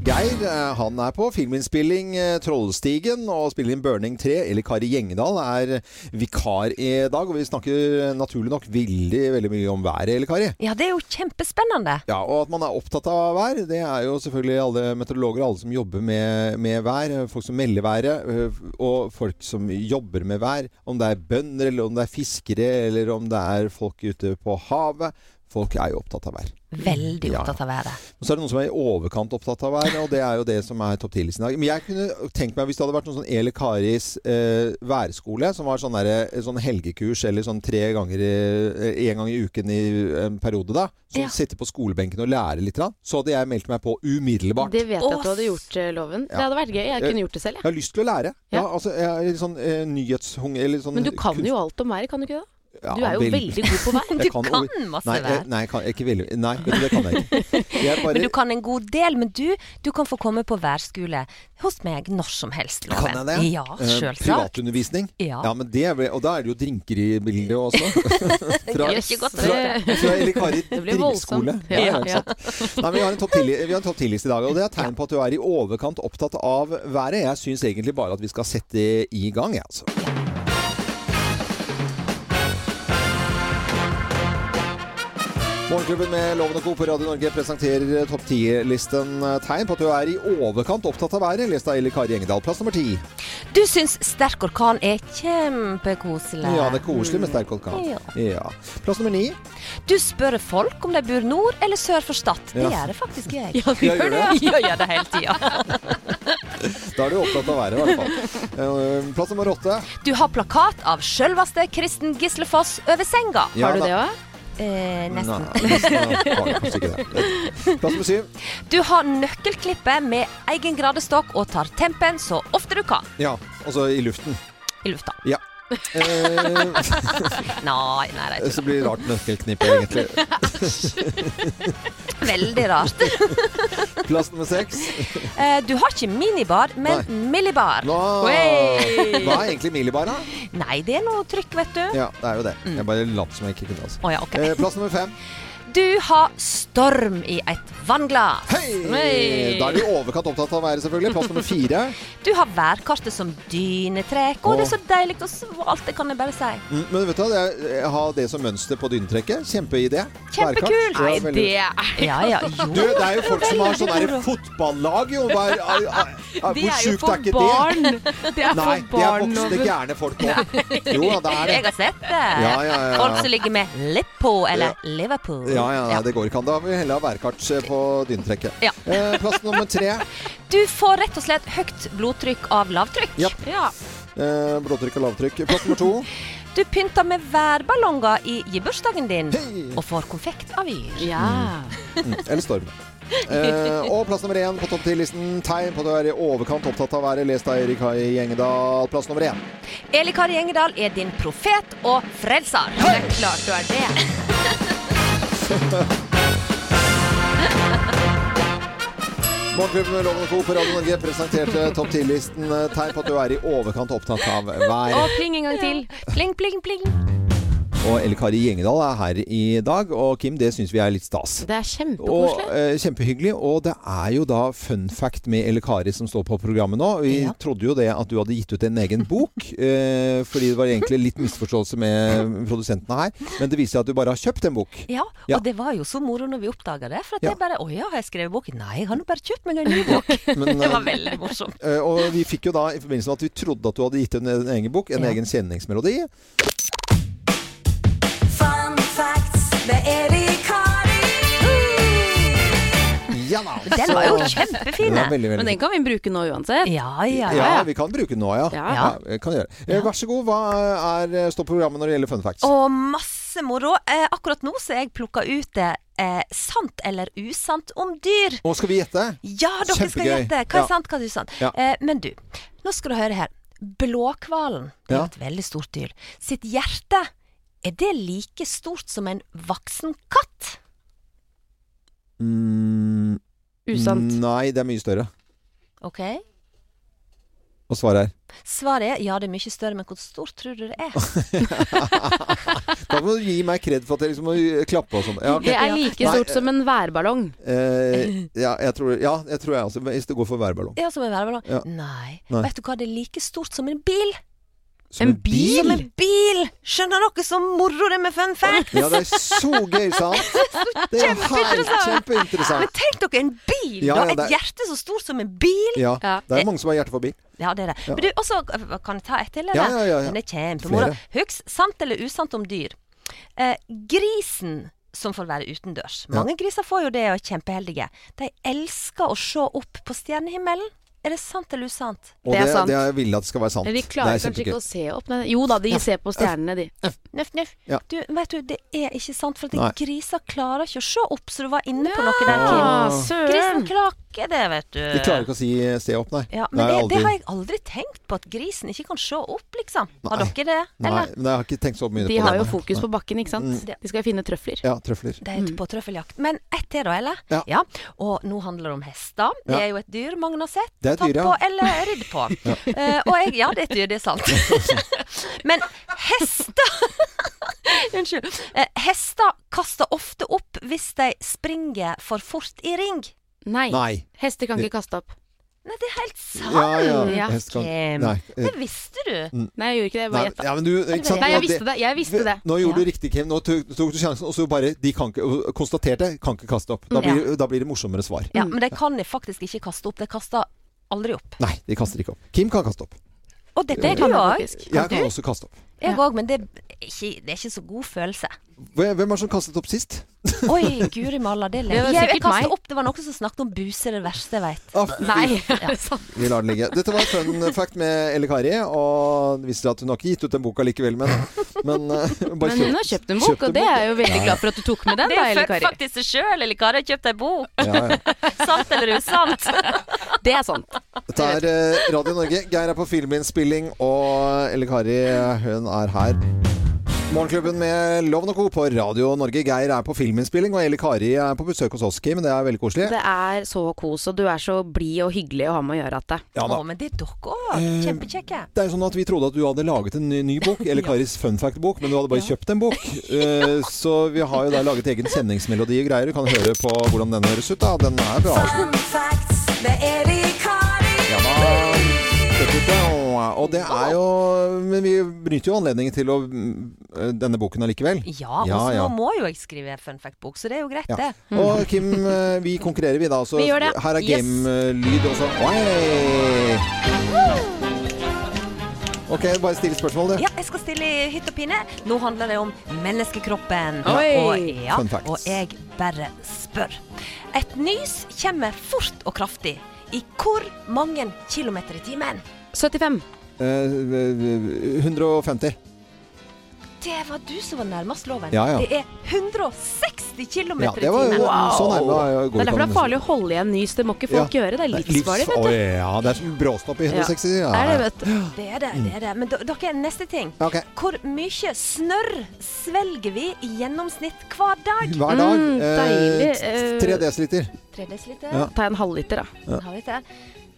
Speaker 6: Geir eh, han er på filminnspilling eh, Trollstigen og spiller inn Burning 3. Eller Kari Gjengedal er vikar i dag, og vi snakker eh, naturlig nok veldig veldig mye om været, eller Kari?
Speaker 1: Ja, det er jo kjempespennende.
Speaker 6: Ja, Og at man er opptatt av vær, det er jo selvfølgelig alle meteorologer og alle som jobber med, med vær. eh, Folk som melder været, eh, og folk som jobber med vær. Om det er bønder, eller om det er fiskere, eller om det er folk ute på havet. Folk er jo opptatt av vær.
Speaker 1: Veldig
Speaker 6: Ja.
Speaker 1: opptatt av været.
Speaker 6: Og så er det noen som er i overkant opptatt av vær, og det er jo det som er topp 10-listen i dag. Men jeg kunne tenkt meg, hvis det hadde vært noen sånn Eli Karis eh, værskole, som var sånn, derre- sånn helgekurs eller sånn tre ganger i, eh, en gang i uken i eh, en periode da, som
Speaker 3: Ja.
Speaker 6: sitter på skolebenken og lærer litt, da, så hadde jeg meldt meg på umiddelbart.
Speaker 3: Det vet jeg at du hadde gjort, eh, Loven. Det
Speaker 6: Ja.
Speaker 3: hadde vært gøy. Jeg kunne gjort det selv,
Speaker 6: Jeg har lyst til å lære. Ja, altså, jeg er litt sånn eh, nyhetshunger eller sånn
Speaker 3: Men du kan jo alt om været, kan du ikke det?
Speaker 6: Ja,
Speaker 3: Du er jo
Speaker 6: vel-
Speaker 3: veldig god på vær.
Speaker 6: Jeg over- nei, jeg- Nei, jeg kan, ikke veldig. Nei, vet du, det kan jeg ikke. Jeg bare,
Speaker 1: Men du kan en god del. Men du, du kan få komme på værskole hos meg når som helst, Loven.
Speaker 6: Kan jeg det?
Speaker 1: Ja,
Speaker 6: Eh,
Speaker 1: selvsagt.
Speaker 6: Privatundervisning?
Speaker 1: Ja.
Speaker 6: men det, er vel- og da er det jo drinker i bildet også. fra,
Speaker 1: Jøss,
Speaker 6: fra,
Speaker 1: det-
Speaker 6: fra Eli Kari
Speaker 1: Det blir voldsomt.
Speaker 6: drinkskole.
Speaker 1: Ja,
Speaker 6: Ja,
Speaker 1: ja.
Speaker 6: ikke sant. Nei, men vi har en topp 10 vi har en topp 10-liste i dag, og det er tegn på at du er i overkant opptatt av været. Jeg syns egentlig bare at vi skal sette i gang, jeg, altså. Morgenklubben med Loven og Co. på Radio Norge presenterer topp 10-listen tegn på at du er i overkant opptatt av været, lest av Eli Kari Engedal. Plass nummer ti.
Speaker 1: Du syns sterk orkan er kjempekoselig.
Speaker 6: Ja, det er koselig med sterk orkan.
Speaker 1: Ja.
Speaker 6: Ja. Plass nummer ni.
Speaker 1: Du spør folk om de bor nord eller sør for Stad. Det
Speaker 6: Ja.
Speaker 1: gjør det faktisk jeg.
Speaker 6: Ja, du Ja, gjør gjør det, det.
Speaker 1: Ja, gjør det hele tida.
Speaker 6: Da er du opptatt av været, i hvert fall. Eh, Plass nummer åtte.
Speaker 1: Du har plakat av sjølvaste Kristen Gislefoss over senga.
Speaker 6: Ja, Har du da- det
Speaker 1: òg? Eh, nesten.
Speaker 6: Nei, nesten, ja, var kanskje ikke det. Plass nummer syv.
Speaker 1: Du har nøkkelklippet med egen gradestokk og tar tempen så ofte du kan.
Speaker 6: Ja, altså i luften.
Speaker 1: I lufta.
Speaker 6: Ja. Eh.
Speaker 1: nei, nei, nei.
Speaker 6: Så blir det rart nøkkelknippe, egentlig.
Speaker 1: Veldig rart.
Speaker 6: Plass nummer seks.
Speaker 1: Eh, du har ikke minibar, men millibar.
Speaker 6: Nå,
Speaker 1: Wey!
Speaker 6: Hva er egentlig Milibar, da?
Speaker 1: Nei, det er noe trykk, vet du.
Speaker 6: Ja, det er jo det.
Speaker 1: Mm.
Speaker 6: Jeg bare lot som jeg ikke kunne. Altså.
Speaker 1: Å, ja, ok.
Speaker 6: Eh, Plass nummer fem.
Speaker 1: Du har storm i et vannglass.
Speaker 6: Eh,
Speaker 1: Wey!
Speaker 6: Da er du i overkant opptatt av været, selvfølgelig. Plass nummer fire.
Speaker 1: Du har værkartet som dynetrekk. Å, det er så deilig og svalt, det kan jeg bare si.
Speaker 6: Mm, Men vet du hva, det er- ha det som mønster på dynetrekket. Kjempeidé.
Speaker 1: Kjempekult.
Speaker 6: Værkart.
Speaker 1: Nei,
Speaker 6: veldig-
Speaker 1: det er- Ja, ja, jo.
Speaker 6: Du, det er jo folk som har
Speaker 1: Veldig
Speaker 6: sånn
Speaker 1: moro.
Speaker 6: derre fotballag, jo. Hva er- er- er- Hvor
Speaker 1: Det er jo
Speaker 6: sjukt
Speaker 1: for
Speaker 6: er ikke
Speaker 1: barn.
Speaker 6: det?
Speaker 1: Det er for
Speaker 6: Nei, det er
Speaker 1: barn,
Speaker 6: voksne
Speaker 1: Loven.
Speaker 6: gærne folk òg. Jo da, det er
Speaker 1: Jeg
Speaker 6: det.
Speaker 1: har sett det.
Speaker 6: Ja, ja, ja.
Speaker 1: Folk som ligger med Lippo eller
Speaker 6: Ja.
Speaker 1: Liverpool.
Speaker 6: Ja, ja, nei, det går ikke an. Da vil vi heller ha værkart eh, på dynetrekket.
Speaker 1: Ja.
Speaker 6: Eh, Plass nummer tre.
Speaker 1: Du får rett og slett høyt blodtrykk av lavtrykk.
Speaker 6: Ja.
Speaker 1: Ja.
Speaker 6: Eh, Blåtrykk og lavtrykk. Plass nummer to.
Speaker 1: Du pynter med værballonger i gebursdagen din og får konfekt av yr.
Speaker 6: Mm, eller storm. Eh, og plass nummer én på topp 10-listen. Tegn på at du er i overkant opptatt av været. Les deg Erik Hai Gjengedal. Plass nummer én.
Speaker 1: Eli Kari Engedal er din profet og frelser. Det er klart du er det.
Speaker 6: Morgenklubben med Loven og Co. på Radio Norge presenterte topp 10-listen. eh, Tegn på at du er i overkant opptatt av
Speaker 3: Og
Speaker 6: været.
Speaker 3: pling en gang til.
Speaker 1: Pling, pling, pling.
Speaker 6: Og Eli Kari Gjengedal er her i dag. Og Kim, det syns vi er litt stas.
Speaker 3: Det
Speaker 6: Og
Speaker 3: er kjempekoselig.
Speaker 6: eh, Kjempehyggelig. Og det er jo da fun fact med Elle Kari som står på programmet nå. Vi trodde jo det at du hadde gitt ut en egen bok, eh, fordi det var egentlig litt misforståelse med produsentene her. Men det viser seg at du bare har kjøpt en bok.
Speaker 1: Ja, og
Speaker 6: Ja.
Speaker 1: det var jo så moro når vi oppdaga det. For at
Speaker 6: Ja.
Speaker 1: jeg bare Å ja, har jeg skrevet bok? Nei, jeg har nå bare kjøpt meg en ny bok.
Speaker 6: Men,
Speaker 1: det var
Speaker 6: eh,
Speaker 1: veldig morsomt.
Speaker 6: Eh, Og vi fikk jo da, i forbindelse med at vi trodde at du hadde gitt ut en, en egen bok, en egen kjenningsmelodi.
Speaker 4: Fun facts med Erik Kari.
Speaker 6: Ja da.
Speaker 3: Den var jo
Speaker 6: Så-
Speaker 3: kjempefin.
Speaker 6: Den var veldig, veldig
Speaker 3: Men
Speaker 6: fin.
Speaker 3: den kan vi bruke nå uansett.
Speaker 1: Ja,
Speaker 6: Ja, vi kan bruke den nå, ja.
Speaker 3: Ja.
Speaker 6: Ja, kan gjøre. Eh, Vær så god, hva er, eh, står på programmet når det gjelder fun facts?
Speaker 1: Og masse moro. Eh, akkurat nå så har jeg plukka ut det eh, sant eller usant om dyr.
Speaker 6: Nå skal vi gjette.
Speaker 1: Ja, dere skal
Speaker 6: Kjempegøy.
Speaker 1: gjette. Hva er
Speaker 6: Ja.
Speaker 1: sant, hva er usant?
Speaker 6: Ja.
Speaker 1: Eh, men du, nå skal du høre her. Blåhvalen det er
Speaker 6: Ja.
Speaker 1: et veldig stort dyr. Sitt hjerte, er det like stort som en voksen katt?
Speaker 6: Mm,
Speaker 1: Usant.
Speaker 6: Nei, det er mye større.
Speaker 1: Ok.
Speaker 6: Og svaret er
Speaker 1: Svaret er ja, det er mye større, men hvor stort tror du det er?
Speaker 6: Da må du gi meg kred for at jeg liksom må klappe og sånn. Ja, ok.
Speaker 3: Det er like
Speaker 6: Nei,
Speaker 3: stort som en værballong.
Speaker 6: eh, ja, jeg tror, ja, jeg tror jeg også. Hvis det går for værballong.
Speaker 1: Ja, som en værhval.
Speaker 6: Ja.
Speaker 1: Nei.
Speaker 6: Nei.
Speaker 1: Vet du hva, det er like stort som en bil.
Speaker 6: Som en bil?
Speaker 1: Som en bil! Skjønner dere så moro det er med fun facts?
Speaker 6: Ja, det er så gøy, sant? Det er her, kjempeinteressant.
Speaker 1: Men tenk dere en bil,
Speaker 6: Ja, ja,
Speaker 1: da!
Speaker 6: det
Speaker 1: Et
Speaker 6: er-
Speaker 1: hjerte så stort som en bil.
Speaker 6: Ja, det er mange som har hjerte for bil.
Speaker 1: Ja, det er det.
Speaker 6: Ja.
Speaker 1: Men du, også, eh, kan jeg ta ett til?
Speaker 6: Ja, ja, ja, ja.
Speaker 1: Den er kjempemoro.
Speaker 6: Flere.
Speaker 1: Husk, sant eller usant om dyr. Eh, grisen som får være utendørs. Mange griser får jo det og er kjempeheldige. De elsker å se opp på stjernehimmelen. Er det sant eller usant?
Speaker 6: Og det, det jeg vil at det skal være sant.
Speaker 3: De
Speaker 6: det er
Speaker 3: klarer kanskje
Speaker 6: kjempegøy.
Speaker 3: ikke å se opp. Nei, Jo da, de ser på stjernene, de.
Speaker 1: Nøff, nøff.
Speaker 6: Ja.
Speaker 1: Du, vet du, det er ikke sant, for
Speaker 6: Nei.
Speaker 1: at griser klarer ikke å se opp, så du var inne på noe der,
Speaker 6: Ja,
Speaker 1: Kim.
Speaker 6: søren.
Speaker 1: Grisen klarer det, vet du.
Speaker 6: De klarer ikke å si se opp, nei.
Speaker 1: Ja,
Speaker 6: Nei,
Speaker 1: men det, det
Speaker 6: aldri.
Speaker 1: har jeg aldri tenkt på, at grisen ikke kan se opp, liksom. Har
Speaker 6: Nei.
Speaker 1: dere det?
Speaker 6: Nei, men jeg har ikke tenkt så mye på
Speaker 3: De
Speaker 6: det.
Speaker 3: har jo
Speaker 6: nei.
Speaker 3: fokus på
Speaker 6: Nei.
Speaker 3: bakken, ikke sant.
Speaker 6: Mm.
Speaker 3: De skal finne Mm. trøfler.
Speaker 6: Ja, trøfler.
Speaker 1: Det er ute på trøffeljakt. Men ett til, da, eller?
Speaker 6: Ja.
Speaker 1: Og nå handler det om hester. Det
Speaker 6: Ja.
Speaker 1: er jo et dyr mange har sett.
Speaker 6: Det er et
Speaker 1: tatt
Speaker 6: dyr, ja.
Speaker 1: på eller ridd på.
Speaker 6: Ja.
Speaker 1: Eh, og jeg Ja, det er et dyr, det er sant. Men hester Unnskyld. Eh, hester kaster ofte opp hvis de springer for fort i ring.
Speaker 3: Nei.
Speaker 6: Nei.
Speaker 3: Hester kan ikke kaste opp.
Speaker 1: Nei, det er helt sant!
Speaker 6: Ja, ja, hest kan-
Speaker 1: Kim.
Speaker 6: Nei, eh.
Speaker 1: Det visste du.
Speaker 6: Mm.
Speaker 3: Nei, jeg gjorde ikke det. Jeg
Speaker 6: Nei,
Speaker 3: bare gjetta.
Speaker 6: ja, men du, ikke sant,
Speaker 3: Nei, jeg
Speaker 6: nå-
Speaker 3: visste det. Jeg visste det.
Speaker 6: Nå gjorde du riktig, Kim. Nå tok, tok du sjansen, og så bare de kan ikke, og konstaterte kan ikke kaste opp. Da
Speaker 1: Mm.
Speaker 6: blir, da blir det morsommere svar.
Speaker 1: Ja, men de kan faktisk ikke kaste opp. De kaster aldri opp.
Speaker 6: Nei, de kaster ikke opp. Kim kan kaste opp.
Speaker 1: Og dette er du
Speaker 6: Kan jeg
Speaker 1: òg.
Speaker 6: faktisk? Jeg kan også kaste opp.
Speaker 1: Jeg òg, men det er, ikke, det er ikke så god følelse.
Speaker 6: Hvem er det som kastet opp sist?
Speaker 1: Oi, guri malla, det er lenge.
Speaker 6: Det var
Speaker 1: Jeg, jeg
Speaker 6: sikkert
Speaker 1: kastet
Speaker 6: meg.
Speaker 1: opp, det var noen som snakket om buse, det verste jeg vet.
Speaker 6: Ah, fy.
Speaker 1: Ja.
Speaker 6: Vi lar den ligge. Dette var fun fact med Elle Kari. Og det viser seg at hun har ikke gitt ut den boka likevel, men, men, eh, bare
Speaker 5: Men hun har kjøpt en bok, og det er jeg jo veldig glad for at du tok med den,
Speaker 1: Det
Speaker 5: da,
Speaker 1: er
Speaker 5: Elle
Speaker 1: født
Speaker 5: Kari.
Speaker 1: faktisk seg sjøl, eller Kari har kjøpt ei bok.
Speaker 6: Ja,
Speaker 1: sant eller usant?
Speaker 5: Det er sant.
Speaker 6: Dette er eh, Radio Norge. Geir er på filminnspilling, og Elle Kari, hun er her. Morgenklubben med Loven og Co. på Radio Norge. Geir er på filminnspilling, og Elle Kari er på besøk hos oss, Kim. Det er veldig koselig.
Speaker 5: Det er så kos, og du er så blid og hyggelig å ha med å gjøre, Atte.
Speaker 6: Ja da. Å,
Speaker 1: men det er dere
Speaker 6: Eh,
Speaker 1: Kjempekjekke.
Speaker 6: Det er jo sånn at Vi trodde at du hadde laget en ny, ny bok, eller Karis fun fact-bok, men du hadde bare kjøpt en bok. Eh, så vi har jo da laget egen sendingsmelodi og greier. Du kan høre på hvordan den høres ut. da. Den er bra. altså.
Speaker 4: Fun facts med Erik Kari.
Speaker 6: Ja da. Og det er jo Men vi benytter jo anledningen til å eh, denne boken allikevel.
Speaker 1: Ja, og Ah, så nå må jo jeg skrive fun fact-bok, så det er jo greit,
Speaker 6: Ja.
Speaker 1: det. Mm.
Speaker 6: Og Kim, eh, vi konkurrerer vi da. Så
Speaker 1: Vi gjør det.
Speaker 6: her er
Speaker 1: Yes.
Speaker 6: game-lyd også. Oi! Ok, bare still spørsmål, du.
Speaker 1: Ja, jeg skal stille i hytt og pinne. Nå handler det om menneskekroppen.
Speaker 6: Oi!
Speaker 1: Og, ja,
Speaker 6: Fun facts.
Speaker 1: og jeg bare spør. Et nys kommer fort og kraftig. I hvor mange kilometer i timen?
Speaker 5: 75.
Speaker 6: Eh, 150.
Speaker 1: Det var du som var nærmest loven.
Speaker 6: Ja, ja.
Speaker 1: Det er 160 km
Speaker 6: Ja,
Speaker 1: i
Speaker 6: det var- sånn
Speaker 1: timen.
Speaker 6: Wow. så nærme var jeg å gå
Speaker 5: Det er derfor det
Speaker 6: ut av
Speaker 5: er farlig å holde igjen nys. Det må ikke folk gjøre. Det er livsfarlig,
Speaker 6: Livs-
Speaker 5: vet du.
Speaker 6: Oi, ja, det er som bråstopp i 160. Ja.
Speaker 1: Er det, vet du. det er det. det er det. Men d- dere, neste ting. Hvor mye snørr svelger vi i gjennomsnitt hver dag?
Speaker 6: Hver dag.
Speaker 1: Mm,
Speaker 6: eh,
Speaker 1: deilig,
Speaker 6: t-
Speaker 1: eh.
Speaker 6: Tre desiliter.
Speaker 1: Tre desiliter.
Speaker 6: Ja.
Speaker 5: Ta en halvliter,
Speaker 6: Ja.
Speaker 1: da. Har vi det?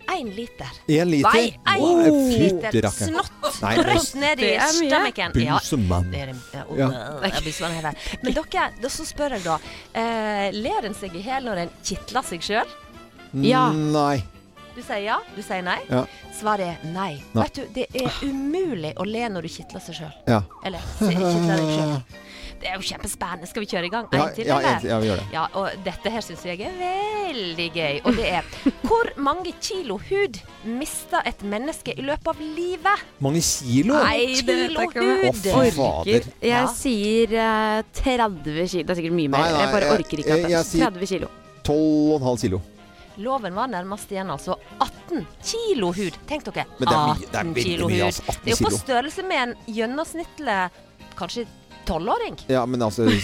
Speaker 1: Én liter.
Speaker 6: Én liter?
Speaker 1: Nei, én
Speaker 6: Wow. Fytti
Speaker 1: liter
Speaker 6: rakkeren.
Speaker 1: snott
Speaker 6: Nei,
Speaker 1: rett ned i
Speaker 5: det er mye.
Speaker 1: stammekken. Ja,
Speaker 6: Busemann.
Speaker 1: det er en- ja,
Speaker 6: Ja.
Speaker 1: åh, jeg blir sånn her. Men dere, da så spør jeg da. Eh, ler en seg i hjel når en kitler seg sjøl? Ja.
Speaker 6: Mm, Nei.
Speaker 1: Du sier ja, du sier nei.
Speaker 6: Ja.
Speaker 1: Svaret er nei.
Speaker 6: Nei.
Speaker 1: Vet du, det er umulig å le når du kitler seg sjøl.
Speaker 6: Ja.
Speaker 1: Eller kitler deg sjøl. Det er jo kjempespennende. Skal vi kjøre i gang?
Speaker 6: Ja,
Speaker 1: En til,
Speaker 6: ja,
Speaker 1: eller?
Speaker 6: en til. Ja, vi gjør det.
Speaker 1: Ja, og dette her syns jeg er veldig gøy. Og det er Hvor mange kilo hud mister et menneske i løpet av livet?
Speaker 6: Mange kilo?
Speaker 1: Nei, det vet jeg ikke om jeg
Speaker 6: Å, fy fader.
Speaker 5: Jeg sier eh, 30 kilo. Det er sikkert mye mer.
Speaker 6: Nei, nei,
Speaker 5: jeg bare
Speaker 6: jeg-
Speaker 5: orker ikke. at
Speaker 6: jeg-
Speaker 5: det-
Speaker 6: jeg sier-
Speaker 5: 30 kilo.
Speaker 6: 12,5 kilo.
Speaker 1: Loven var nærmest igjen, altså. 18 kilo hud. Tenk dere.
Speaker 6: Men det er mye- det er
Speaker 1: 18
Speaker 6: veldig
Speaker 1: kilo
Speaker 6: mye,
Speaker 1: hud.
Speaker 6: altså, 18
Speaker 1: det er jo på
Speaker 6: kilo.
Speaker 1: størrelse med en gjennomsnittlig kanskje tolvåring.
Speaker 6: Ja, men altså nei,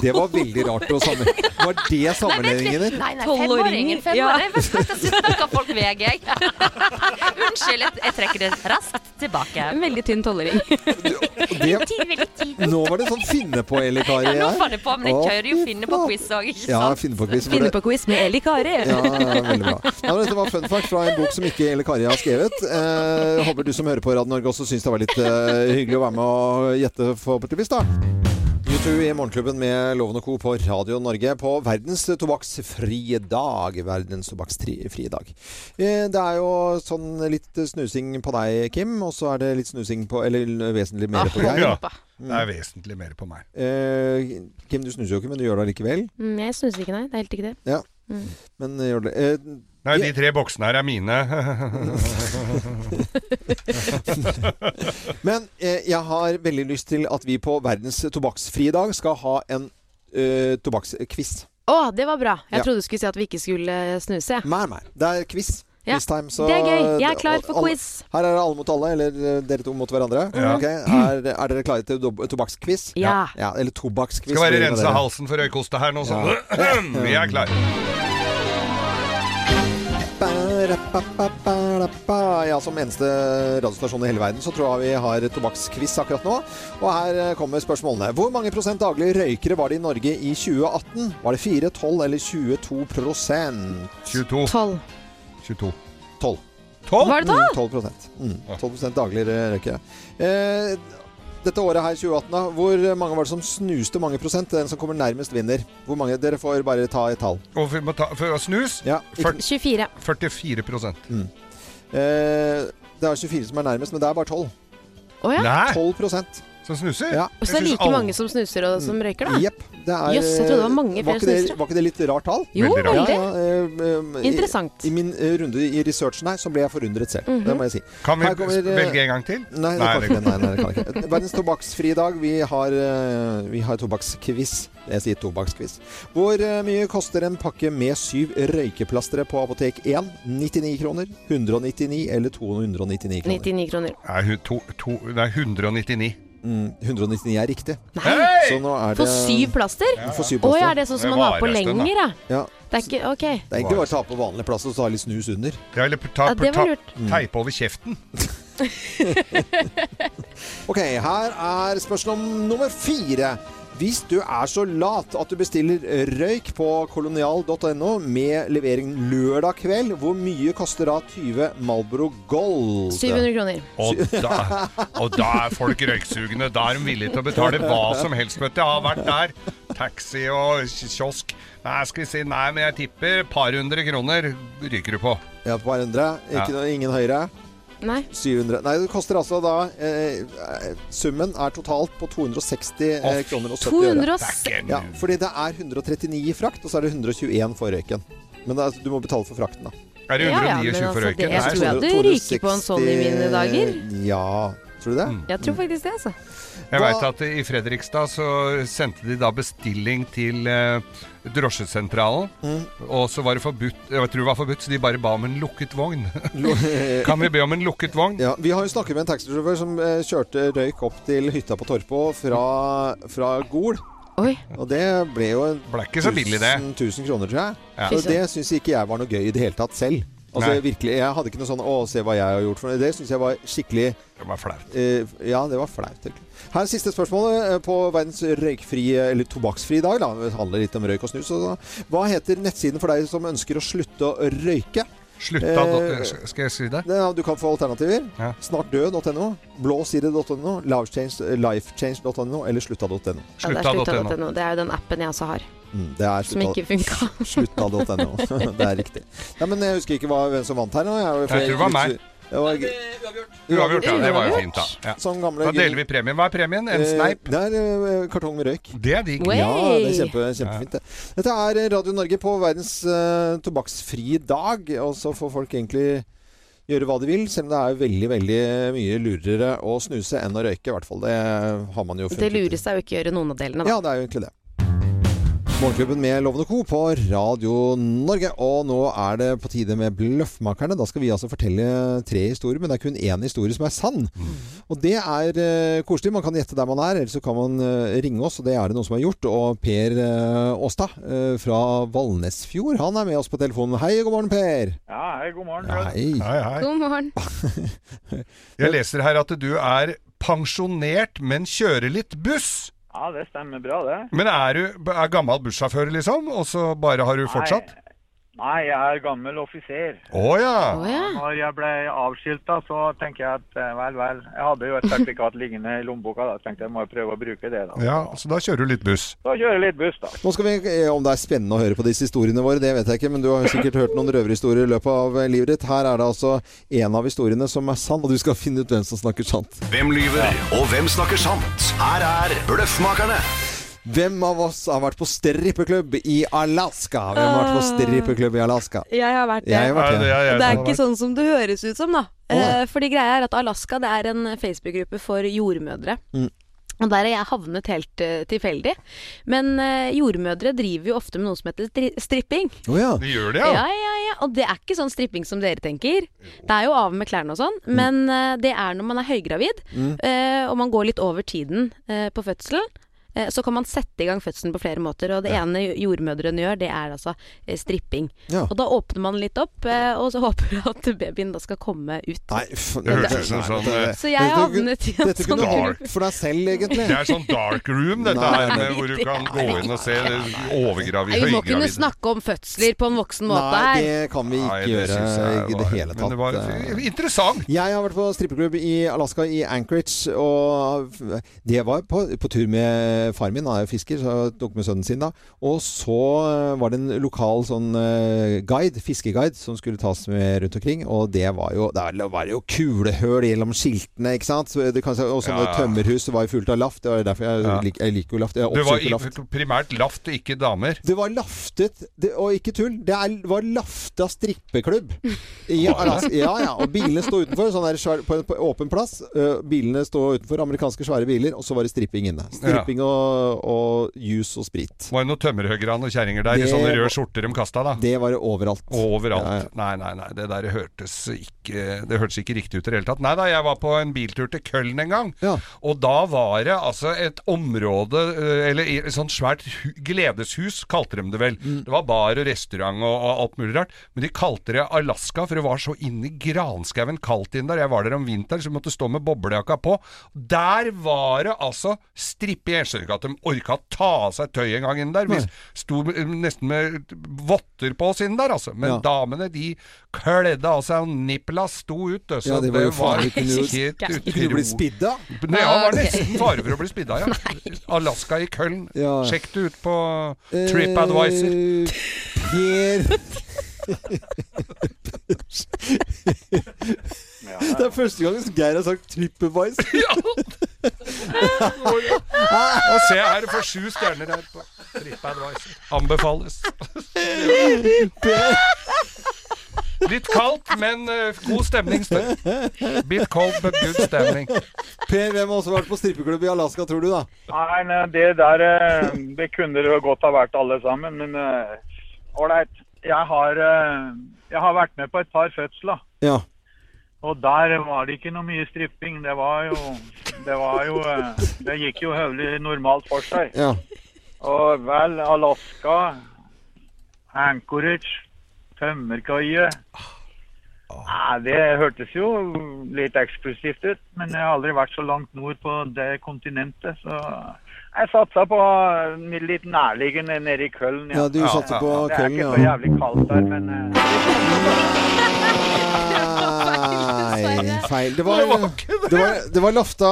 Speaker 6: Det var veldig rart å sammen... Var det sammenligningen din?
Speaker 1: Nei, nei,
Speaker 5: Tolvåringer,
Speaker 1: femåring. En femåring. Hva slags snakker folk VG? jeg? Unnskyld, jeg, jeg trekker det raskt tilbake.
Speaker 5: En veldig tynn tolvering.
Speaker 6: Det, nå var det sånn finne på, Eli Kari.
Speaker 1: Ja, nå
Speaker 6: her.
Speaker 1: fant jeg på, men jeg
Speaker 6: Å,
Speaker 1: kjører jo
Speaker 6: fy
Speaker 1: finne på
Speaker 6: faen.
Speaker 1: quiz òg, ikke
Speaker 6: Ja,
Speaker 1: sant?
Speaker 6: finne på quiz. for
Speaker 5: Finne
Speaker 6: det-
Speaker 5: på quiz med Eli Kari.
Speaker 6: Ja, ja, veldig bra. Nei, men dette var fun fact fra en bok som ikke Eli Kari har skrevet. Eh, håper du som hører på Radio Norge også syns det var litt eh, hyggelig å være med og gjette, forhåpentligvis. da U2 i Morgenklubben med Loven og Co. på Radio Norge på verdens tobakksfrie dag. Verdens tobakksfrie dag. Eh, Det er jo sånn litt snusing på deg, Kim, og så er det litt snusing på Eller vesentlig mer på deg.
Speaker 7: Ja,
Speaker 6: Mm.
Speaker 7: det er vesentlig mer på meg.
Speaker 6: Eh, Kim, du snuser jo ikke, men du gjør det allikevel.
Speaker 5: Mm, jeg snuser ikke, nei. Det er helt ikke det.
Speaker 6: Ja.
Speaker 5: Mm.
Speaker 6: Men eh, gjør det eh, ja.
Speaker 7: Nei, de tre boksene her er mine.
Speaker 6: Men eh, jeg har veldig lyst til at vi på verdens tobakksfrie dag skal ha en eh, tobakksquiz.
Speaker 5: Å, det var bra. Jeg
Speaker 6: Ja.
Speaker 5: trodde du skulle si at vi ikke skulle eh, snuse.
Speaker 6: Nei, nei. Det er quiz.
Speaker 5: Ja.
Speaker 6: Quiztime, så-
Speaker 5: Det er gøy. Jeg er klar
Speaker 6: og
Speaker 5: for
Speaker 6: alle-
Speaker 5: quiz.
Speaker 6: Her er det alle mot alle, eller eh, dere to mot hverandre.
Speaker 7: Ja.
Speaker 6: Ok, Er, er dere klare til dob- tobakksquiz?
Speaker 7: Ja.
Speaker 6: Eller tobakksquiz.
Speaker 7: Skal
Speaker 6: blir
Speaker 7: være
Speaker 6: det med
Speaker 7: rense
Speaker 6: dere.
Speaker 7: halsen for røykoste her nå, sånn. Vi er klare.
Speaker 6: Ba-da-ba-ba-ba-da-ba. Ja, som eneste radiostasjon i hele verden så tror jeg vi har tobakksquiz akkurat nå. Og her eh, kommer spørsmålene. Hvor mange prosent daglige røykere var det i Norge i 2018? Var det 4, 12 eller 22 prosent?
Speaker 7: 22.
Speaker 5: 12.
Speaker 7: 22.
Speaker 6: 12.
Speaker 5: Var det 12?
Speaker 6: Mm, 12 prosent. Mm, 12 prosent dagligere røykere. Eh, dette året her, 2018, da, hvor mange var det som snuste mange prosent? Den som kommer nærmest, vinner. Hvor mange? Dere får bare ta et tall.
Speaker 7: Og vi må ta, for å snus
Speaker 6: Ja, ikke-
Speaker 5: 24.
Speaker 7: 44
Speaker 6: Mm. Eh, det er 24 som er nærmest, men det er bare 12.
Speaker 5: Å ja?
Speaker 7: Nei.
Speaker 6: 12 prosent
Speaker 7: Som snuser?
Speaker 5: Og så er det like mange som snuser og som røyker, da.
Speaker 6: Jepp. Det er, eh,
Speaker 5: Jøss, jeg trodde det var mange
Speaker 6: var
Speaker 5: flere
Speaker 6: ikke det,
Speaker 5: snusere.
Speaker 6: Var ikke det litt rart tall?
Speaker 5: Jo, Veldig rart. veldig.
Speaker 6: eh, eh, i-
Speaker 5: Interessant.
Speaker 6: I, min eh, runde i researchen her, så ble jeg forundret selv.
Speaker 5: Mhm.
Speaker 6: Det må jeg si.
Speaker 7: Kan vi
Speaker 6: Her kommer, eh,
Speaker 7: velge en gang til?
Speaker 6: Nei, det kan ikke. Nei, nei, det kan ikke. Eh, Verdens tobakksfrie dag. Vi har, eh, vi har tobakksquiz. Jeg sier tobakksquiz. Hvor eh, mye koster en pakke med syv røykeplastere på Apotek 1? 99 kroner, 199 eller 299 kroner?
Speaker 5: 99 kroner.
Speaker 7: Nei, hun- to, to, nei 199.
Speaker 6: Mm, 199 er riktig.
Speaker 7: Nei!
Speaker 6: Så nå er det
Speaker 5: For syv plaster?
Speaker 6: For syv
Speaker 5: Å
Speaker 6: plaster.
Speaker 5: ja, er det sånn som man har på lenger, ja?
Speaker 6: Ja.
Speaker 5: Det er ikke Ok.
Speaker 6: Det er egentlig bare å ta på vanlig plass og så ha litt snus under. Mm.
Speaker 7: Ja, eller ta,
Speaker 5: Ja, det var lurt.
Speaker 7: teipe over kjeften.
Speaker 6: Ok, her er spørsmål nummer fire. Hvis du er så lat at du bestiller røyk på kolonial.no med levering lørdag kveld, hvor mye koster da 20 Malboro Gold?
Speaker 5: 700 kroner.
Speaker 7: Og da, og da er folk røyksugne. Da er de villige til å betale hva som helst. Vet du. Jeg har vært der. Taxi og kiosk. Nei, skal vi si nei, men jeg tipper par hundre kroner ryker du på.
Speaker 6: Ja, på hverandre. Ikke
Speaker 7: Ja.
Speaker 6: noe, ingen høyere.
Speaker 5: Nei.
Speaker 6: 700. Nei, det koster altså da eh, Summen er totalt på 260 eh,
Speaker 7: Å,
Speaker 6: kroner og 70 øre.
Speaker 7: 260.
Speaker 6: Ja, fordi det er 139 i frakt, og så er det 121 for røyken. Men altså, du må betale for frakten, da.
Speaker 7: Er det Ja, ja, 129 men for altså, røyken? det- jeg tror jeg
Speaker 5: hadde ryket på en sånn i mine dager.
Speaker 6: Ja, tror du det?
Speaker 7: Mm.
Speaker 5: Jeg tror faktisk det, altså.
Speaker 7: Jeg veit at i Fredrikstad så sendte de da bestilling til eh, drosjesentralen.
Speaker 6: Mm.
Speaker 7: Og så var det forbudt Jeg tror det var forbudt, så de bare ba om en lukket vogn. kan vi be om en lukket vogn?
Speaker 6: Ja, vi har jo snakket med en taxisjåfør som eh, kjørte røyk opp til hytta på Torpo fra, fra Gol. Og det ble jo en
Speaker 7: Ble ikke så billig, det.
Speaker 6: 1000 1000 kroner, tror jeg.
Speaker 7: Ja.
Speaker 6: Så det syns ikke jeg var noe gøy i det hele tatt selv. Altså
Speaker 7: Nei.
Speaker 6: virkelig, Jeg hadde ikke noe sånn 'Å, se hva jeg har gjort for noe'. Det syns jeg var skikkelig
Speaker 7: Det var flaut.
Speaker 6: Eh, ja, det var flaut. egentlig. Her er siste spørsmålet eh, på verdens røykfrie, eller tobakksfrie dag. Da. Det handler litt om røyk og snus. og da. Hva heter nettsiden for deg som ønsker å slutte å røyke?
Speaker 7: Slutta dot- eh, Skal jeg skrive det?
Speaker 6: Eh, Ja, du kan få alternativer. Snartdød.no, blåside.no, livechange- lifechange.no eller slutta.no.
Speaker 5: Ja, det er slutta.no. Det er jo den appen jeg også har,
Speaker 6: Mm, det er
Speaker 5: som ikke
Speaker 6: slutta-
Speaker 5: funka.
Speaker 6: slutta.no. det er riktig. Nei, men jeg husker ikke hva, hvem som vant her nå. Jeg,
Speaker 7: Jeg tror det var meg.
Speaker 6: Det var,
Speaker 7: Uavgjort, ja. Det var jo fint, da. Ja.
Speaker 6: Som Sånn gamle
Speaker 7: Da deler vi premien. Hva er premien? En
Speaker 6: Eh,
Speaker 7: sneip?
Speaker 6: Det er eh, kartong med røyk.
Speaker 7: Det er digg. Way!
Speaker 6: Ja, det er kjempe, kjempefint. Det. Dette er Radio Norge på verdens eh, tobakksfrie dag, og så får folk egentlig gjøre hva de vil, selv om det er veldig, veldig mye lurere å snuse enn å røyke, i hvert fall. Det har man jo
Speaker 5: Det
Speaker 6: funnet ut.
Speaker 5: lureste er jo ikke å gjøre noen av delene, da.
Speaker 6: Ja, det er jo egentlig det. Morgenklubben med Lovende Co. på Radio Norge. Og nå er det på tide med Bløffmakerne. Da skal vi altså fortelle tre historier, men det er kun én historie som er sann. Og det er eh, koselig. Man kan gjette der man er, eller så kan man eh, ringe oss, og det er det noen som har gjort. Og Per eh, Åstad eh, fra Valnesfjord, han er med oss på telefonen. Hei, god morgen, Per.
Speaker 21: Ja, hei, god morgen.
Speaker 6: Ja, hei.
Speaker 7: Hei, hei.
Speaker 5: God morgen.
Speaker 7: Jeg leser her at du er pensjonert, men kjører litt buss.
Speaker 21: Ja, det stemmer bra, det.
Speaker 7: Men er du er gammel bussjåfør, liksom? Og så bare har du fortsatt?
Speaker 21: Nei, jeg er gammel offiser.
Speaker 7: Å ja.
Speaker 21: Når jeg ble avskilta, så tenker jeg at eh, vel, vel. Jeg hadde jo et sertifikat liggende i lommeboka, da. Så tenkte jeg må jeg prøve å bruke det, da.
Speaker 7: ja. Så da kjører du litt buss.
Speaker 21: Så kjører jeg litt buss, da.
Speaker 6: Nå skal vi, eh, Om det er spennende å høre på disse historiene våre, det vet jeg ikke, men du har jo sikkert hørt noen røverhistorier i løpet av eh, livet ditt. Her er det altså en av historiene som er sann, og du skal finne ut hvem som snakker sant.
Speaker 9: Hvem lyver, og hvem snakker sant? Her er Bløffmakerne.
Speaker 6: Hvem av oss har vært på strippeklubb i Alaska? Hvem har vært på strippeklubb i Alaska?
Speaker 3: Jeg har vært det.
Speaker 6: Jeg har vært det. Ja, det har jeg
Speaker 3: Og det er
Speaker 6: også
Speaker 3: ikke
Speaker 6: vært.
Speaker 3: sånn som det høres ut som, da.
Speaker 6: nei.
Speaker 3: Eh, Fordi greia er at Alaska det er en Facebook-gruppe for jordmødre.
Speaker 6: Mm.
Speaker 3: Og der har jeg havnet helt eh, tilfeldig. Men eh, jordmødre driver jo ofte med noe som heter stri stripping.
Speaker 6: Å ja.
Speaker 7: De gjør det,
Speaker 3: ja.
Speaker 7: ja.
Speaker 3: ja, ja, Og det er ikke sånn stripping som dere tenker. Det er jo av med klærne og
Speaker 6: Mm.
Speaker 3: sånn, men eh, det er når man er høygravid,
Speaker 22: Mm.
Speaker 3: eh, og man går litt over tiden eh, på fødselen. eh, Så kan man sette i gang fødselen på flere måter, og det ene jordmødrene gjør, det er altså eh, stripping.
Speaker 6: Ja.
Speaker 3: Og da åpner man litt opp, eh, og så håper man at babyen da skal komme ut.
Speaker 6: Nei, f
Speaker 7: Det hørtes ut som sånn, eh,
Speaker 3: Så jeg havnet i en
Speaker 6: Dette kunne
Speaker 3: sånn
Speaker 6: du
Speaker 3: dark.
Speaker 6: gjort for deg selv, egentlig.
Speaker 7: Det er sånn dark room, dette
Speaker 6: Nei,
Speaker 7: her,
Speaker 6: nei,
Speaker 7: med, hvor du kan gå inn og se overgravid,
Speaker 3: Nei, Vi må kunne
Speaker 7: høygravide.
Speaker 3: snakke om fødsler på en voksen måte
Speaker 6: Nei,
Speaker 3: her.
Speaker 6: det kan vi ikke
Speaker 7: Nei, det
Speaker 6: gjøre
Speaker 7: synes jeg
Speaker 6: i det
Speaker 7: var-
Speaker 6: hele
Speaker 7: men
Speaker 6: tatt. eh,
Speaker 7: det var Eh, interessant.
Speaker 6: Jeg har vært på strippeklubb i Alaska, i Anchorage, og det var på, på tur med eh, far min er jo fisker, så jeg tok med sønnen sin da. Og så eh, var det en lokal sånn eh, guide, fiskeguide, som skulle tas med rundt omkring. Og det var jo, der var det jo kulehøl gjennom skiltene, ikke sant. Så det kan, og sånne
Speaker 7: Ja.
Speaker 6: tømmerhus var jo fullt av laft. Det var derfor jeg,
Speaker 7: Ja.
Speaker 6: lik, jeg liker jo laft. Jeg
Speaker 7: Det var
Speaker 6: oppsøker laft.
Speaker 7: i- primært laft, ikke damer.
Speaker 6: Det var laftet, det, og ikke tull, det er, var lafta strippeklubb. I,
Speaker 7: Var det?
Speaker 6: Alaska. ja, ja. Og bilene sto utenfor, sånn der svær, på, en- på åpen plass. Øh, bilene sto utenfor, amerikanske svære biler, og så var det stripping inne. Stripping og, og juice og sprit.
Speaker 7: Var det noen tømmerhoggere og kjerringer der
Speaker 6: Det
Speaker 7: i sånne
Speaker 6: var-
Speaker 7: røde skjorter de kasta, da?
Speaker 6: Det var det overalt.
Speaker 7: Overalt. Nei, nei, nei. Det der hørtes ikke, det hørtes ikke riktig ut i det hele tatt. Nei da, jeg var på en biltur til Køln en gang. Og da var det altså et område, eh, eller i- et sånt svært hu- gledeshus, kalte de det vel.
Speaker 6: Mm.
Speaker 7: Det var bar og restaurant og, og alt mulig rart. Men de kalte det Alaska, for det var så inni granskauen kaldt inn der. Jeg var der om vinteren, så vi måtte stå med boblejakka på. Der var det altså strippe i Ensjø, at de orka å ta av seg tøyet en gang inn der. Vi
Speaker 6: Nei.
Speaker 7: sto eh, nesten med votter på oss inn der, altså. Men
Speaker 6: Ja.
Speaker 7: damene, de kledde av seg, og nipla sto ut. Så
Speaker 6: Ja, det var jo faen, vi kunne jo-
Speaker 7: helt
Speaker 6: Kunne
Speaker 7: utrolig.
Speaker 6: bli spidda.
Speaker 7: Nei, ja, var
Speaker 6: Ah, ok.
Speaker 7: nesten fare for å bli spidda, ja. Alaska i Køln.
Speaker 6: Ja.
Speaker 7: Sjekk det ut på
Speaker 6: Eh,
Speaker 7: TripAdvisor.
Speaker 6: Per Det er første gang Geir har sagt TripAdvisor.
Speaker 7: Og se her, du får sju stjerner her på TripAdvisor. Anbefales. Litt kaldt, men eh, god stemning. Stø- Bit cold, but good stemning.
Speaker 6: Per, hvem har også vært på strippeklubb i Alaska, tror du da?
Speaker 21: Nei, nei, det der eh, Det kunne det jo godt ha vært alle sammen, men eh, ålreit. Jeg har eh, Jeg har vært med på et par fødsler.
Speaker 6: Ja.
Speaker 21: Og der var det ikke noe mye stripping. Det var jo Det var jo eh, Det gikk jo høvelig normalt for seg.
Speaker 6: Ja.
Speaker 21: Og vel, Alaska, Anchorage, tømmerkaie Nei, Det hørtes jo litt eksklusivt ut, men jeg har aldri vært så langt nord på det kontinentet, så jeg satsa på litt nærliggende nede i Køln.
Speaker 6: Ja, du satser på
Speaker 21: Det er
Speaker 6: Køln,
Speaker 21: ikke
Speaker 6: ja.
Speaker 21: så jævlig kaldt der, men eh,
Speaker 6: Nei, feil. Det var, det var, det var Lafta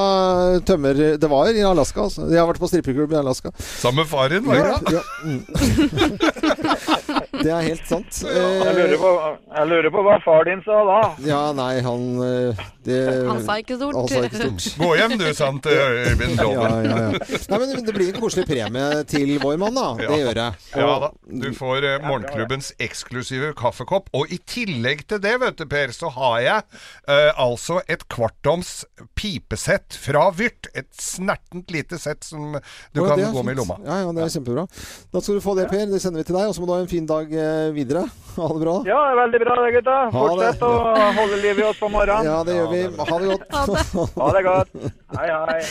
Speaker 6: tømmer... Det var i Alaska, altså. Jeg har vært på strippeklubb i Alaska.
Speaker 7: Sammen med faren, var det?
Speaker 6: Ja, mm. Det er helt sant.
Speaker 21: jeg lurer, på, jeg lurer på hva far din sa da.
Speaker 6: Ja, nei, han eh, det,
Speaker 21: Han sa ikke stort.
Speaker 6: Han sa ikke stort.
Speaker 7: Gå hjem du, sant, eh, Øyvind Loven.
Speaker 6: Ja, ja, ja. Nei, men det blir en koselig premie til vår mann, da. Det gjør jeg.
Speaker 7: Ja da. Du får eh, morgenklubbens eksklusive kaffekopp. Og i tillegg til det, vet du, Per, så har jeg eh, altså et kvartoms pipesett fra Vyrt. Et snertent lite sett som du
Speaker 6: Å,
Speaker 7: kan
Speaker 6: det
Speaker 7: gå
Speaker 6: er
Speaker 7: med i
Speaker 6: fint.
Speaker 7: lomma.
Speaker 6: Ja, ja, det er kjempebra. Da skal du få det, Per. Det sender vi til deg. Og så må du ha en fin dag eh, videre. Ha det bra.
Speaker 21: Ja, veldig bra det, gutta.
Speaker 6: det.
Speaker 21: Fortsett å holde liv i oss på morgenen.
Speaker 6: Ja, det gjør vi. Ha det godt.
Speaker 21: Ha det, ha det godt. Hei, hei.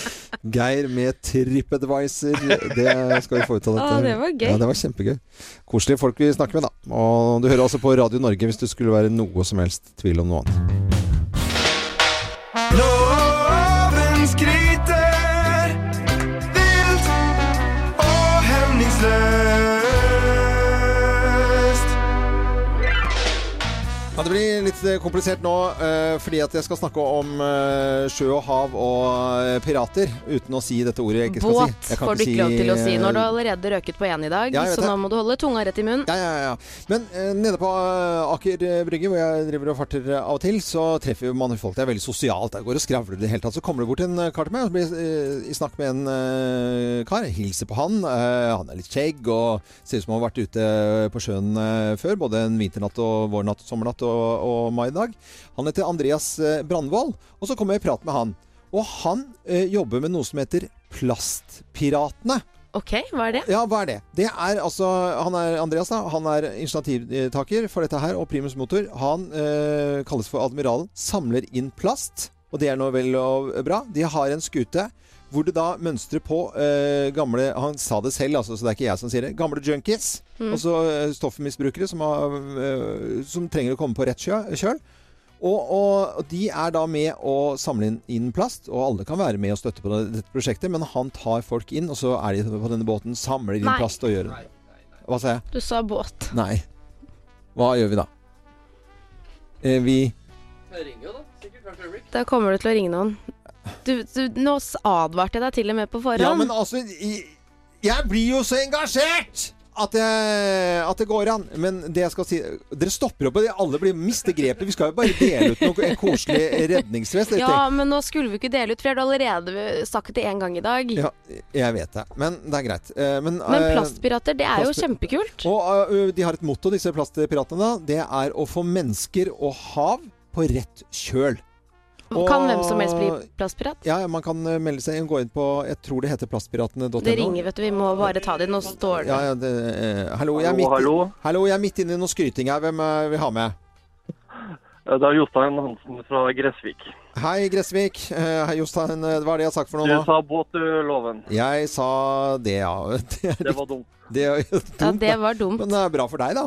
Speaker 6: Geir med TripAdvisor. Det skal vi få ut av dette.
Speaker 21: Å, det var gøy.
Speaker 6: Ja, det var kjempegøy. Koselige folk vi snakker med, da. Og du hører altså på Radio Norge hvis du skulle være noe som helst tvil om noe annet.
Speaker 9: Loven skryter vilt og hemningsløst.
Speaker 6: Ja, Det blir litt eh, komplisert nå, eh, fordi at jeg skal snakke om eh, sjø og hav og eh, pirater, uten å si dette ordet jeg ikke skal
Speaker 5: Båt
Speaker 6: si. Jeg kan
Speaker 5: får du ikke lov til å si når du har allerede røket på én i dag,
Speaker 6: Ja, jeg vet
Speaker 5: så
Speaker 6: det.
Speaker 5: nå må du holde tunga rett i munnen.
Speaker 6: Ja, ja, ja. Men eh, nede på eh, Aker eh, Brygge, hvor jeg driver og farter eh, av og til, så treffer jo man folk. Det er veldig sosialt. Der går og skravler i det hele tatt. Så kommer det bort en eh, kar til meg og så blir eh, i snakk med en eh, kar. Jeg Hilser på han. Eh, han er litt skjegg og ser ut som han har vært ute på sjøen eh, før. Både en vinternatt og vårnatt, sommernatt og, og maidag. Han heter Andreas eh, Brandvold. Og så kommer jeg i prat med han. Og han eh, jobber med noe som heter Plastpiratene.
Speaker 5: Ok, hva er det?
Speaker 6: Ja, hva er det? Det er altså Han er Andreas, da. Han er initiativtaker for dette her, og Primus Motor. Han eh, kalles for Admiralen. Samler inn plast, og det er nå vel og bra. De har en skute hvor det da mønstrer på eh, gamle Han sa det selv, altså, så det er ikke jeg som sier det. Gamle junkies.
Speaker 22: Mm.
Speaker 6: Altså eh, stoffmisbrukere som, har, eh, som trenger å komme på rett kjø- kjøl. Og, og, og de er da med å samle inn, inn plast, og alle kan være med og støtte på det, dette prosjektet, men han tar folk inn, og så er de på denne båten, samler inn
Speaker 5: Nei.
Speaker 6: plast og gjør det. Hva sa jeg?
Speaker 5: Du sa båt.
Speaker 6: Nei. Hva gjør vi da? Eh, vi
Speaker 5: Da kommer du til å ringe noen. Du, du, nå s- advarte jeg deg til og med på forhånd.
Speaker 6: Ja, men altså i, Jeg blir jo så engasjert! At, jeg, at det går an. Men det jeg skal si Dere stopper opp, og de alle blir mister grepet. Vi skal jo bare dele ut noe en koselig redningsvest.
Speaker 3: Ja, men nå skulle vi ikke dele ut, for jeg har allerede sagt det én gang i dag.
Speaker 6: Ja, jeg vet det. Men det er greit. Eh, Men,
Speaker 3: Men
Speaker 6: eh,
Speaker 3: plastpirater, det er jo
Speaker 6: plastpi-
Speaker 3: kjempekult.
Speaker 6: Og eh, de har et motto, disse plastpiratene. da. Det er å få mennesker og hav på rett kjøl. Og-
Speaker 3: Kan hvem som helst bli plastpirat?
Speaker 6: Ja, ja, man kan eh, melde seg inn. Gå inn på Jeg tror det heter plastpiratene.no.
Speaker 3: Det ringer, vet du. Vi må bare ta det. Nå står det
Speaker 6: Ja, ja, det, eh, hallo, jeg er
Speaker 22: Hallo,
Speaker 6: midt,
Speaker 22: hallo.
Speaker 6: hallo, jeg er midt inne i noe skryting her. Hvem eh, vil ha med?
Speaker 22: Det er Jostein Hansen fra Gressvik.
Speaker 6: Hei, Gressvik. Eh, Hei, Jostein. Eh, Hva er det jeg har sagt for
Speaker 22: Du
Speaker 6: noe nå?
Speaker 22: sa båt, du, Loven.
Speaker 6: Jeg sa det, ja. Det, er
Speaker 22: Det var
Speaker 6: litt-
Speaker 22: dumt.
Speaker 6: Det, er jo dumt,
Speaker 22: Ja, det
Speaker 6: var dumt. Men eh, det er bra for deg, da.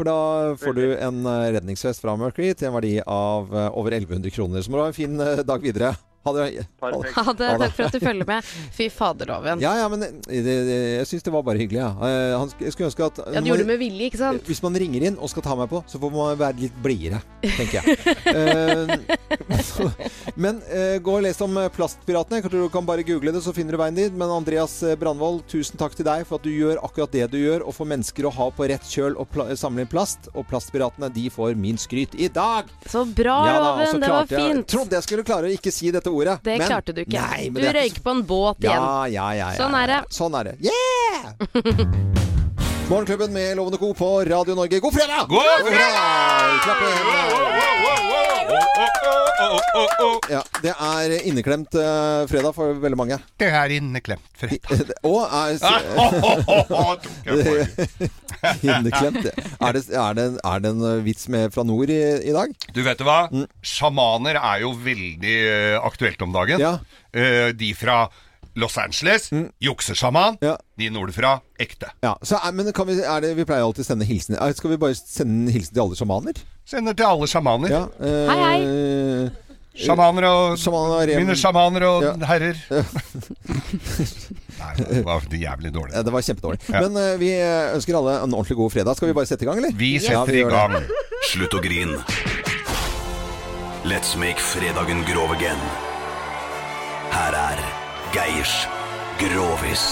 Speaker 6: For da får du en eh, redningsvest fra Mercury til en verdi av eh, over 1100 kroner. Så må du ha en fin eh, dag videre. Ha det. Ha det.
Speaker 3: Ha det. Takk for at du følger med. Fy faderloven.
Speaker 6: Ja, ja, men eh, det, det, jeg syns det var bare hyggelig, jeg. Eh, han sk- Jeg skulle ønske at
Speaker 3: Ja, du gjorde det med vilje, ikke sant?
Speaker 6: Hvis man ringer inn og skal ta meg på, så får man være litt blidere, tenker jeg. Eh, så- men eh, gå og les om eh, plastpiratene. Kanskje du kan bare google det, så finner du veien dit. Men Andreas eh, Brandvold, tusen takk til deg for at du gjør akkurat det du gjør, og får mennesker å ha på rett kjøl og pla samle inn plast. Og plastpiratene, de får min skryt i dag!
Speaker 3: Så bra,
Speaker 6: og så
Speaker 3: Loven. Det var
Speaker 6: klarte Jeg
Speaker 3: fint.
Speaker 6: trodde jeg skulle klare å ikke si dette ordet.
Speaker 3: Det
Speaker 6: men-
Speaker 3: klarte du ikke.
Speaker 6: Nei, men
Speaker 3: du
Speaker 6: det er ikke så
Speaker 3: røyk på en båt igjen.
Speaker 6: ja, ja, ja, ja.
Speaker 3: Sånn er det.
Speaker 6: Sånn er det. Yeah! Morgenklubben med Lovende Co på Radio Norge. God fredag!
Speaker 7: God
Speaker 6: fredag! Klapp i hendene. Ja, det er inneklemt eh, fredag for veldig mange.
Speaker 7: Det er inneklemt fredag.
Speaker 6: Og er Inneklemt. Er det, er, det, er det en eh, vits med fra nord i, i dag?
Speaker 7: Du vet du hva?
Speaker 6: Mm.
Speaker 7: Sjamaner er jo veldig eh, aktuelt om dagen. Eh, de fra Los Angeles,
Speaker 6: Mm.
Speaker 7: juksesjaman. De nordfra, ekte.
Speaker 6: Ja, så er, men kan vi, er det, vi pleier alltid å sende hilsen. Er- Skal vi bare sende en hilsen til alle sjamaner?
Speaker 7: Sender til alle sjamaner.
Speaker 6: Ja, eh,
Speaker 7: Hei, hei. Sjamaner og
Speaker 6: rem-
Speaker 7: Mine sjamaner og
Speaker 6: Ja.
Speaker 7: herrer. Nei, det var jævlig dårlig.
Speaker 6: Ja, det var kjempedårlig. Men eh, vi ønsker alle en ordentlig god fredag. Skal vi bare sette i gang, eller?
Speaker 7: Vi
Speaker 6: Ja,
Speaker 7: setter i
Speaker 6: gjør det.
Speaker 7: gang.
Speaker 9: Slutt å grin. Let's make fredagen grov again. Her er Geirs Grovis.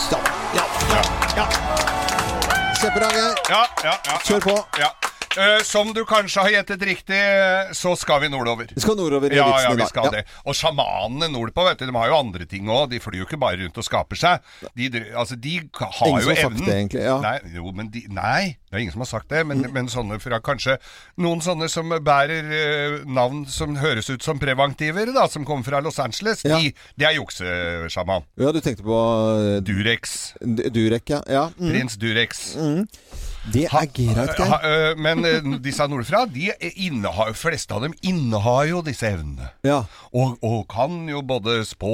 Speaker 6: Kjempebra, Geir.
Speaker 7: Ja, ja, ja.
Speaker 6: Kjør på.
Speaker 7: Ja. Eh, som du kanskje har gjettet riktig, eh, så skal vi nordover.
Speaker 6: Vi skal nordover i
Speaker 7: ja,
Speaker 6: vitsen
Speaker 7: ja,
Speaker 6: i
Speaker 7: vi
Speaker 6: dag.
Speaker 7: skal
Speaker 6: Ja.
Speaker 7: det. Og sjamanene nordpå, vet du, de har jo andre ting òg. De flyr jo ikke bare rundt og skaper seg. De, dri- altså, de k- har
Speaker 6: Ingen
Speaker 7: jo
Speaker 6: som har sagt
Speaker 7: evnen.
Speaker 6: det egentlig, ja.
Speaker 7: Nei, jo, men de, nei, det er ingen som har sagt det. Men, men sånne fra kanskje Noen sånne som bærer eh, navn som høres ut som preventiver, da, som kommer fra Los Angeles, de, de er juksesjaman.
Speaker 6: Ja, du tenkte på
Speaker 7: eh, Durex.
Speaker 6: Durek, ja. ja. mm.
Speaker 7: Prins Durex.
Speaker 6: Mm. Det er greit, Geir.
Speaker 7: Ha, ø, men ø, disse nordfra, de innehar, fleste av dem innehar jo disse evnene. Og, og kan jo både spå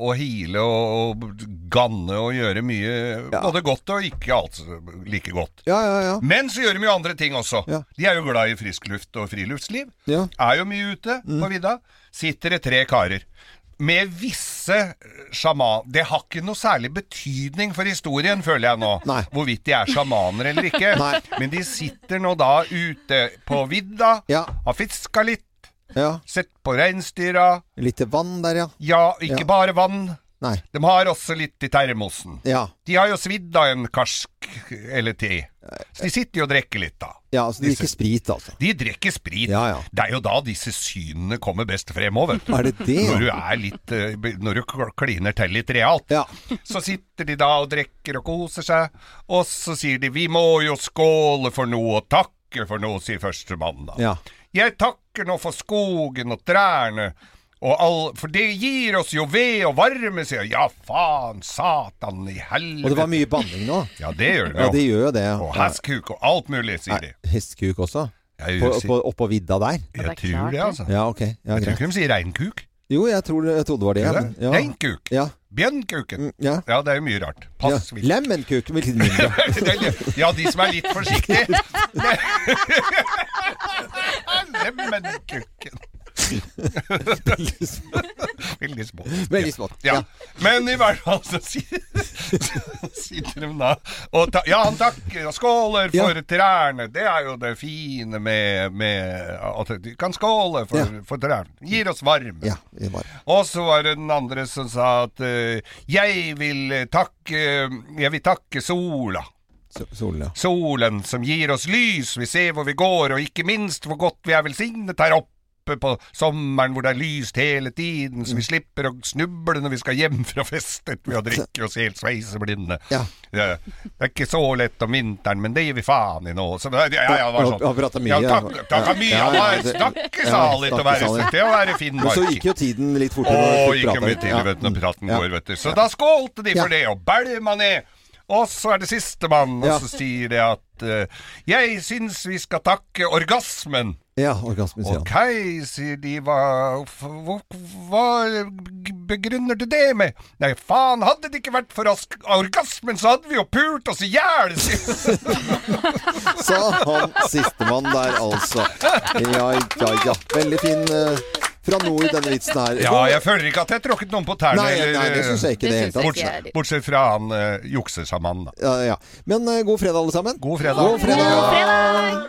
Speaker 7: og hile og, og ganne og gjøre mye Både godt og ikke alt like godt.
Speaker 6: Ja, ja, ja.
Speaker 7: Men så gjør de jo andre ting også. De er jo glad i frisk luft og friluftsliv.
Speaker 6: Ja. Mm.
Speaker 7: Er jo mye ute på vidda. Sitter det tre karer. Med visse sjaman... Det har ikke noe særlig betydning for historien, føler jeg nå. Hvorvidt de er sjamaner eller ikke.
Speaker 6: Nei.
Speaker 7: Men de sitter nå da ute på vidda, har fiska litt, sett på reinsdyra.
Speaker 6: Litt vann der, ja.
Speaker 7: Ja, ikke
Speaker 6: Ja.
Speaker 7: bare vann.
Speaker 6: Nei.
Speaker 7: De har også litt i termosen.
Speaker 6: Ja.
Speaker 7: De har jo svidd av en karsk eller te. Så de sitter jo og drikker litt, da.
Speaker 6: ja, altså de drikker sprit, altså.
Speaker 7: De drikker sprit. Det er jo da disse synene kommer best frem òg, vet du.
Speaker 6: Er det det, ja?
Speaker 7: Når du er litt eh, be- Når du kl- kliner til litt realt. Så sitter de da og drikker og koser seg, og så sier de 'vi må jo skåle for noe og takke for noe', sier førstemann da.
Speaker 6: Ja.
Speaker 7: Jeg takker nå for skogen og trærne. Og all, for det gir oss jo ved og varme, sier jeg. Ja, faen, satan i helvete.
Speaker 6: Og det var mye banning nå.
Speaker 7: Ja, det gjør det
Speaker 6: Ja, de gjør jo det.
Speaker 7: Og hestkuk og alt mulig, sier de.
Speaker 6: Hestkuk også?
Speaker 7: Jeg
Speaker 6: På,
Speaker 7: vil si-
Speaker 6: på, oppå vidda der?
Speaker 7: Jeg tror det, altså.
Speaker 6: Ja, ok. Ja,
Speaker 7: jeg tror
Speaker 6: greit.
Speaker 7: ikke de sier reinkuk.
Speaker 6: Jo, jeg, tror, jeg trodde det var det.
Speaker 7: Tror du
Speaker 6: men-
Speaker 7: det? Reinkuk.
Speaker 6: Ja. Mm,
Speaker 7: Bjørnkuken.
Speaker 6: Ja.
Speaker 7: Ja, det er jo mye rart. Pass videre.
Speaker 6: Lemenkuk med litt mindre.
Speaker 7: Ja, de som er litt forsiktige. Lemenkuken. Veldig, Veldig smått.
Speaker 6: Veldig smått.
Speaker 7: Ja. Men i hvert fall så sier- sitter de da og ta, Ja, han takker og skåler for trærne. Det er jo det fine med, med at du kan skåle for, for trærne. Gir oss varme. Og så var det den andre som sa at eh, jeg vil takke Jeg vil takke sola.
Speaker 6: Solen, ja.
Speaker 7: Solen som gir oss lys, vi ser hvor vi går, og ikke minst hvor godt vi er velsignet her oppe på sommeren hvor det er lyst hele
Speaker 6: Mm.
Speaker 7: tiden, så vi slipper å snuble når vi skal hjem fra festet ved å drikke oss helt sveiseblinde.
Speaker 6: Ja.
Speaker 7: Ja, Det er ikke så lett om vinteren, men det gir vi faen i nå. Så, det- ja, ja, det var
Speaker 6: Han-
Speaker 7: sånn.
Speaker 6: han pratet mye,
Speaker 7: Ja, takk,
Speaker 6: ja.
Speaker 7: takk, mye.
Speaker 6: Ja,
Speaker 7: Han
Speaker 6: ja,
Speaker 7: var
Speaker 6: det-
Speaker 7: stakkesalig
Speaker 6: ja,
Speaker 7: til å være
Speaker 6: stakkesalig.
Speaker 7: til å være
Speaker 6: Men så
Speaker 7: finnmarking.
Speaker 6: gikk jo tiden litt
Speaker 7: Å,
Speaker 6: fortere. når vi
Speaker 7: gikk
Speaker 6: pratet.
Speaker 7: jo mye tidlig,
Speaker 6: Ja.
Speaker 7: vet du, når praten
Speaker 6: Ja.
Speaker 7: går, vet du. Så da skålte de
Speaker 6: Ja.
Speaker 7: for det, og bælma ned. Og så er det sistemann, og
Speaker 6: Ja.
Speaker 7: så sier det at eh, Jeg syns vi skal takke orgasmen.
Speaker 6: Ja, orgasmen, sier han.
Speaker 7: Ok, sier de, hva, f- hva, hva begrunner du det med? Nei, faen, hadde det ikke vært for as- orgasmen, så hadde vi jo pult oss i hjel! sier-
Speaker 6: Sa han sistemann der, altså. Ja, ja, ja. Veldig fin eh, fra nord, denne vitsen her.
Speaker 7: Ja, jeg føler ikke at jeg tråkket noen på tærne.
Speaker 6: Nei, nei, det synes jeg ikke i det Det synes hele jeg tatt. ikke jeg
Speaker 7: Bortsett, bortsett fra han uh, juksesamannen, da.
Speaker 6: Ja, ja. Men eh, god fredag, alle sammen. God
Speaker 7: fredag.
Speaker 6: God fredag.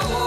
Speaker 4: wow.